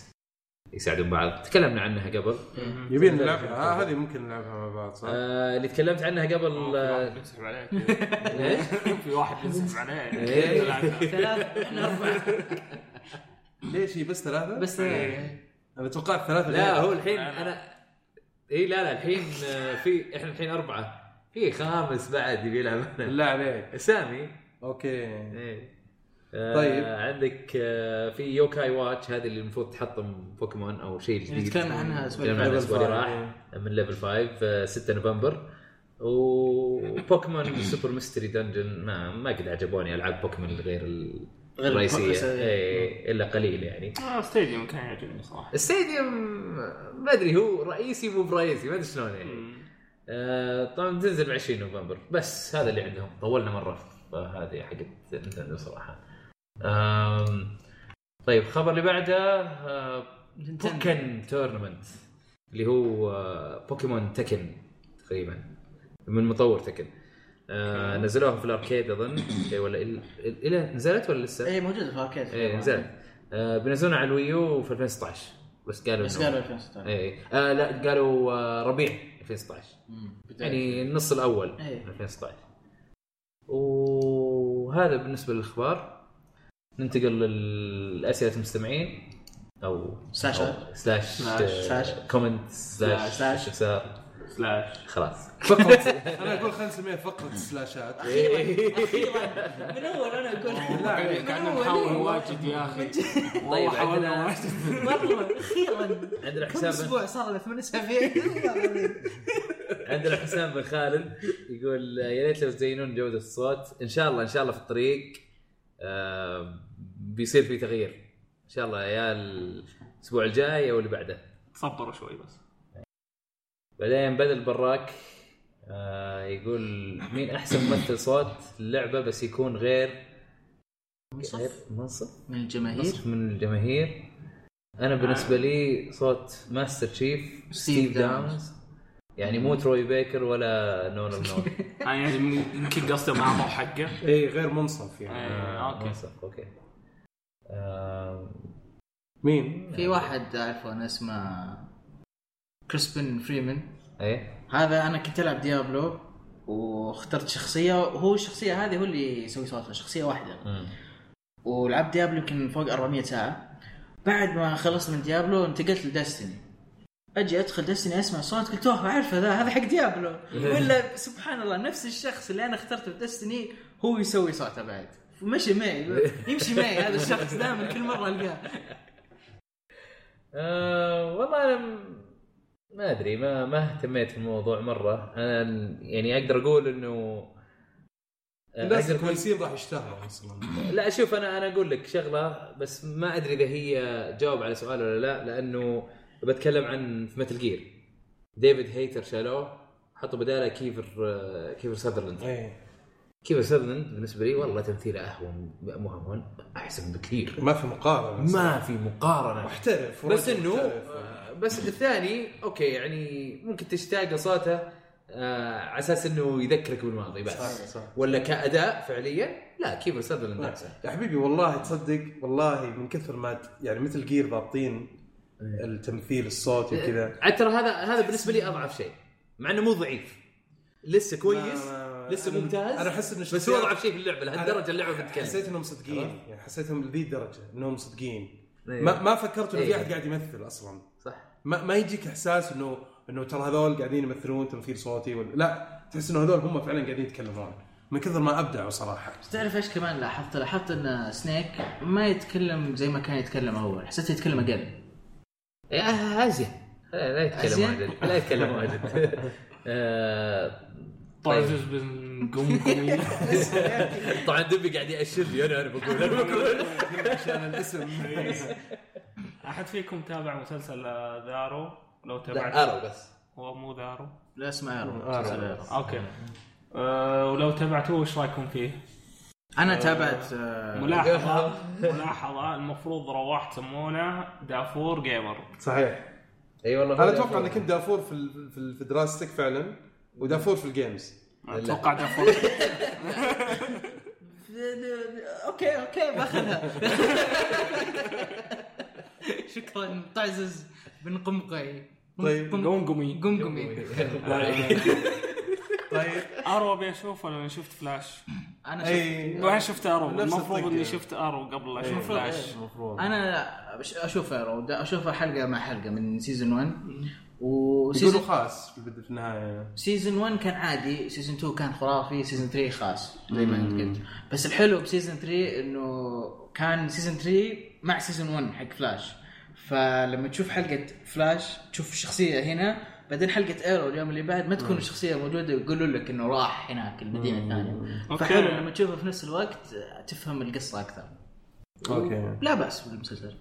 يساعدون بعض تكلمنا عنها قبل
إيه.
يبين نلعبها آه، هذه ممكن نلعبها مع بعض صح؟
آه، اللي تكلمت عنها قبل
في
آه،
واحد بينسحب عليك في واحد بينسحب
إيه.
عليك
ثلاث احنا اربع
ليش هي بس ثلاثة؟
بس
إيه.
إيه.
انا توقعت ثلاثة
لا هو الحين انا اي لا لا الحين آه، في احنا الحين اربعه في خامس بعد يبي يلعب معنا.
بالله عليك
سامي
اوكي
إيه.
طيب.
طيب آه عندك آه في يوكاي واتش هذه اللي المفروض تحطم بوكيمون او شيء جديد
يعني تكلمنا عنها الأسبوع اللي
تكلمنا عنها
فات.
الاسبوع اللي
ليفل
راح من ليفل 5 آه 6 نوفمبر وبوكيمون سوبر ميستري دنجن ما ما قد عجبوني العاب بوكيمون غير ال-
غير يعني.
الرئيسيه
الرئيسية.
إيه الا قليل يعني
آه، ستاديوم كان يعجبني صراحه
الستاديوم ما ادري هو رئيسي مو برئيسي ما ادري شلون يعني
مم.
آه طبعا تنزل ب 20 نوفمبر بس هذا اللي عندهم طولنا مره في هذه حقت نينتندو صراحه آم طيب الخبر اللي بعده آه بوكن تورنمنت اللي هو آه بوكيمون تكن تقريبا من مطور تكن آه نزلوها في الاركيد اظن إيه، ولا ال- ال-
إيه،
الى نزلت ولا لسه؟ إيه،
اي موجوده في الاركيد
ايه نزلت آه بينزلونها على الويو في 2016 بس قالوا
بس
إنه-
قالوا 2016
اي آه لا قالوا آه ربيع 2016
مم. بداية.
يعني النص الاول
إيه.
2016 وهذا بالنسبه للاخبار ننتقل للاسئله المستمعين او
سلاشات.
أو سلاش
سلاش.
كومنت سلاش
سلاش. إيه، طيب،
سلاش إكسار.
سلاش
خلاص
انا اقول خلينا نسميها فقره السلاشات
إيه. يعني
من اول انا اقول
لا يعني
قاعدين نحاول واجد يا اخي
طيب
والله حاولنا
عندنا
واجد
والله اخيرا
عندنا
كم
حساب
اسبوع صار له ثمان اسابيع
عندنا حسام بن خالد يقول آه، يا ريت لو تزينون جوده الصوت ان شاء الله ان شاء الله في الطريق آه، بيصير في تغيير ان شاء الله يا الاسبوع الجاي او اللي بعده
صبروا شوي بس
بعدين بدل براك آه يقول مين احسن ممثل صوت للعبه بس يكون غير غير منصف
من الجماهير
منصف من الجماهير انا بالنسبه لي صوت ماستر تشيف ستيف داونز يعني مو تروي بيكر ولا نون نون
انا يعني يمكن قصده ما اعطوه حقه
اي إيه، غير منصف
آه.
يعني
إيه، اوكي
منصف اوكي آه
مين؟
في واحد اعرفه انا اسمه كريسبن فريمان
ايه
هذا انا كنت العب ديابلو واخترت شخصيه وهو الشخصيه هذه هو اللي يسوي صوتها شخصيه واحده
مم.
ولعبت ديابلو يمكن فوق 400 ساعه بعد ما خلصت من ديابلو انتقلت لدستني اجي ادخل دستني اسمع صوت قلت اوه اعرفه ذا هذا حق ديابلو ولا سبحان الله نفس الشخص اللي انا اخترته في دستني هو يسوي صوته بعد مشي معي يمشي معي هذا الشخص دائما كل مره القاه
آه والله انا م- ما ادري ما ما اهتميت في الموضوع مره انا ال- يعني اقدر اقول انه آه،
الناس
أقدر أقول-
الكويسين راح يشتهروا اصلا
لا شوف انا انا اقول لك شغله بس ما ادري اذا هي جاوب على سؤال ولا لا لانه بتكلم عن في متل جير ديفيد هيتر شالوه حطوا بداله كيفر آه، كيفر ساذرلاند
ايه
كيفر ساذرلاند بالنسبه لي والله تمثيله اهون مو اهون احسن بكثير
ما في مقارنه
ما في مقارنه
محترف
بس
ورجل
انه
محترف.
آه، بس الثاني اوكي يعني ممكن تشتاق لصوته آه، على اساس انه يذكرك بالماضي بس
صح، صح.
ولا كاداء فعليا لا كيفر ساذرلاند احسن
يا حبيبي والله تصدق والله من كثر ما ت- يعني مثل جير ضابطين
إيه.
التمثيل الصوتي وكذا
عاد ترى هذا هذا بالنسبه لي اضعف شيء مع انه مو ضعيف لسه كويس
ما-
لسه
أنا-
ممتاز
انا احس انه
بس
شخصيات-
هو اضعف شيء في اللعبه لهالدرجه اللعبه
حسيت
بتتكلم
انهم صدقين يعني حسيتهم لذي الدرجه انهم صدقين
إيه.
ما ما فكرت انه في
إيه.
احد قاعد يمثل اصلا
صح
ما ما يجيك احساس انه انه ترى هذول قاعدين يمثلون تمثيل صوتي ولا لا تحس انه هذول هم فعلا قاعدين يتكلمون من كثر ما ابدعوا صراحه
تعرف ايش كمان لاحظت؟ لاحظت ان سنيك ما يتكلم زي ما كان يتكلم اول، حسيت يتكلم اقل.
يا ازيا آه، لا لا يتكلم
آسيا؟
واجد لا يتكلم واجد آه، طيب.
طازج بن قم قمي
طبعا دبي قاعد ياشر لي انا انا بقول انا بقول
عشان الاسم
احد فيكم تابع مسلسل آه، ذارو لو
لا
تابعت
ارو بس
هو مو ذارو
لا اسمع يا رب،
آه،
مسلسل
آه.
يا رب.
اوكي آه، ولو تابعتوه وش رايكم فيه؟
انا تابعت آه،
ملاحظه ملاحظه المفروض رواح تسمونه دافور جيمر
صحيح
اي والله
انا اتوقع انك انت دافور في ال- في ال- في دراستك فعلا ودافور في الجيمز
اتوقع دافور
اوكي اوكي باخذها. شكرا تعزز بن قمقي.
طيب،
قمقمي
قمقمي.
إيه.
طيب
ارو ابي اشوفه لان شفت فلاش
انا شفت
اي
وين شفت ارو
نفس نعم.
المفروض
الطقة.
اني شفت ارو قبل لا اشوف
المفروض،
فلاش
المفروض
انا أش- اشوفها يا رب، اشوفها حلقه مع حلقه من سيزون 1
يقولوا
وسيزون
خاص في البد- في النهايه
سيزون 1 كان عادي سيزون 2 كان خرافي سيزون 3 خاص زي ما انت قلت بس الحلو بسيزون 3 انه كان سيزون 3 مع سيزون 1 حق فلاش فلما تشوف حلقه فلاش تشوف الشخصيه هنا بعدين حلقه ايرو اليوم اللي بعد ما تكون الشخصيه موجوده يقولوا لك انه راح هناك المدينه الثانيه
أوكي.
فحلو لما تشوفه في نفس الوقت تفهم القصه اكثر
اوكي
لا باس بالمسلسل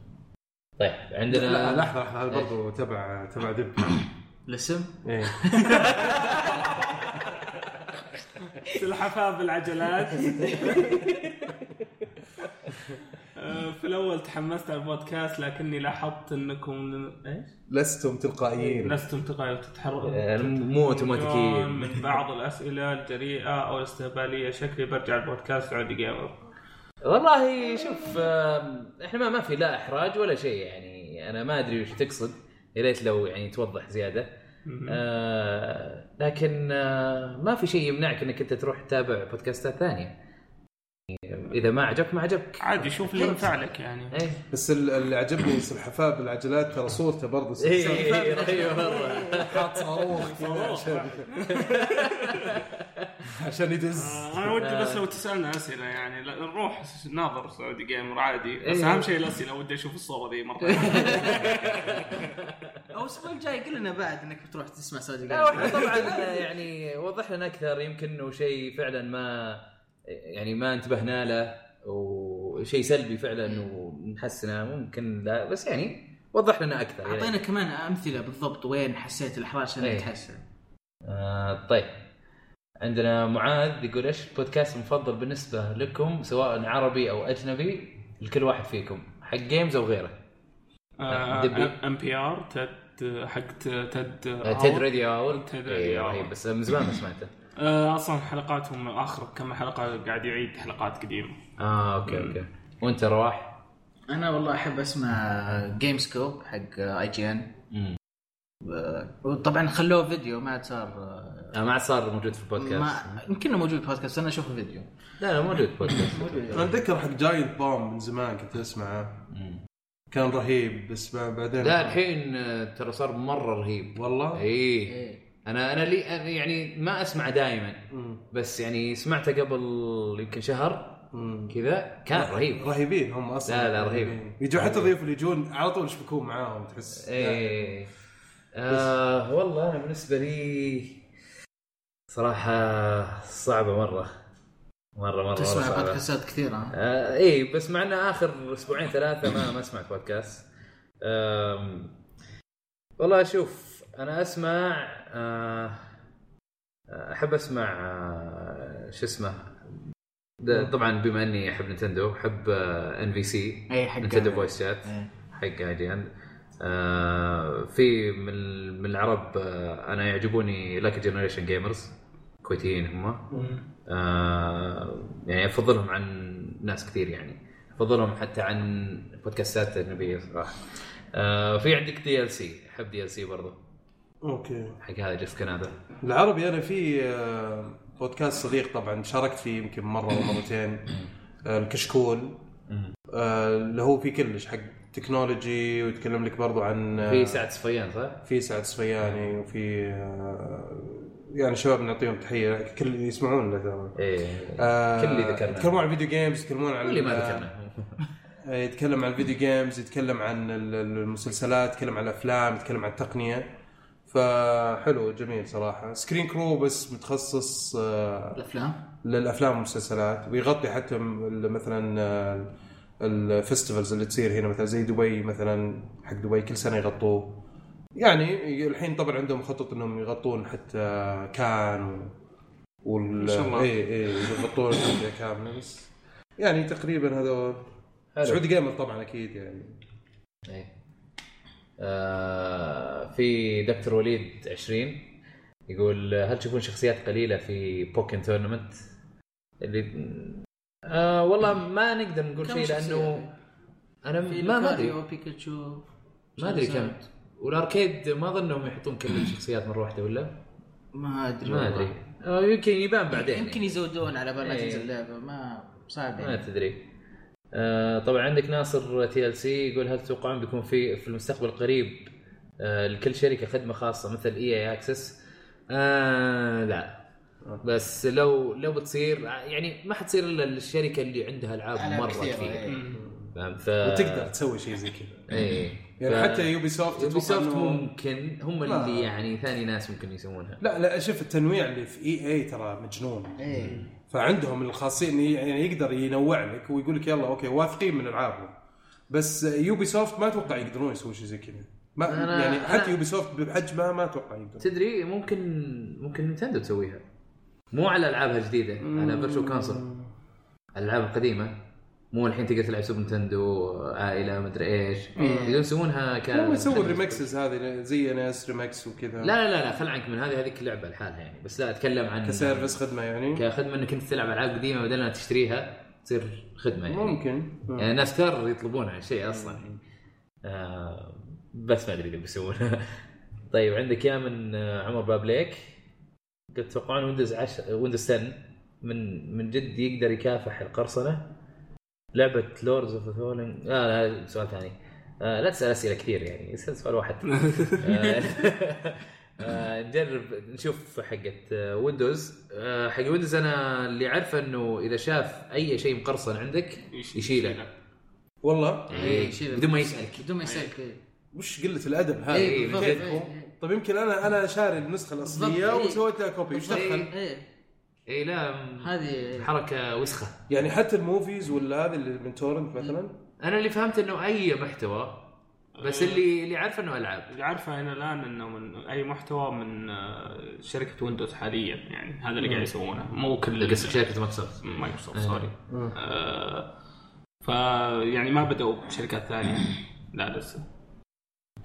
طيب
لا
عندنا
لحظه لحظه هذا برضو تبع تبع دب
الاسم
إيه.
سلحفاة بالعجلات آه، في الاول تحمست على البودكاست لكني لاحظت انكم ايش؟
لستم تلقائيين
لستم تقايل
آه،
تتحرك
مو اوتوماتيكيين
من بعض الاسئله الجريئه او الاستهباليه شكلي برجع البودكاست عادي جيمر
آه، والله شوف آم، احنا ما, ما في لا احراج ولا شيء يعني يعني انا ما ادري وش تقصد يا ريت لو يعني توضح زياده آه لكن آه ما في شيء يمنعك انك انت تروح تتابع بودكاستات ثانيه يعني اذا ما عجبك ما عجبك
عادي شوف اللي ينفع لك يعني
ايه
بس ال- اللي عجبني سلحفاه بالعجلات ترى صورته برضه
ايه رهيبه مره
حاط صاروخ كذا عشان عشان يدز
انا آه، ودي بس لو تسالنا اسئله يعني لا- نروح ناظر سعودي جيمر عادي بس
إيه.
اهم شيء الاسئله ودي اشوف الصوره ذي مره
او الاسبوع الجاي قل لنا بعد انك بتروح تسمع سعودي
لا واحنا طبعا يعني وضح لنا اكثر يمكن انه شيء فعلا ما يعني ما انتبهنا له وشيء سلبي فعلا ونحسنه ممكن لا بس يعني وضح لنا اكثر يعني.
اعطينا كمان امثله بالضبط وين حسيت الاحراج عشان
إيه.
نتحسن
آه طيب عندنا معاذ يقول ايش البودكاست المفضل بالنسبه لكم سواء عربي او اجنبي لكل واحد فيكم حق جيمز او غيره
آه،
آه، دبي.
ام بي ار تد حق تد
آه تيد راديو اور
تيد راديو أور.
إيه، رهيب بس من زمان ما سمعته
آه، اصلا حلقاتهم اخر كم حلقه قاعد يعيد حلقات قديمه
اه اوكي اوكي وانت رواح
انا والله احب اسمع جيم سكوب حق اي جي ان
مم.
وطبعا آه، خلوه فيديو ما عاد صار
آه ما عاد صار موجود في البودكاست
ما يمكن موجود بودكاست انا اشوفه فيديو
لا لا موجود بودكاست
انا اتذكر حق جاينت بوم من زمان كنت اسمعه
مم.
كان رهيب بس بع- بعدين
لا إيه. الحين آه، ترى صار مره رهيب
والله
اي
إيه.
انا انا لي أنا يعني ما اسمع دائما
مم.
بس يعني سمعته قبل يمكن شهر
مم.
كذا كان رهيب
رهيبين هم اصلا
لا، لا، رهيب.
رهيبين. يجون حتى الضيوف اللي يجون على طول يشبكون معاهم تحس
اي إيه. آه والله انا بالنسبه لي صراحه صعبه مره مره مره, مرة
تسمع
صعبه
بودكاستات كثيره
آه اي بس مع انه اخر اسبوعين ثلاثه ما ما سمعت بودكاست آم، والله شوف انا اسمع آه احب اسمع آه شو اسمه ده- طبعا بما اني احب نينتندو آه، احب ان في سي
اي حق
نينتندو فويس شات
إيه.
حق اي جي ان آه، في من من العرب آه، انا يعجبوني لك جنريشن جيمرز كويتيين هم آه، يعني افضلهم عن ناس كثير يعني افضلهم حتى عن بودكاستات اجنبيه صراحه آه، في عندك دي ال سي احب دي ال سي برضه
اوكي
حق هذا جيف كندا
العربي انا في آه، بودكاست صديق طبعا شاركت فيه يمكن مره او مرتين آه، الكشكول آه، اللي هو فيه كلش حق تكنولوجي ويتكلم لك برضو عن آه،
في سعد صفيان صح؟
في سعد الصفياني وفي آه، يعني شباب نعطيهم تحيه كل يسمعون له ترى
ايه
آه،
كل اللي ذكرناه.
يتكلمون عن الفيديو جيمز يتكلمون عن
اللي ما
آه،
ذكرناه
يتكلم عن الفيديو جيمز يتكلم عن ال- ال- المسلسلات يتكلم عن الافلام يتكلم عن التقنيه فحلو جميل صراحه سكرين كرو بس متخصص آه،
الافلام
للافلام والمسلسلات ويغطي حتى م- ال- مثلا آه، الفستيفالز اللي تصير هنا مثلا زي دبي مثلا حق دبي كل سنه يغطوه يعني ي- الحين طبعا عندهم خطط انهم يغطون حتى كان و... وال
إن شاء الله.
اي اي يغطون الأندية كامله بس يعني تقريبا هذول
حلو.
سعودي جيمر طبعا اكيد يعني
إيه. آه، في دكتور وليد 20 يقول هل تشوفون شخصيات قليله في بوكن تورنمنت؟ اللي آه والله ما نقدر نقول
كم
شيء لانه
شخصية؟
انا
في
ما ما ادري
لوكاريو، بيكاتشو
ما ادري كم
شارزارد.
والاركيد ما اظنهم يحطون كل الشخصيات مره واحده ولا؟
ما ادري
ما
والله.
ادري آه، يمكن يبان بعدين
يمكن يزودون على بال ما
إيه.
تنزل اللعبه ما صعب
ما
يعني
تدري آه طبعا عندك ناصر تي ال سي يقول هل تتوقعون بيكون في في المستقبل القريب آه لكل شركه خدمه خاصه مثل اي اي اكسس؟ آه لا بس لو لو بتصير آه، يعني ما حتصير الا الشركه اللي عندها العاب
ألعاب
مره
كثيرة،
كثير
إيه.
فاهم ف
آه.
تقدر تسوي شيء زي كذا
اي
يعني حتى يوبي سوفت
يوبي
أتوقع
سوفت
إنه-
ممكن هم اللي
لا.
يعني ثاني ناس ممكن يسوونها
لا لا شوف التنويع اللي في اي اي ترى مجنون
إيه.
ايه
فعندهم الخاصيه انه يعني يقدر ينوع لك ويقول لك يلا اوكي واثقين من العابهم بس يوبي سوفت ما اتوقع يقدرون يسوون شيء زي كذا ما
أنا-
يعني
أنا-
حتى يوبي سوفت بحجمها ما اتوقع يقدر
تدري ممكن ممكن نينتندو تسويها مو على العابها الجديده على فيرتشوال كونسول الالعاب القديمه مو الحين تقدر تلعب سوبر نينتندو عائله مدري ايش يقدرون يسوونها ك
هم يسوون ريمكسز هذه زي ناس ريمكس وكذا
لا لا لا لا خل عنك من هذه هذيك لعبه لحالها يعني بس لا اتكلم عن
كسيرفس خدمه يعني
كخدمه انك انت تلعب العاب قديمه بدل ما تشتريها تصير خدمه يعني
ممكن
يعني الناس كثر يطلبون هالشيء اصلا آه بس ما ادري اذا بيسوونها طيب عندك يا من آه، عمر بابليك قد تتوقعون ويندوز 10 ويندوز 10 من من جد يقدر يكافح القرصنه لعبه لوردز اوف ثولن لا لا هذا سؤال ثاني آه لا تسال اسئله كثير يعني اسال سؤال واحد آه، آه، نجرب نشوف حقت آه، ويندوز آه، حق ويندوز انا اللي عارفه انه اذا شاف اي شيء مقرصن عندك يشيله
والله
إيه،
شيل
بدون ما يسالك
بدون ما يسالك إيه.
وش قله الادب
إيه،
هذه
بالضبط،
كيفكم؟
إيه.
طيب يمكن انا انا شاري النسخه الاصليه
بالضبط، إيه.
وسويت لها كوبي وش دخل؟
ايه
اي إيه، لا م-
هذه
حركه وسخه
يعني حتى الموفيز ولا هذه اللي من تورنت مثلا
انا اللي فهمت انه اي محتوى بس اللي اللي عارف انه العاب
اللي عارفه الى الان انه من اي محتوى من آه، شركه ويندوز حاليا يعني هذا اللي قاعد يسوونه مو كل
قصدك شركه مايكروسوفت
مايكروسوفت سوري
إيه.
آه، فيعني ما بدأوا بشركات ثانيه لا لسه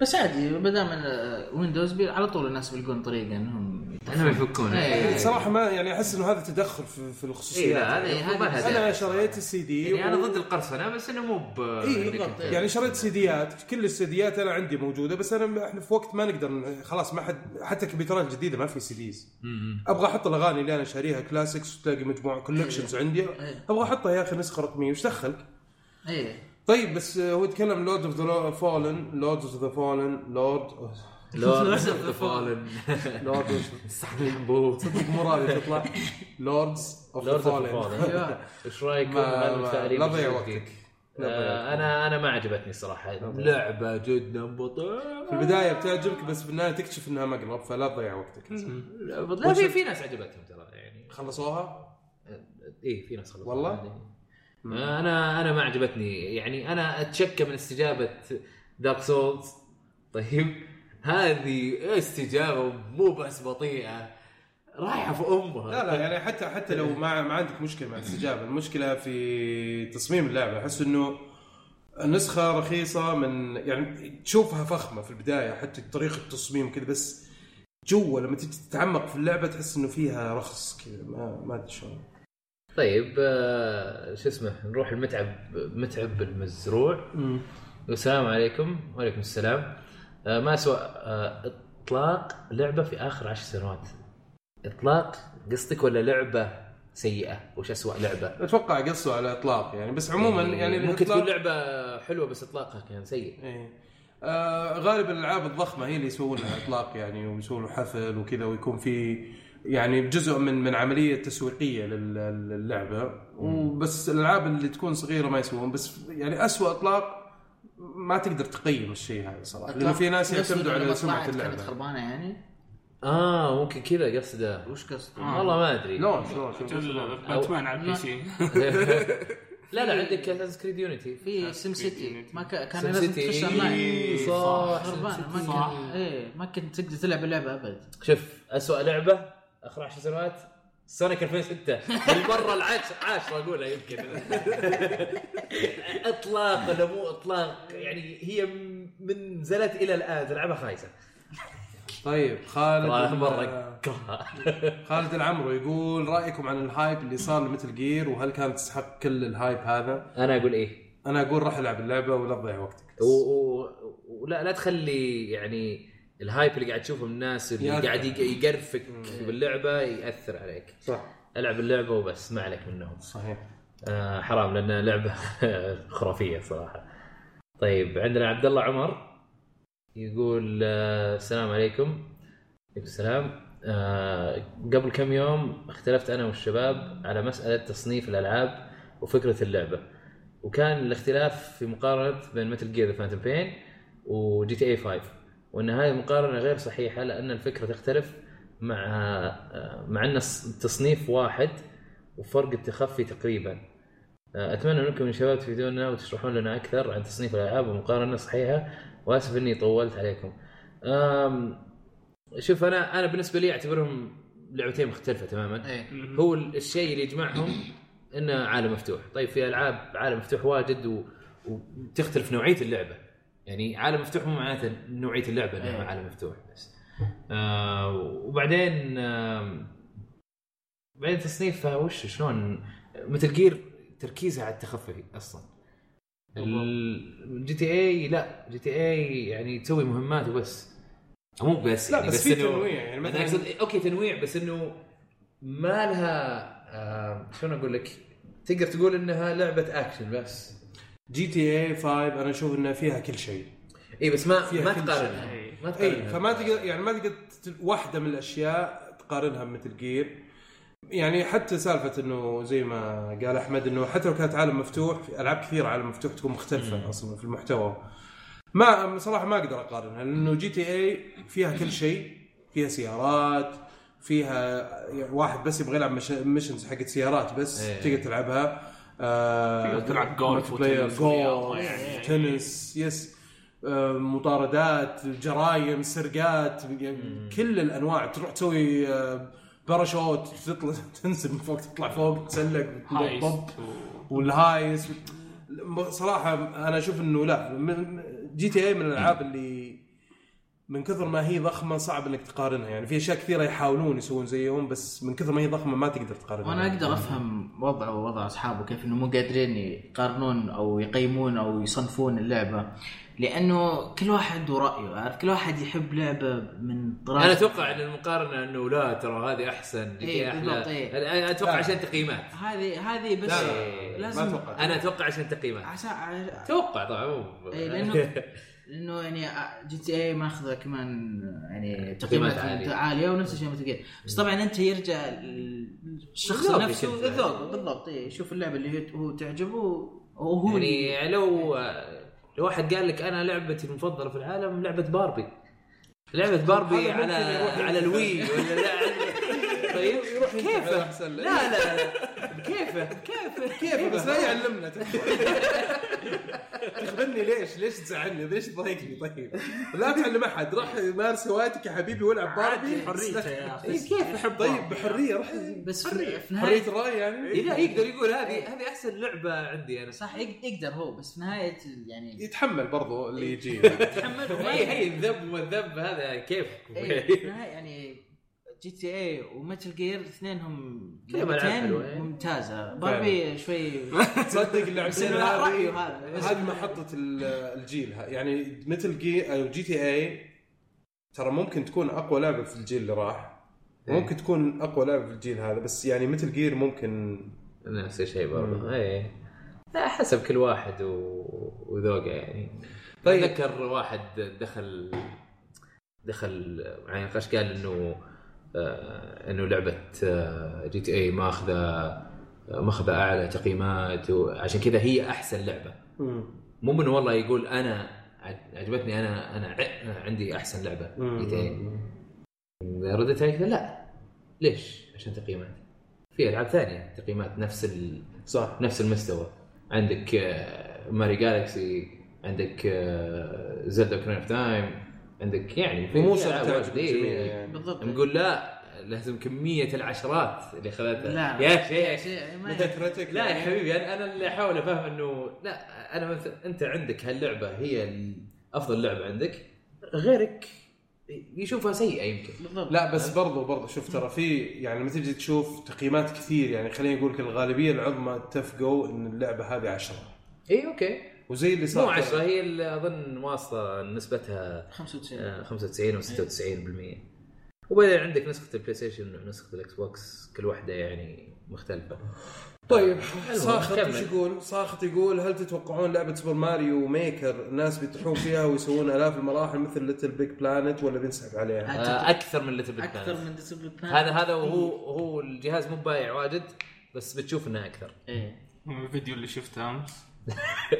بس عادي ما دام ال- ويندوز بي- على طول الناس بيلقون طريقه انهم
انهم يفكون
إيه.
إيه.
صراحه ما يعني احس انه هذا تدخل في, في
إيه،
الخصوصيات يعني
لا هذه هذه ما لها
انا
داعي.
شريت السي دي
يعني انا ضد القرصنه بس انه مو ب
اي
إنك
بالضبط
أنت-
يعني شريت سيديات كل السيديات انا عندي موجوده بس انا احنا في وقت ما نقدر ن- خلاص ما حد حتى الكمبيوترات الجديده ما في سيديز
م- م.
ابغى احط الاغاني اللي انا شاريها كلاسيكس وتلاقي مجموعه كولكشنز
إيه.
عندي ابغى احطها يا اخي نسخه رقميه وش دخلك؟
ايه
طيب بس آه، هو يتكلم لورد اوف ذا فولن لورد اوف ذا فولن لورد
لوردز اوف ذا فولن
لورد
حنبوه
صدق مو راضي تطلع لوردز اوف ذا
لوردز اوف
فولن
فولن ايش رايكم
ما- ما-
بالتعليق
لا تضيع
الجديد؟
وقتك.
آه، انا انا ما عجبتني صراحه لعبه جدا بطيئه
في البدايه بتعجبك بس في النهايه تكتشف انها مقلب فلا تضيع وقتك
لا في في ناس عجبتهم ترى يعني
خلصوها؟
اي إيه، في ناس خلصوا
والله؟
عادي. آه، انا انا ما عجبتني يعني انا اتشكى من استجابه دارك سولز طيب هذه استجابه مو بس بطيئه رايحه في امها
لا لا يعني حتى حتى لو ما ما عندك مشكله مع الاستجابه المشكله في تصميم اللعبه احس انه النسخه رخيصه من يعني تشوفها فخمه في البدايه حتى طريقه التصميم كذا بس جوا لما تجي تتعمق في اللعبه تحس انه فيها رخص كذا ما ما ادري شلون
طيب آه، شو اسمه نروح المتعب متعب المزروع السلام عليكم وعليكم السلام آه، ما اسوء آه، اطلاق لعبه في اخر عشر سنوات اطلاق قصدك ولا لعبه سيئه وش اسوء لعبه
اتوقع قصوا على الاطلاق يعني بس عموما يعني
ممكن
الإطلاق-
تكون لعبه حلوه بس اطلاقها كان سيء
إيه. آه غالبا الالعاب الضخمه هي اللي يسوون لها اطلاق يعني ويسوون له حفل وكذا ويكون في يعني جزء من من عمليه تسويقيه لل- للعبه وبس الالعاب اللي تكون صغيره ما يسوون بس يعني أسوأ اطلاق ما تقدر تقيم الشيء هذا صراحه لانه في ناس
قصدك
يعتمدوا
لما
على سمعه
طلعت كانت
اللعبه
خربانه يعني
اه ممكن كذا قصده
وش قصدك؟
والله ما ادري
لا شلون شلون
باتمان على البي سي
لا لا عندك اساس كريد يونيتي
في سم سيتي ما ك... كان
سم
لازم
سيتي.
تخش اونلاين
إيه، صح،
خربانه ما
صح.
كان ايه ما كنت تقدر تلعب اللعبه ابد
شوف اسوء لعبه اخر 10 سنوات سونيك 2006 المره العاشره عاشره اقولها يمكن اطلاق ولا مو اطلاق يعني هي من نزلت الى الان تلعبها خايسه
طيب خالد
والله مره
آه،
أكرهها.
خالد العمرو يقول رايكم عن الهايب اللي صار لمثل جير وهل كانت تستحق كل الهايب هذا؟
انا اقول ايه
انا اقول راح العب اللعبه ولا تضيع وقتك.
و- و- ولا لا تخلي يعني الهايب اللي قاعد تشوفه من الناس اللي
يأثر.
قاعد يق- يقرفك باللعبه ياثر عليك
صح
العب اللعبه وبس ما عليك منهم
صحيح
آه حرام لان لعبه خرافيه صراحه طيب عندنا عبد الله عمر يقول آه، السلام عليكم عليكم السلام آه قبل كم يوم اختلفت انا والشباب على مساله تصنيف الالعاب وفكره اللعبه وكان الاختلاف في مقارنه بين متل جير فانتوم بين وجي تي اي 5 وان هذه المقارنه غير صحيحه لان الفكره تختلف مع آه، مع ان التصنيف واحد وفرق التخفي تقريبا اتمنى منكم يا شباب تفيدونا وتشرحون لنا اكثر عن تصنيف الالعاب ومقارنه صحيحه واسف اني طولت عليكم أم، شوف انا انا بالنسبه لي اعتبرهم لعبتين مختلفه تماما
ايه
هو ال- الشيء اللي يجمعهم انه عالم مفتوح طيب في العاب عالم مفتوح واجد و... وتختلف نوعيه اللعبه يعني عالم مفتوح مو معناته نوعيه اللعبه انها
إيه.
عالم مفتوح بس آه وبعدين آه بعدين تصنيفها وش شلون مثل جير تركيزها على التخفي اصلا جي تي اي لا جي تي اي يعني تسوي مهمات وبس مو بس
لا
يعني
بس في
إنه-
تنويع يعني
انا
مثلا
اقصد اوكي إيه، تنويع بس انه ما لها آه شلون اقول لك تقدر تقول انها لعبه اكشن بس
جي تي اي 5 انا اشوف انها فيها كل شيء
اي إيه، بس ما
فيها
ما
كل
تقارنها
إيه.
شيء.
ما
اي
تقارنها
فما تقدر يعني ما تقدر تت- واحده من الاشياء تقارنها بمثل جير يعني حتى سالفه انه زي ما قال احمد انه حتى لو كانت عالم مفتوح في العاب كثير عالم مفتوح تكون مختلفه اصلا في المحتوى ما صراحه ما اقدر اقارنها لانه جي تي اي فيها كل شيء فيها سيارات فيها يعني واحد بس يبغى يلعب مش- ميشنز حقت سيارات بس
إيه.
تقدر تلعبها آه
فيها تلعب جولف
ملتي بلاير،
وتنس ورياضة
جولف،
يعني.
تنس يس آه، مطاردات جرايم سرقات يعني كل الانواع تروح تسوي آه، باراشوت تطلع تنزل من فوق تطلع فوق تسلق
هايست
طب
و-
والهايس صراحه انا اشوف انه لا من- جي تي اي من الالعاب اللي من كثر ما هي ضخمه صعب انك تقارنها يعني في اشياء كثيره يحاولون يسوون زيهم بس من كثر ما هي ضخمه ما تقدر تقارنها يعني.
وانا اقدر افهم وضعه ووضع اصحابه كيف انه مو قادرين يقارنون او يقيمون او يصنفون اللعبه لانه كل واحد عنده رايه عارف كل واحد يحب لعبه من طراز
يعني
انا اتوقع ان المقارنه انه لا ترى هذه احسن
إيه،
GTA
بالضبط،
أحلى.
إيه.
أنا اتوقع
لا.
عشان تقييمات
هذه هذه بس
لا،
لا،
ما
لازم
اتوقع
انا اتوقع عشان تقييمات
عشان عشان-
اتوقع طبعا مو-
إيه، لأنه- لانه يعني جي تي اي ماخذه كمان يعني تقييمات
عالية.
عاليه, عالية ونفس الشيء مثل جير. بس طبعا انت يرجع الشخص
الذوق
نفسه
يشوفه.
الذوق بالضبط إيه، يشوف اللعبه اللي هي- هو تعجبه وهو اللي-
يعني لو لو واحد قال لك انا لعبتي المفضله في العالم لعبه باربي لعبه
هذا
باربي
ممكن
على
يروح
على الوي ولا لا على- طيب كيفه
احسن لا
لا لا لا كيفه كيفه
كيف إيه، بس
كيفه
لا يعلمنا تخبرني ليش؟ ليش تزعلني؟ ليش تضايقني طيب؟ لا تعلم احد روح مارس هوايتك يا حبيبي والعب باربي
حريته يا
حريته
أخي.
كيف احب طيب بحريه روح
بس في في نهايه
حريه الراي يعني
إيه.
لا يقدر يقول هذه هذه احسن لعبه عندي انا
صح يق- يقدر هو بس في نهايه ال- يعني
يتحمل برضو اللي يجي
إيه، هي هي الذب وما الذب هذا كيف
إيه، في النهاية يعني جي تي اي ومتل جير اثنينهم
كلهم ألعاب
لعبتين
حلوة، إيه.
ممتازة باربي شوي
تصدق
بس
اللعبتين
إنه
هذه
رأيه هذا بس
هذه محطة ال- الجيل ه- يعني مثل جي أو جي تي اي ترى ممكن تكون اقوى لعبة في الجيل اللي راح
إيه.
ممكن تكون اقوى لعبة في الجيل هذا بس يعني مثل جير ممكن
نفس الشيء برضه اي لا حسب كل واحد و- وذوقه يعني
طيب.
طيب اتذكر واحد دخل دخل معي نقاش قال انه آه انه لعبه جي تي إيه اي ماخذه ماخذه اعلى تقييمات وعشان كذا هي احسن لعبه مو من والله يقول انا عج- عجبتني انا انا ع- عندي احسن لعبه جي تي اي ردت علي كذا لا ليش؟ عشان تقييمات في العاب ثانيه تقييمات نفس ال...
صح
نفس المستوى عندك آه، ماري جالكسي عندك آه، زلدا كرين اوف تايم عندك يعني في
مو
في
شرط
ألعاب
تعجب
واجد. إيه،
الجميع
إيه.
يعني
بالضبط
نقول لا لازم كميه العشرات اللي اخذتها
لا
نعم. يا شيخ
شيء ما
ميتا كريتيك
لا يا
يعني.
حبيبي انا انا اللي احاول افهم انه لا انا مثل انت عندك هاللعبه هي ال- افضل لعبه عندك غيرك يشوفها سيئه يمكن
بالضبط
لا بس برضو برضو شوف ترى في يعني لما تجي تشوف تقييمات كثير يعني خليني اقول لك الغالبيه العظمى اتفقوا ان اللعبه هذه 10
اي اوكي
وزي اللي صار
إيه، مو 10 هي اللي اظن واصله نسبتها
95
آه، 95 او 96% وبعدين عندك نسخه البلاي ستيشن ونسخه الاكس بوكس كل واحده يعني مختلفه
طيب
المهم،
ساخط
كمل.
وش يقول؟ ساخط يقول هل تتوقعون لعبه سوبر ماريو ميكر الناس بيطيحون فيها ويسوون الاف المراحل مثل ليتل بيج بلانت ولا بينسحب عليها؟
آه، اكثر من ليتل
اكثر من ديسبل بلان
هذا هذا وهو هو الجهاز مو بايع واجد بس بتشوف انه اكثر
إيه.
ايه
الفيديو اللي شفته امس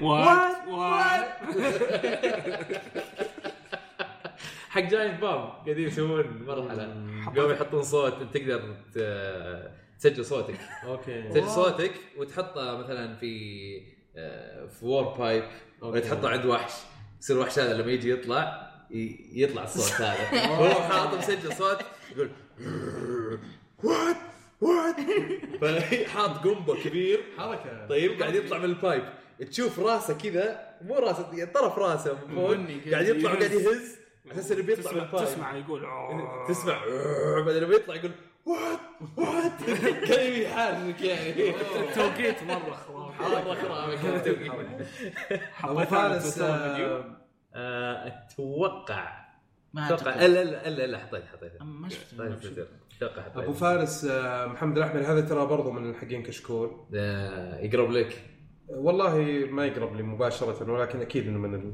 وات وات
حق جاينت بام قاعدين يسوون مرحله قاموا يحطون صوت انت تقدر ت- تسجل صوتك
اوكي
تسجل صوتك وتحطه مثلا في آه، في وور بايب وتحطه عند وحش يصير الوحش هذا لما يجي يطلع ي- يطلع الصوت هذا هو حاطه مسجل صوت يقول وات وات فحاط قنبه كبير
حركه
طيب قاعد يطلع من البايب تشوف راسه كذا مو راسه يعني طرف راسه من فوق قاعد يطلع وقاعد يهز
اساس اللي بيطلع من
تسمع,
الطايف.
تسمع يقول "أوه".
تسمع بعدين لما يطلع يقول وات وات كان يحرك يعني
التوقيت مره خرافي
مره خرافي
ابو فارس آه،
آه، اتوقع
ما
اتوقع
أعتقد.
الا الا الا لا حطيت حطيت
ما شفت
طيب، شكراً. اتوقع حطيت.
ابو فارس آه، محمد الاحمر هذا ترى برضه من الحقين كشكول
آه، يقرب لك
والله ما يقرب لي مباشره ولكن اكيد انه من ال...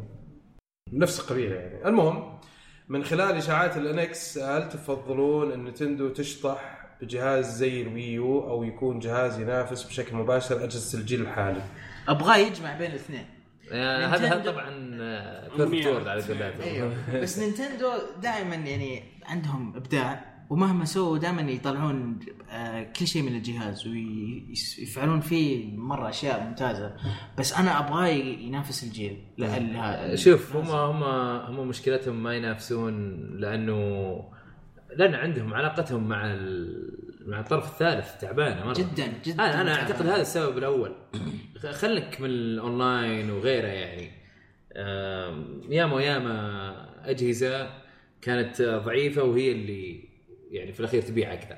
من نفس القبيله يعني المهم من خلال اشاعات الانكس هل تفضلون ان نتندو تشطح بجهاز زي الويو او يكون جهاز ينافس بشكل مباشر اجهزه الجيل الحالي
ابغاه يجمع بين الاثنين
آه، هذا هذا
نينتندو. أيوه.
طبعا آه،
أمنية.
بيرفكت وورد على قولتهم
إيه. بس نينتندو دائما يعني عندهم ابداع ومهما سووا دائما يطلعون آه، كل شيء من الجهاز ويفعلون فيه مره اشياء ممتازه بس انا ابغاه ينافس الجيل لا ال- ها-
آه، شوف هم هم هم مشكلتهم ما ينافسون لانه لان عندهم علاقتهم مع ال... مع الطرف الثالث تعبانه مره
جدا جدا
انا انا
ممتاز.
اعتقد هذا السبب الاول خ- خلك من الاونلاين وغيره يعني آم، ياما وياما اجهزه كانت آه، ضعيفه وهي اللي يعني في الاخير تبيع اكثر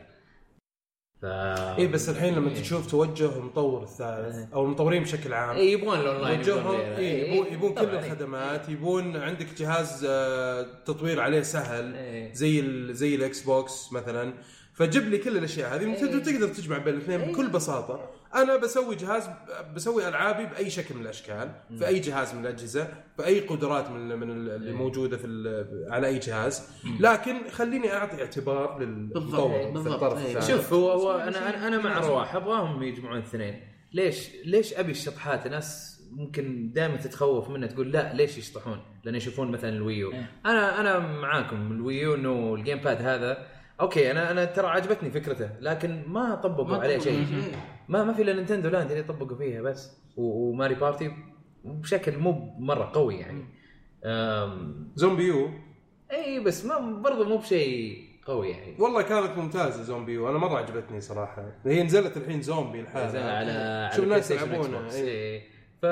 ف
اي بس الحين لما
إيه.
تشوف توجه المطور الثالث او المطورين بشكل عام
إيه، يبغون الاونلاين
وجههم
غيره.
نعم. إيه، يبون يبون كل
طبعاً، إيه.
الخدمات يبون عندك جهاز آه، تطوير عليه سهل
إيه.
زي ال زي الاكس بوكس مثلا فجيب لي كل الاشياء هذه ممكن تقدر تجمع بين الاثنين بكل بساطه انا بسوي جهاز بسوي العابي باي شكل من الاشكال في اي جهاز من الاجهزه باي قدرات من من ال- اللي موجوده في ال- على اي جهاز لكن خليني اعطي اعتبار للمطور في
بالضبط،
الطرف
إيه.
الثاني
شوف هو هو انا انا انا مع رواح ابغاهم يجمعون اثنين ليش ليش ابي الشطحات الناس ممكن دائما تتخوف منها تقول لا ليش يشطحون؟ لان يشوفون مثلا الويو انا انا معاكم الويو انه الجيم باد هذا اوكي انا انا ترى عجبتني فكرته لكن ما طبقوا إيه. عليه شيء ما ما في الا نينتندو لاند اللي طبقوا فيها بس و- وماري بارتي بشكل مو مره قوي يعني أم،
زومبيو
اي بس ما برضه مو بشيء قوي يعني
والله كانت ممتازه زومبيو انا مره عجبتني صراحه هي نزلت الحين زومبي
على
لحالها
على
شو الناس
PlayStation
يلعبونه
Xbox.
إيه.
إيه. ف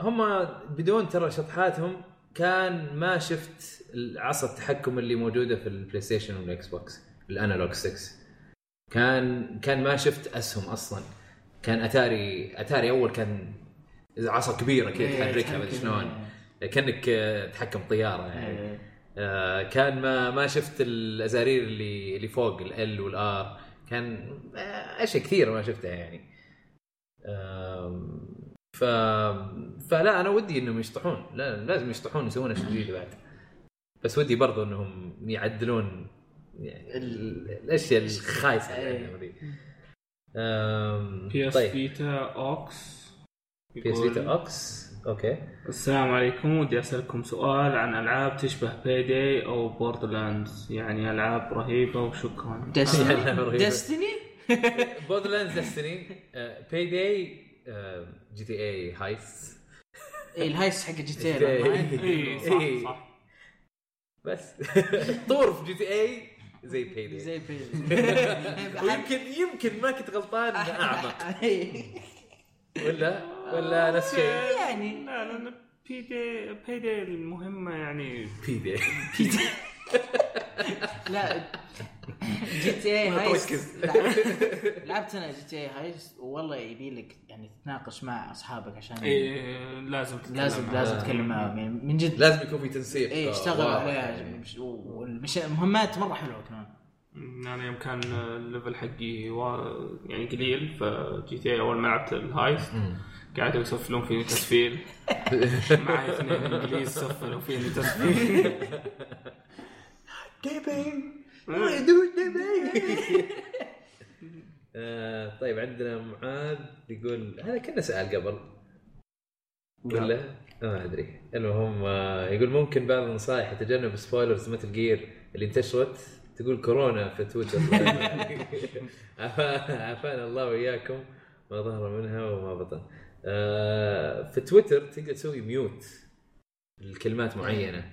هم بدون ترى شطحاتهم كان ما شفت عصا التحكم اللي موجوده في البلاي ستيشن والاكس بوكس الانالوج 6 كان كان ما شفت اسهم اصلا كان اتاري اتاري اول كان عصا كبيره كذا
إيه،
تحركها مدري شلون كانك آه، تحكم طياره
إيه.
يعني آه، كان ما ما شفت الازارير اللي اللي فوق ال والار كان آه، اشياء كثيره ما شفتها يعني آم، ف فلا انا ودي انهم يشطحون لا لازم يشطحون يسوون اشياء جديده بعد بس ودي برضو انهم يعدلون يعني ال- الاشياء الخايسه اللي عندهم ذي آم،
بي اس
طيب
فيتا اوكس
بي اس
يقول،
فيتا اوكس اوكي
السلام عليكم ودي اسالكم سؤال عن العاب تشبه باي داي او بوردرلاندز يعني العاب رهيبه وشكرا
دستني
رهيبة.
دستني
بودرلاندز ديستني باي داي جي تي اي هايس
إيه، الهايس حق جي تي
اي
إيه.
صح صح
بس طور في جي تي اي زي باي داي
زي بيل
ويمكن يمكن ما كنت غلطان إني اعمق ولا ولا نفس الشيء
يعني
لا لان بي داي باي داي المهمه يعني
بي داي
لا جي تي اي هايست لعبت- لعبت انا جي تي اي هايست والله يبي لك يعني تتناقش مع اصحابك عشان
إيه لازم تتكلم
لازم
عنها.
لازم تتكلم معهم يعني من جد
لازم يكون في تنسيق
اي اشتغلوا
واضح.
عليها والمهمات مره حلوه كمان
انا يوم كان يعني الليفل حقي وا- يعني قليل فجي تي اول ما لعبت الهايست قاعد يسفلون فيني تسفيل معي اثنين انجليز سفلوا فيني تسفيل
آه، طيب عندنا معاذ يقول هذا كنا سال قبل ولا ما ادري المهم آه، يقول ممكن بعض النصائح لتجنب سبويلرز مثل جير اللي انتشرت تقول كورونا في تويتر عفا- عافانا الله واياكم ما ظهر منها وما بطن آه، في تويتر تقدر تسوي ميوت لكلمات معينه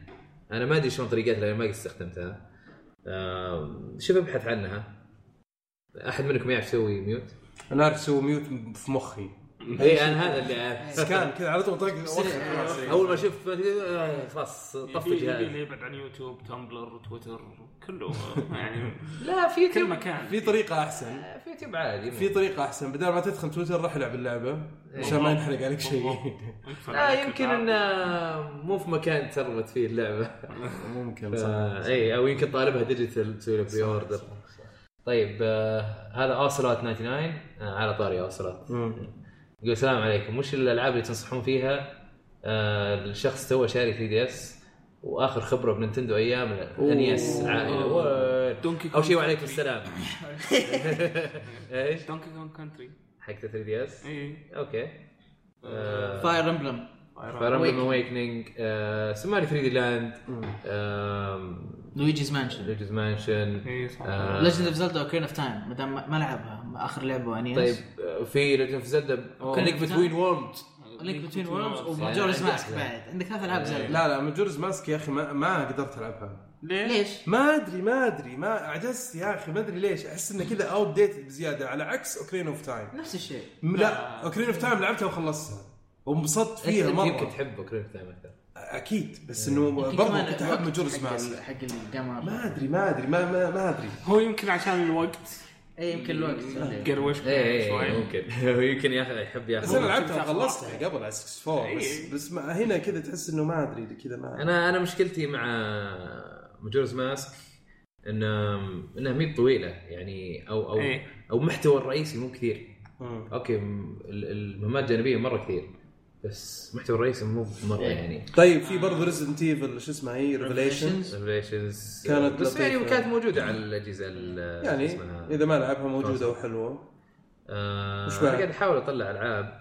انا ما ادري شلون طريقتها لان ما قد استخدمتها آه، شوف ابحث عنها احد منكم يعرف يسوي ميوت؟
انا اعرف اسوي ميوت في مخي
اي انا إيه، هذا اللي عارف.
سكان كذا على طول طق وخر خلاص، إيه.
اول ما اشوف آه، خلاص طفي
يبي يبي
جهازي
اللي يبعد عن يوتيوب تمبلر تويتر كله يعني
لا في
كل
يوتيوب
مكان
في طريقه احسن
في يوتيوب عادي
في طريقه احسن بدل ما تدخل تويتر راح العب اللعبه عشان ما ينحرق عليك شيء
ينفع
لا
عليك
يمكن
الألعاب.
انه مو في مكان تربت فيه اللعبه
ممكن
آه، اي او يمكن طالبها ديجيتال تسوي له بري اوردر طيب آه هذا اوسلوت 99 آه على طاري اوسلوت يقول السلام عليكم وش الالعاب اللي تنصحون فيها آه الشخص تو شاري 3 دي اس واخر خبره بننتندو ايام الانيس العائله وين؟
دونكي
اول شيء
كونغ
وعليكم
كونتري.
السلام ايش؟
دونكي كونغ كونتري
حق 3 دي اس
اي
اوكي آه،
فاير امبلم
آه،
فاير امبلم اويكننج سماري 3 آه، دي لاند
لويجيز مانشن
لوجز مانشن
اي إيه، صح
آه،
ليجند اوف زلدا اوكرين اوف تايم ما دام ما ما لعبها اخر لعبه انيس
طيب آه، في ليجند اوف زلدا كونك بتوين وورلد
لينك بتوين وورمز
يعني آه.
وماجورز
عندك-
ماسك بعد عندك ثلاث العاب زلدا
لا لا مجورز ماسك يا اخي ما, ما قدرت العبها
ليه؟
ليش؟
ما ادري ما ادري ما عجزت يا اخي ما ادري ليش احس انه كذا اوت ديت بزياده على عكس اوكرين اوف تايم
نفس الشيء
لا اوكرين اوف تايم لعبتها وخلصتها وانبسطت
انت
فيها
أنت يمكن
مره
تحب اوكرين تايم اكثر
اكيد بس انه برضه
كمان
كنت
الوقت
احب مجورز
حق-
ماسك
حق القمر
ما ادري ما ادري ما ما, ما ادري
هو يمكن عشان الوقت
اي إيه، يمكن الوقت
قروش
ايه
شوي
ممكن هو يمكن ياخذ يحب
بس انا
ياخذ
لعبتها وخلصتها قبل على 64 بس
إيه.
بس ما هنا كذا تحس انه ما ادري كذا ما
انا انا مشكلتي مع مجورز ماسك انه انها مي طويله يعني او او
إيه.
او محتوى الرئيسي مو كثير
مم.
اوكي م- ال- المهمات الجانبيه مره كثير بس المحتوى الرئيسي مو مره يعني
طيب في برضه ريزدنت ايفل شو اسمها هي ريفليشن
Revelations.
كانت
بس يعني
لطيفة.
كانت موجوده على الاجهزه ال-
يعني
شو اسمها؟
اذا ما لعبها موجوده وحلوه
آه
وش
انا
بعد؟
قاعد احاول اطلع العاب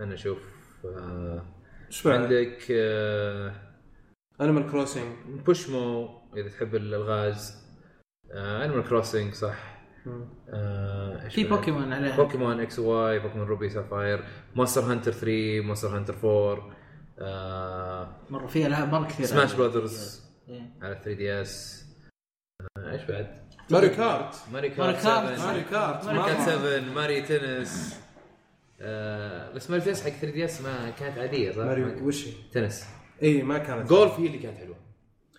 انا اشوف آه
ايش بعد؟
عندك آه
انيمال كروسنج
بوشمو اذا تحب الالغاز آه انيمال كروسنج صح آه إيش
في
بعد؟
بوكيمون عليها
بوكيمون اكس واي بوكيمون روبي سافاير مونستر هانتر 3 مونستر هانتر 4 آه
مره في العاب مره كثير
سماش براذرز
إيه.
على 3 دي اس آه ايش بعد؟
ماريو كارت
ماري كارت
ماريو كارت.
7.
ماريو كارت
ماري كارت
مرة.
7 ماري تنس آه بس ماري تنس حق 3 دي اس ما كانت عاديه صح؟
ماريو وش هي؟
تنس
اي ما كانت
جولف هي اللي كانت حلوه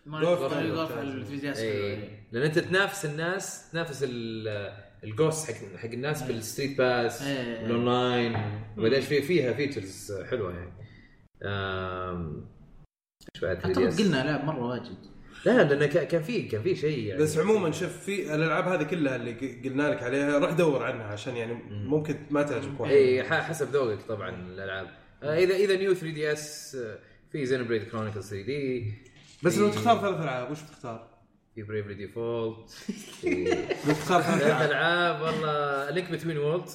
ماريو
جولف.
ماريو جولف على 3 دي اس
اي لان انت تنافس الناس تنافس الجوست حق حق الناس بالستريت باس
إيه.
والاونلاين وبعدين في فيها فيتشرز حلوه يعني آم، ايش بعد 3 دي
اعتقد
اس؟
قلنا العاب مره واجد
لا لا، لان كان في كان في شيء يعني
بس عموما شوف في الالعاب هذه كلها اللي ق- قلنا لك عليها روح دور عنها عشان يعني ممكن ما تعجبك واحد
اي إيه، ح- حسب ذوقك طبعا الالعاب آه، اذا اذا نيو 3 دي اس آه، في زينوبريد كرونيكل 3 دي
بس لو تختار ثلاث العاب وش بتختار؟
في بريفلي ديفولت
لو تختار ثلاث
ثلاث
العاب
العاب والله لينك بتوين وولد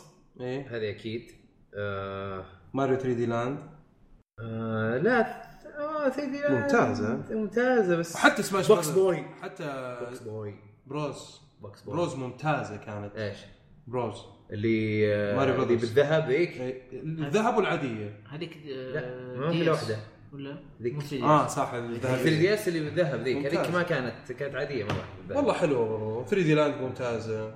ايه
هذه اكيد آه
ماريو 3 دي لاند
آه لا th- آه 3 دي
ممتازة.
ممتازه بس
حتى سماش
بوكس
Brothers.
بوي
حتى
بوكس بوي
بروز
بوكس بوي
بروز ممتازه كانت
ايش
بروز
اللي آه،
ماريو
اللي
Brothers.
بالذهب ذيك
إيه، الذهب والعاديه
هذيك آه،
لا ما في الا واحده
ولا
ذيك
مو 3 إيه. دي
اه
اس
صح
في
الذهب
الدي اس اللي بالذهب ذيك
ممتاز.
هذيك ما كانت كانت عاديه مره بالذهب.
والله حلوه برضو 3 دي لاند ممتازه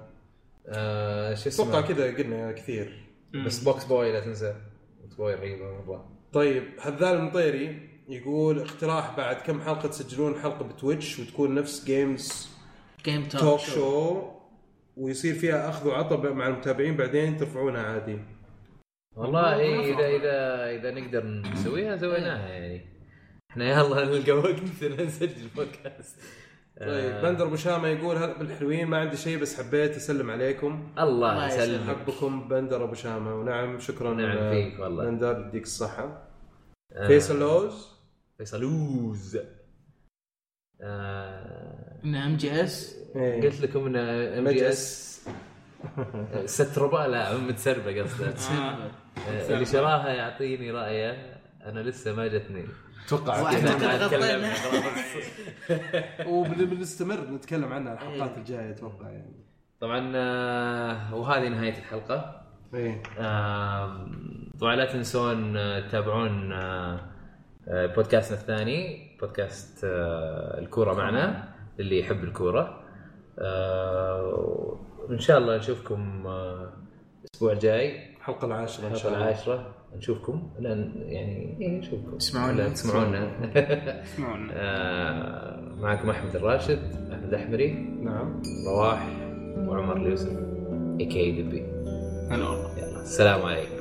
آه شو
اتوقع
اسمه
كذا قلنا كثير
بس بوكس بوي لا تنسى بوكس بوي رهيبه مره
طيب هذال المطيري يقول اقتراح بعد كم حلقه تسجلون حلقه بتويتش وتكون نفس جيمز
جيم
توك
توك شو
شو ويصير فيها اخذ وعطاء مع المتابعين بعدين ترفعونها عادي
والله إيه اذا اذا اذا نقدر نسويها سويناها يعني احنا يلا نلقى وقت نسجل بودكاست
طيب
آه
بندر ابو شامه يقول هلا بالحلوين ما عندي شيء بس حبيت اسلم عليكم
الله
الله
يسلمك
احبكم بندر ابو شامه ونعم شكرا
نعم فيك والله
بندر يديك الصحه
آه،
فيصل لوز
فيصلوز آه
ان ام جي اس
إيه.
قلت لكم ان ام جي اس
مجلس
ستربا لا متسربه قصدي آه، اللي شراها يعطيني رايه انا لسه ما جتني
اتوقع
أنا
واعتقد
أتكلم.
غطينا
وبنستمر نتكلم عنها
إيه.
الحلقات الجايه اتوقع يعني
طبعا آه، وهذه نهايه الحلقه
ايه
آم، طبعا لا تنسون آه، تتابعون آه، آه، بودكاستنا الثاني بودكاست آه، الكوره معنا اللي يحب الكوره آه، وان شاء الله نشوفكم آه، الاسبوع الجاي
الحلقه العاشره ان شاء
الحلقه
الله
العاشره نشوفكم لان يعني إيه، نشوفكم
تسمعونا.
لا، تسمعونا
يسمعونا.
آه، معكم احمد الراشد احمد الاحمري
نعم
رواح وعمر اليوسف اي كي دبي
هلا والله
يلا السلام عليكم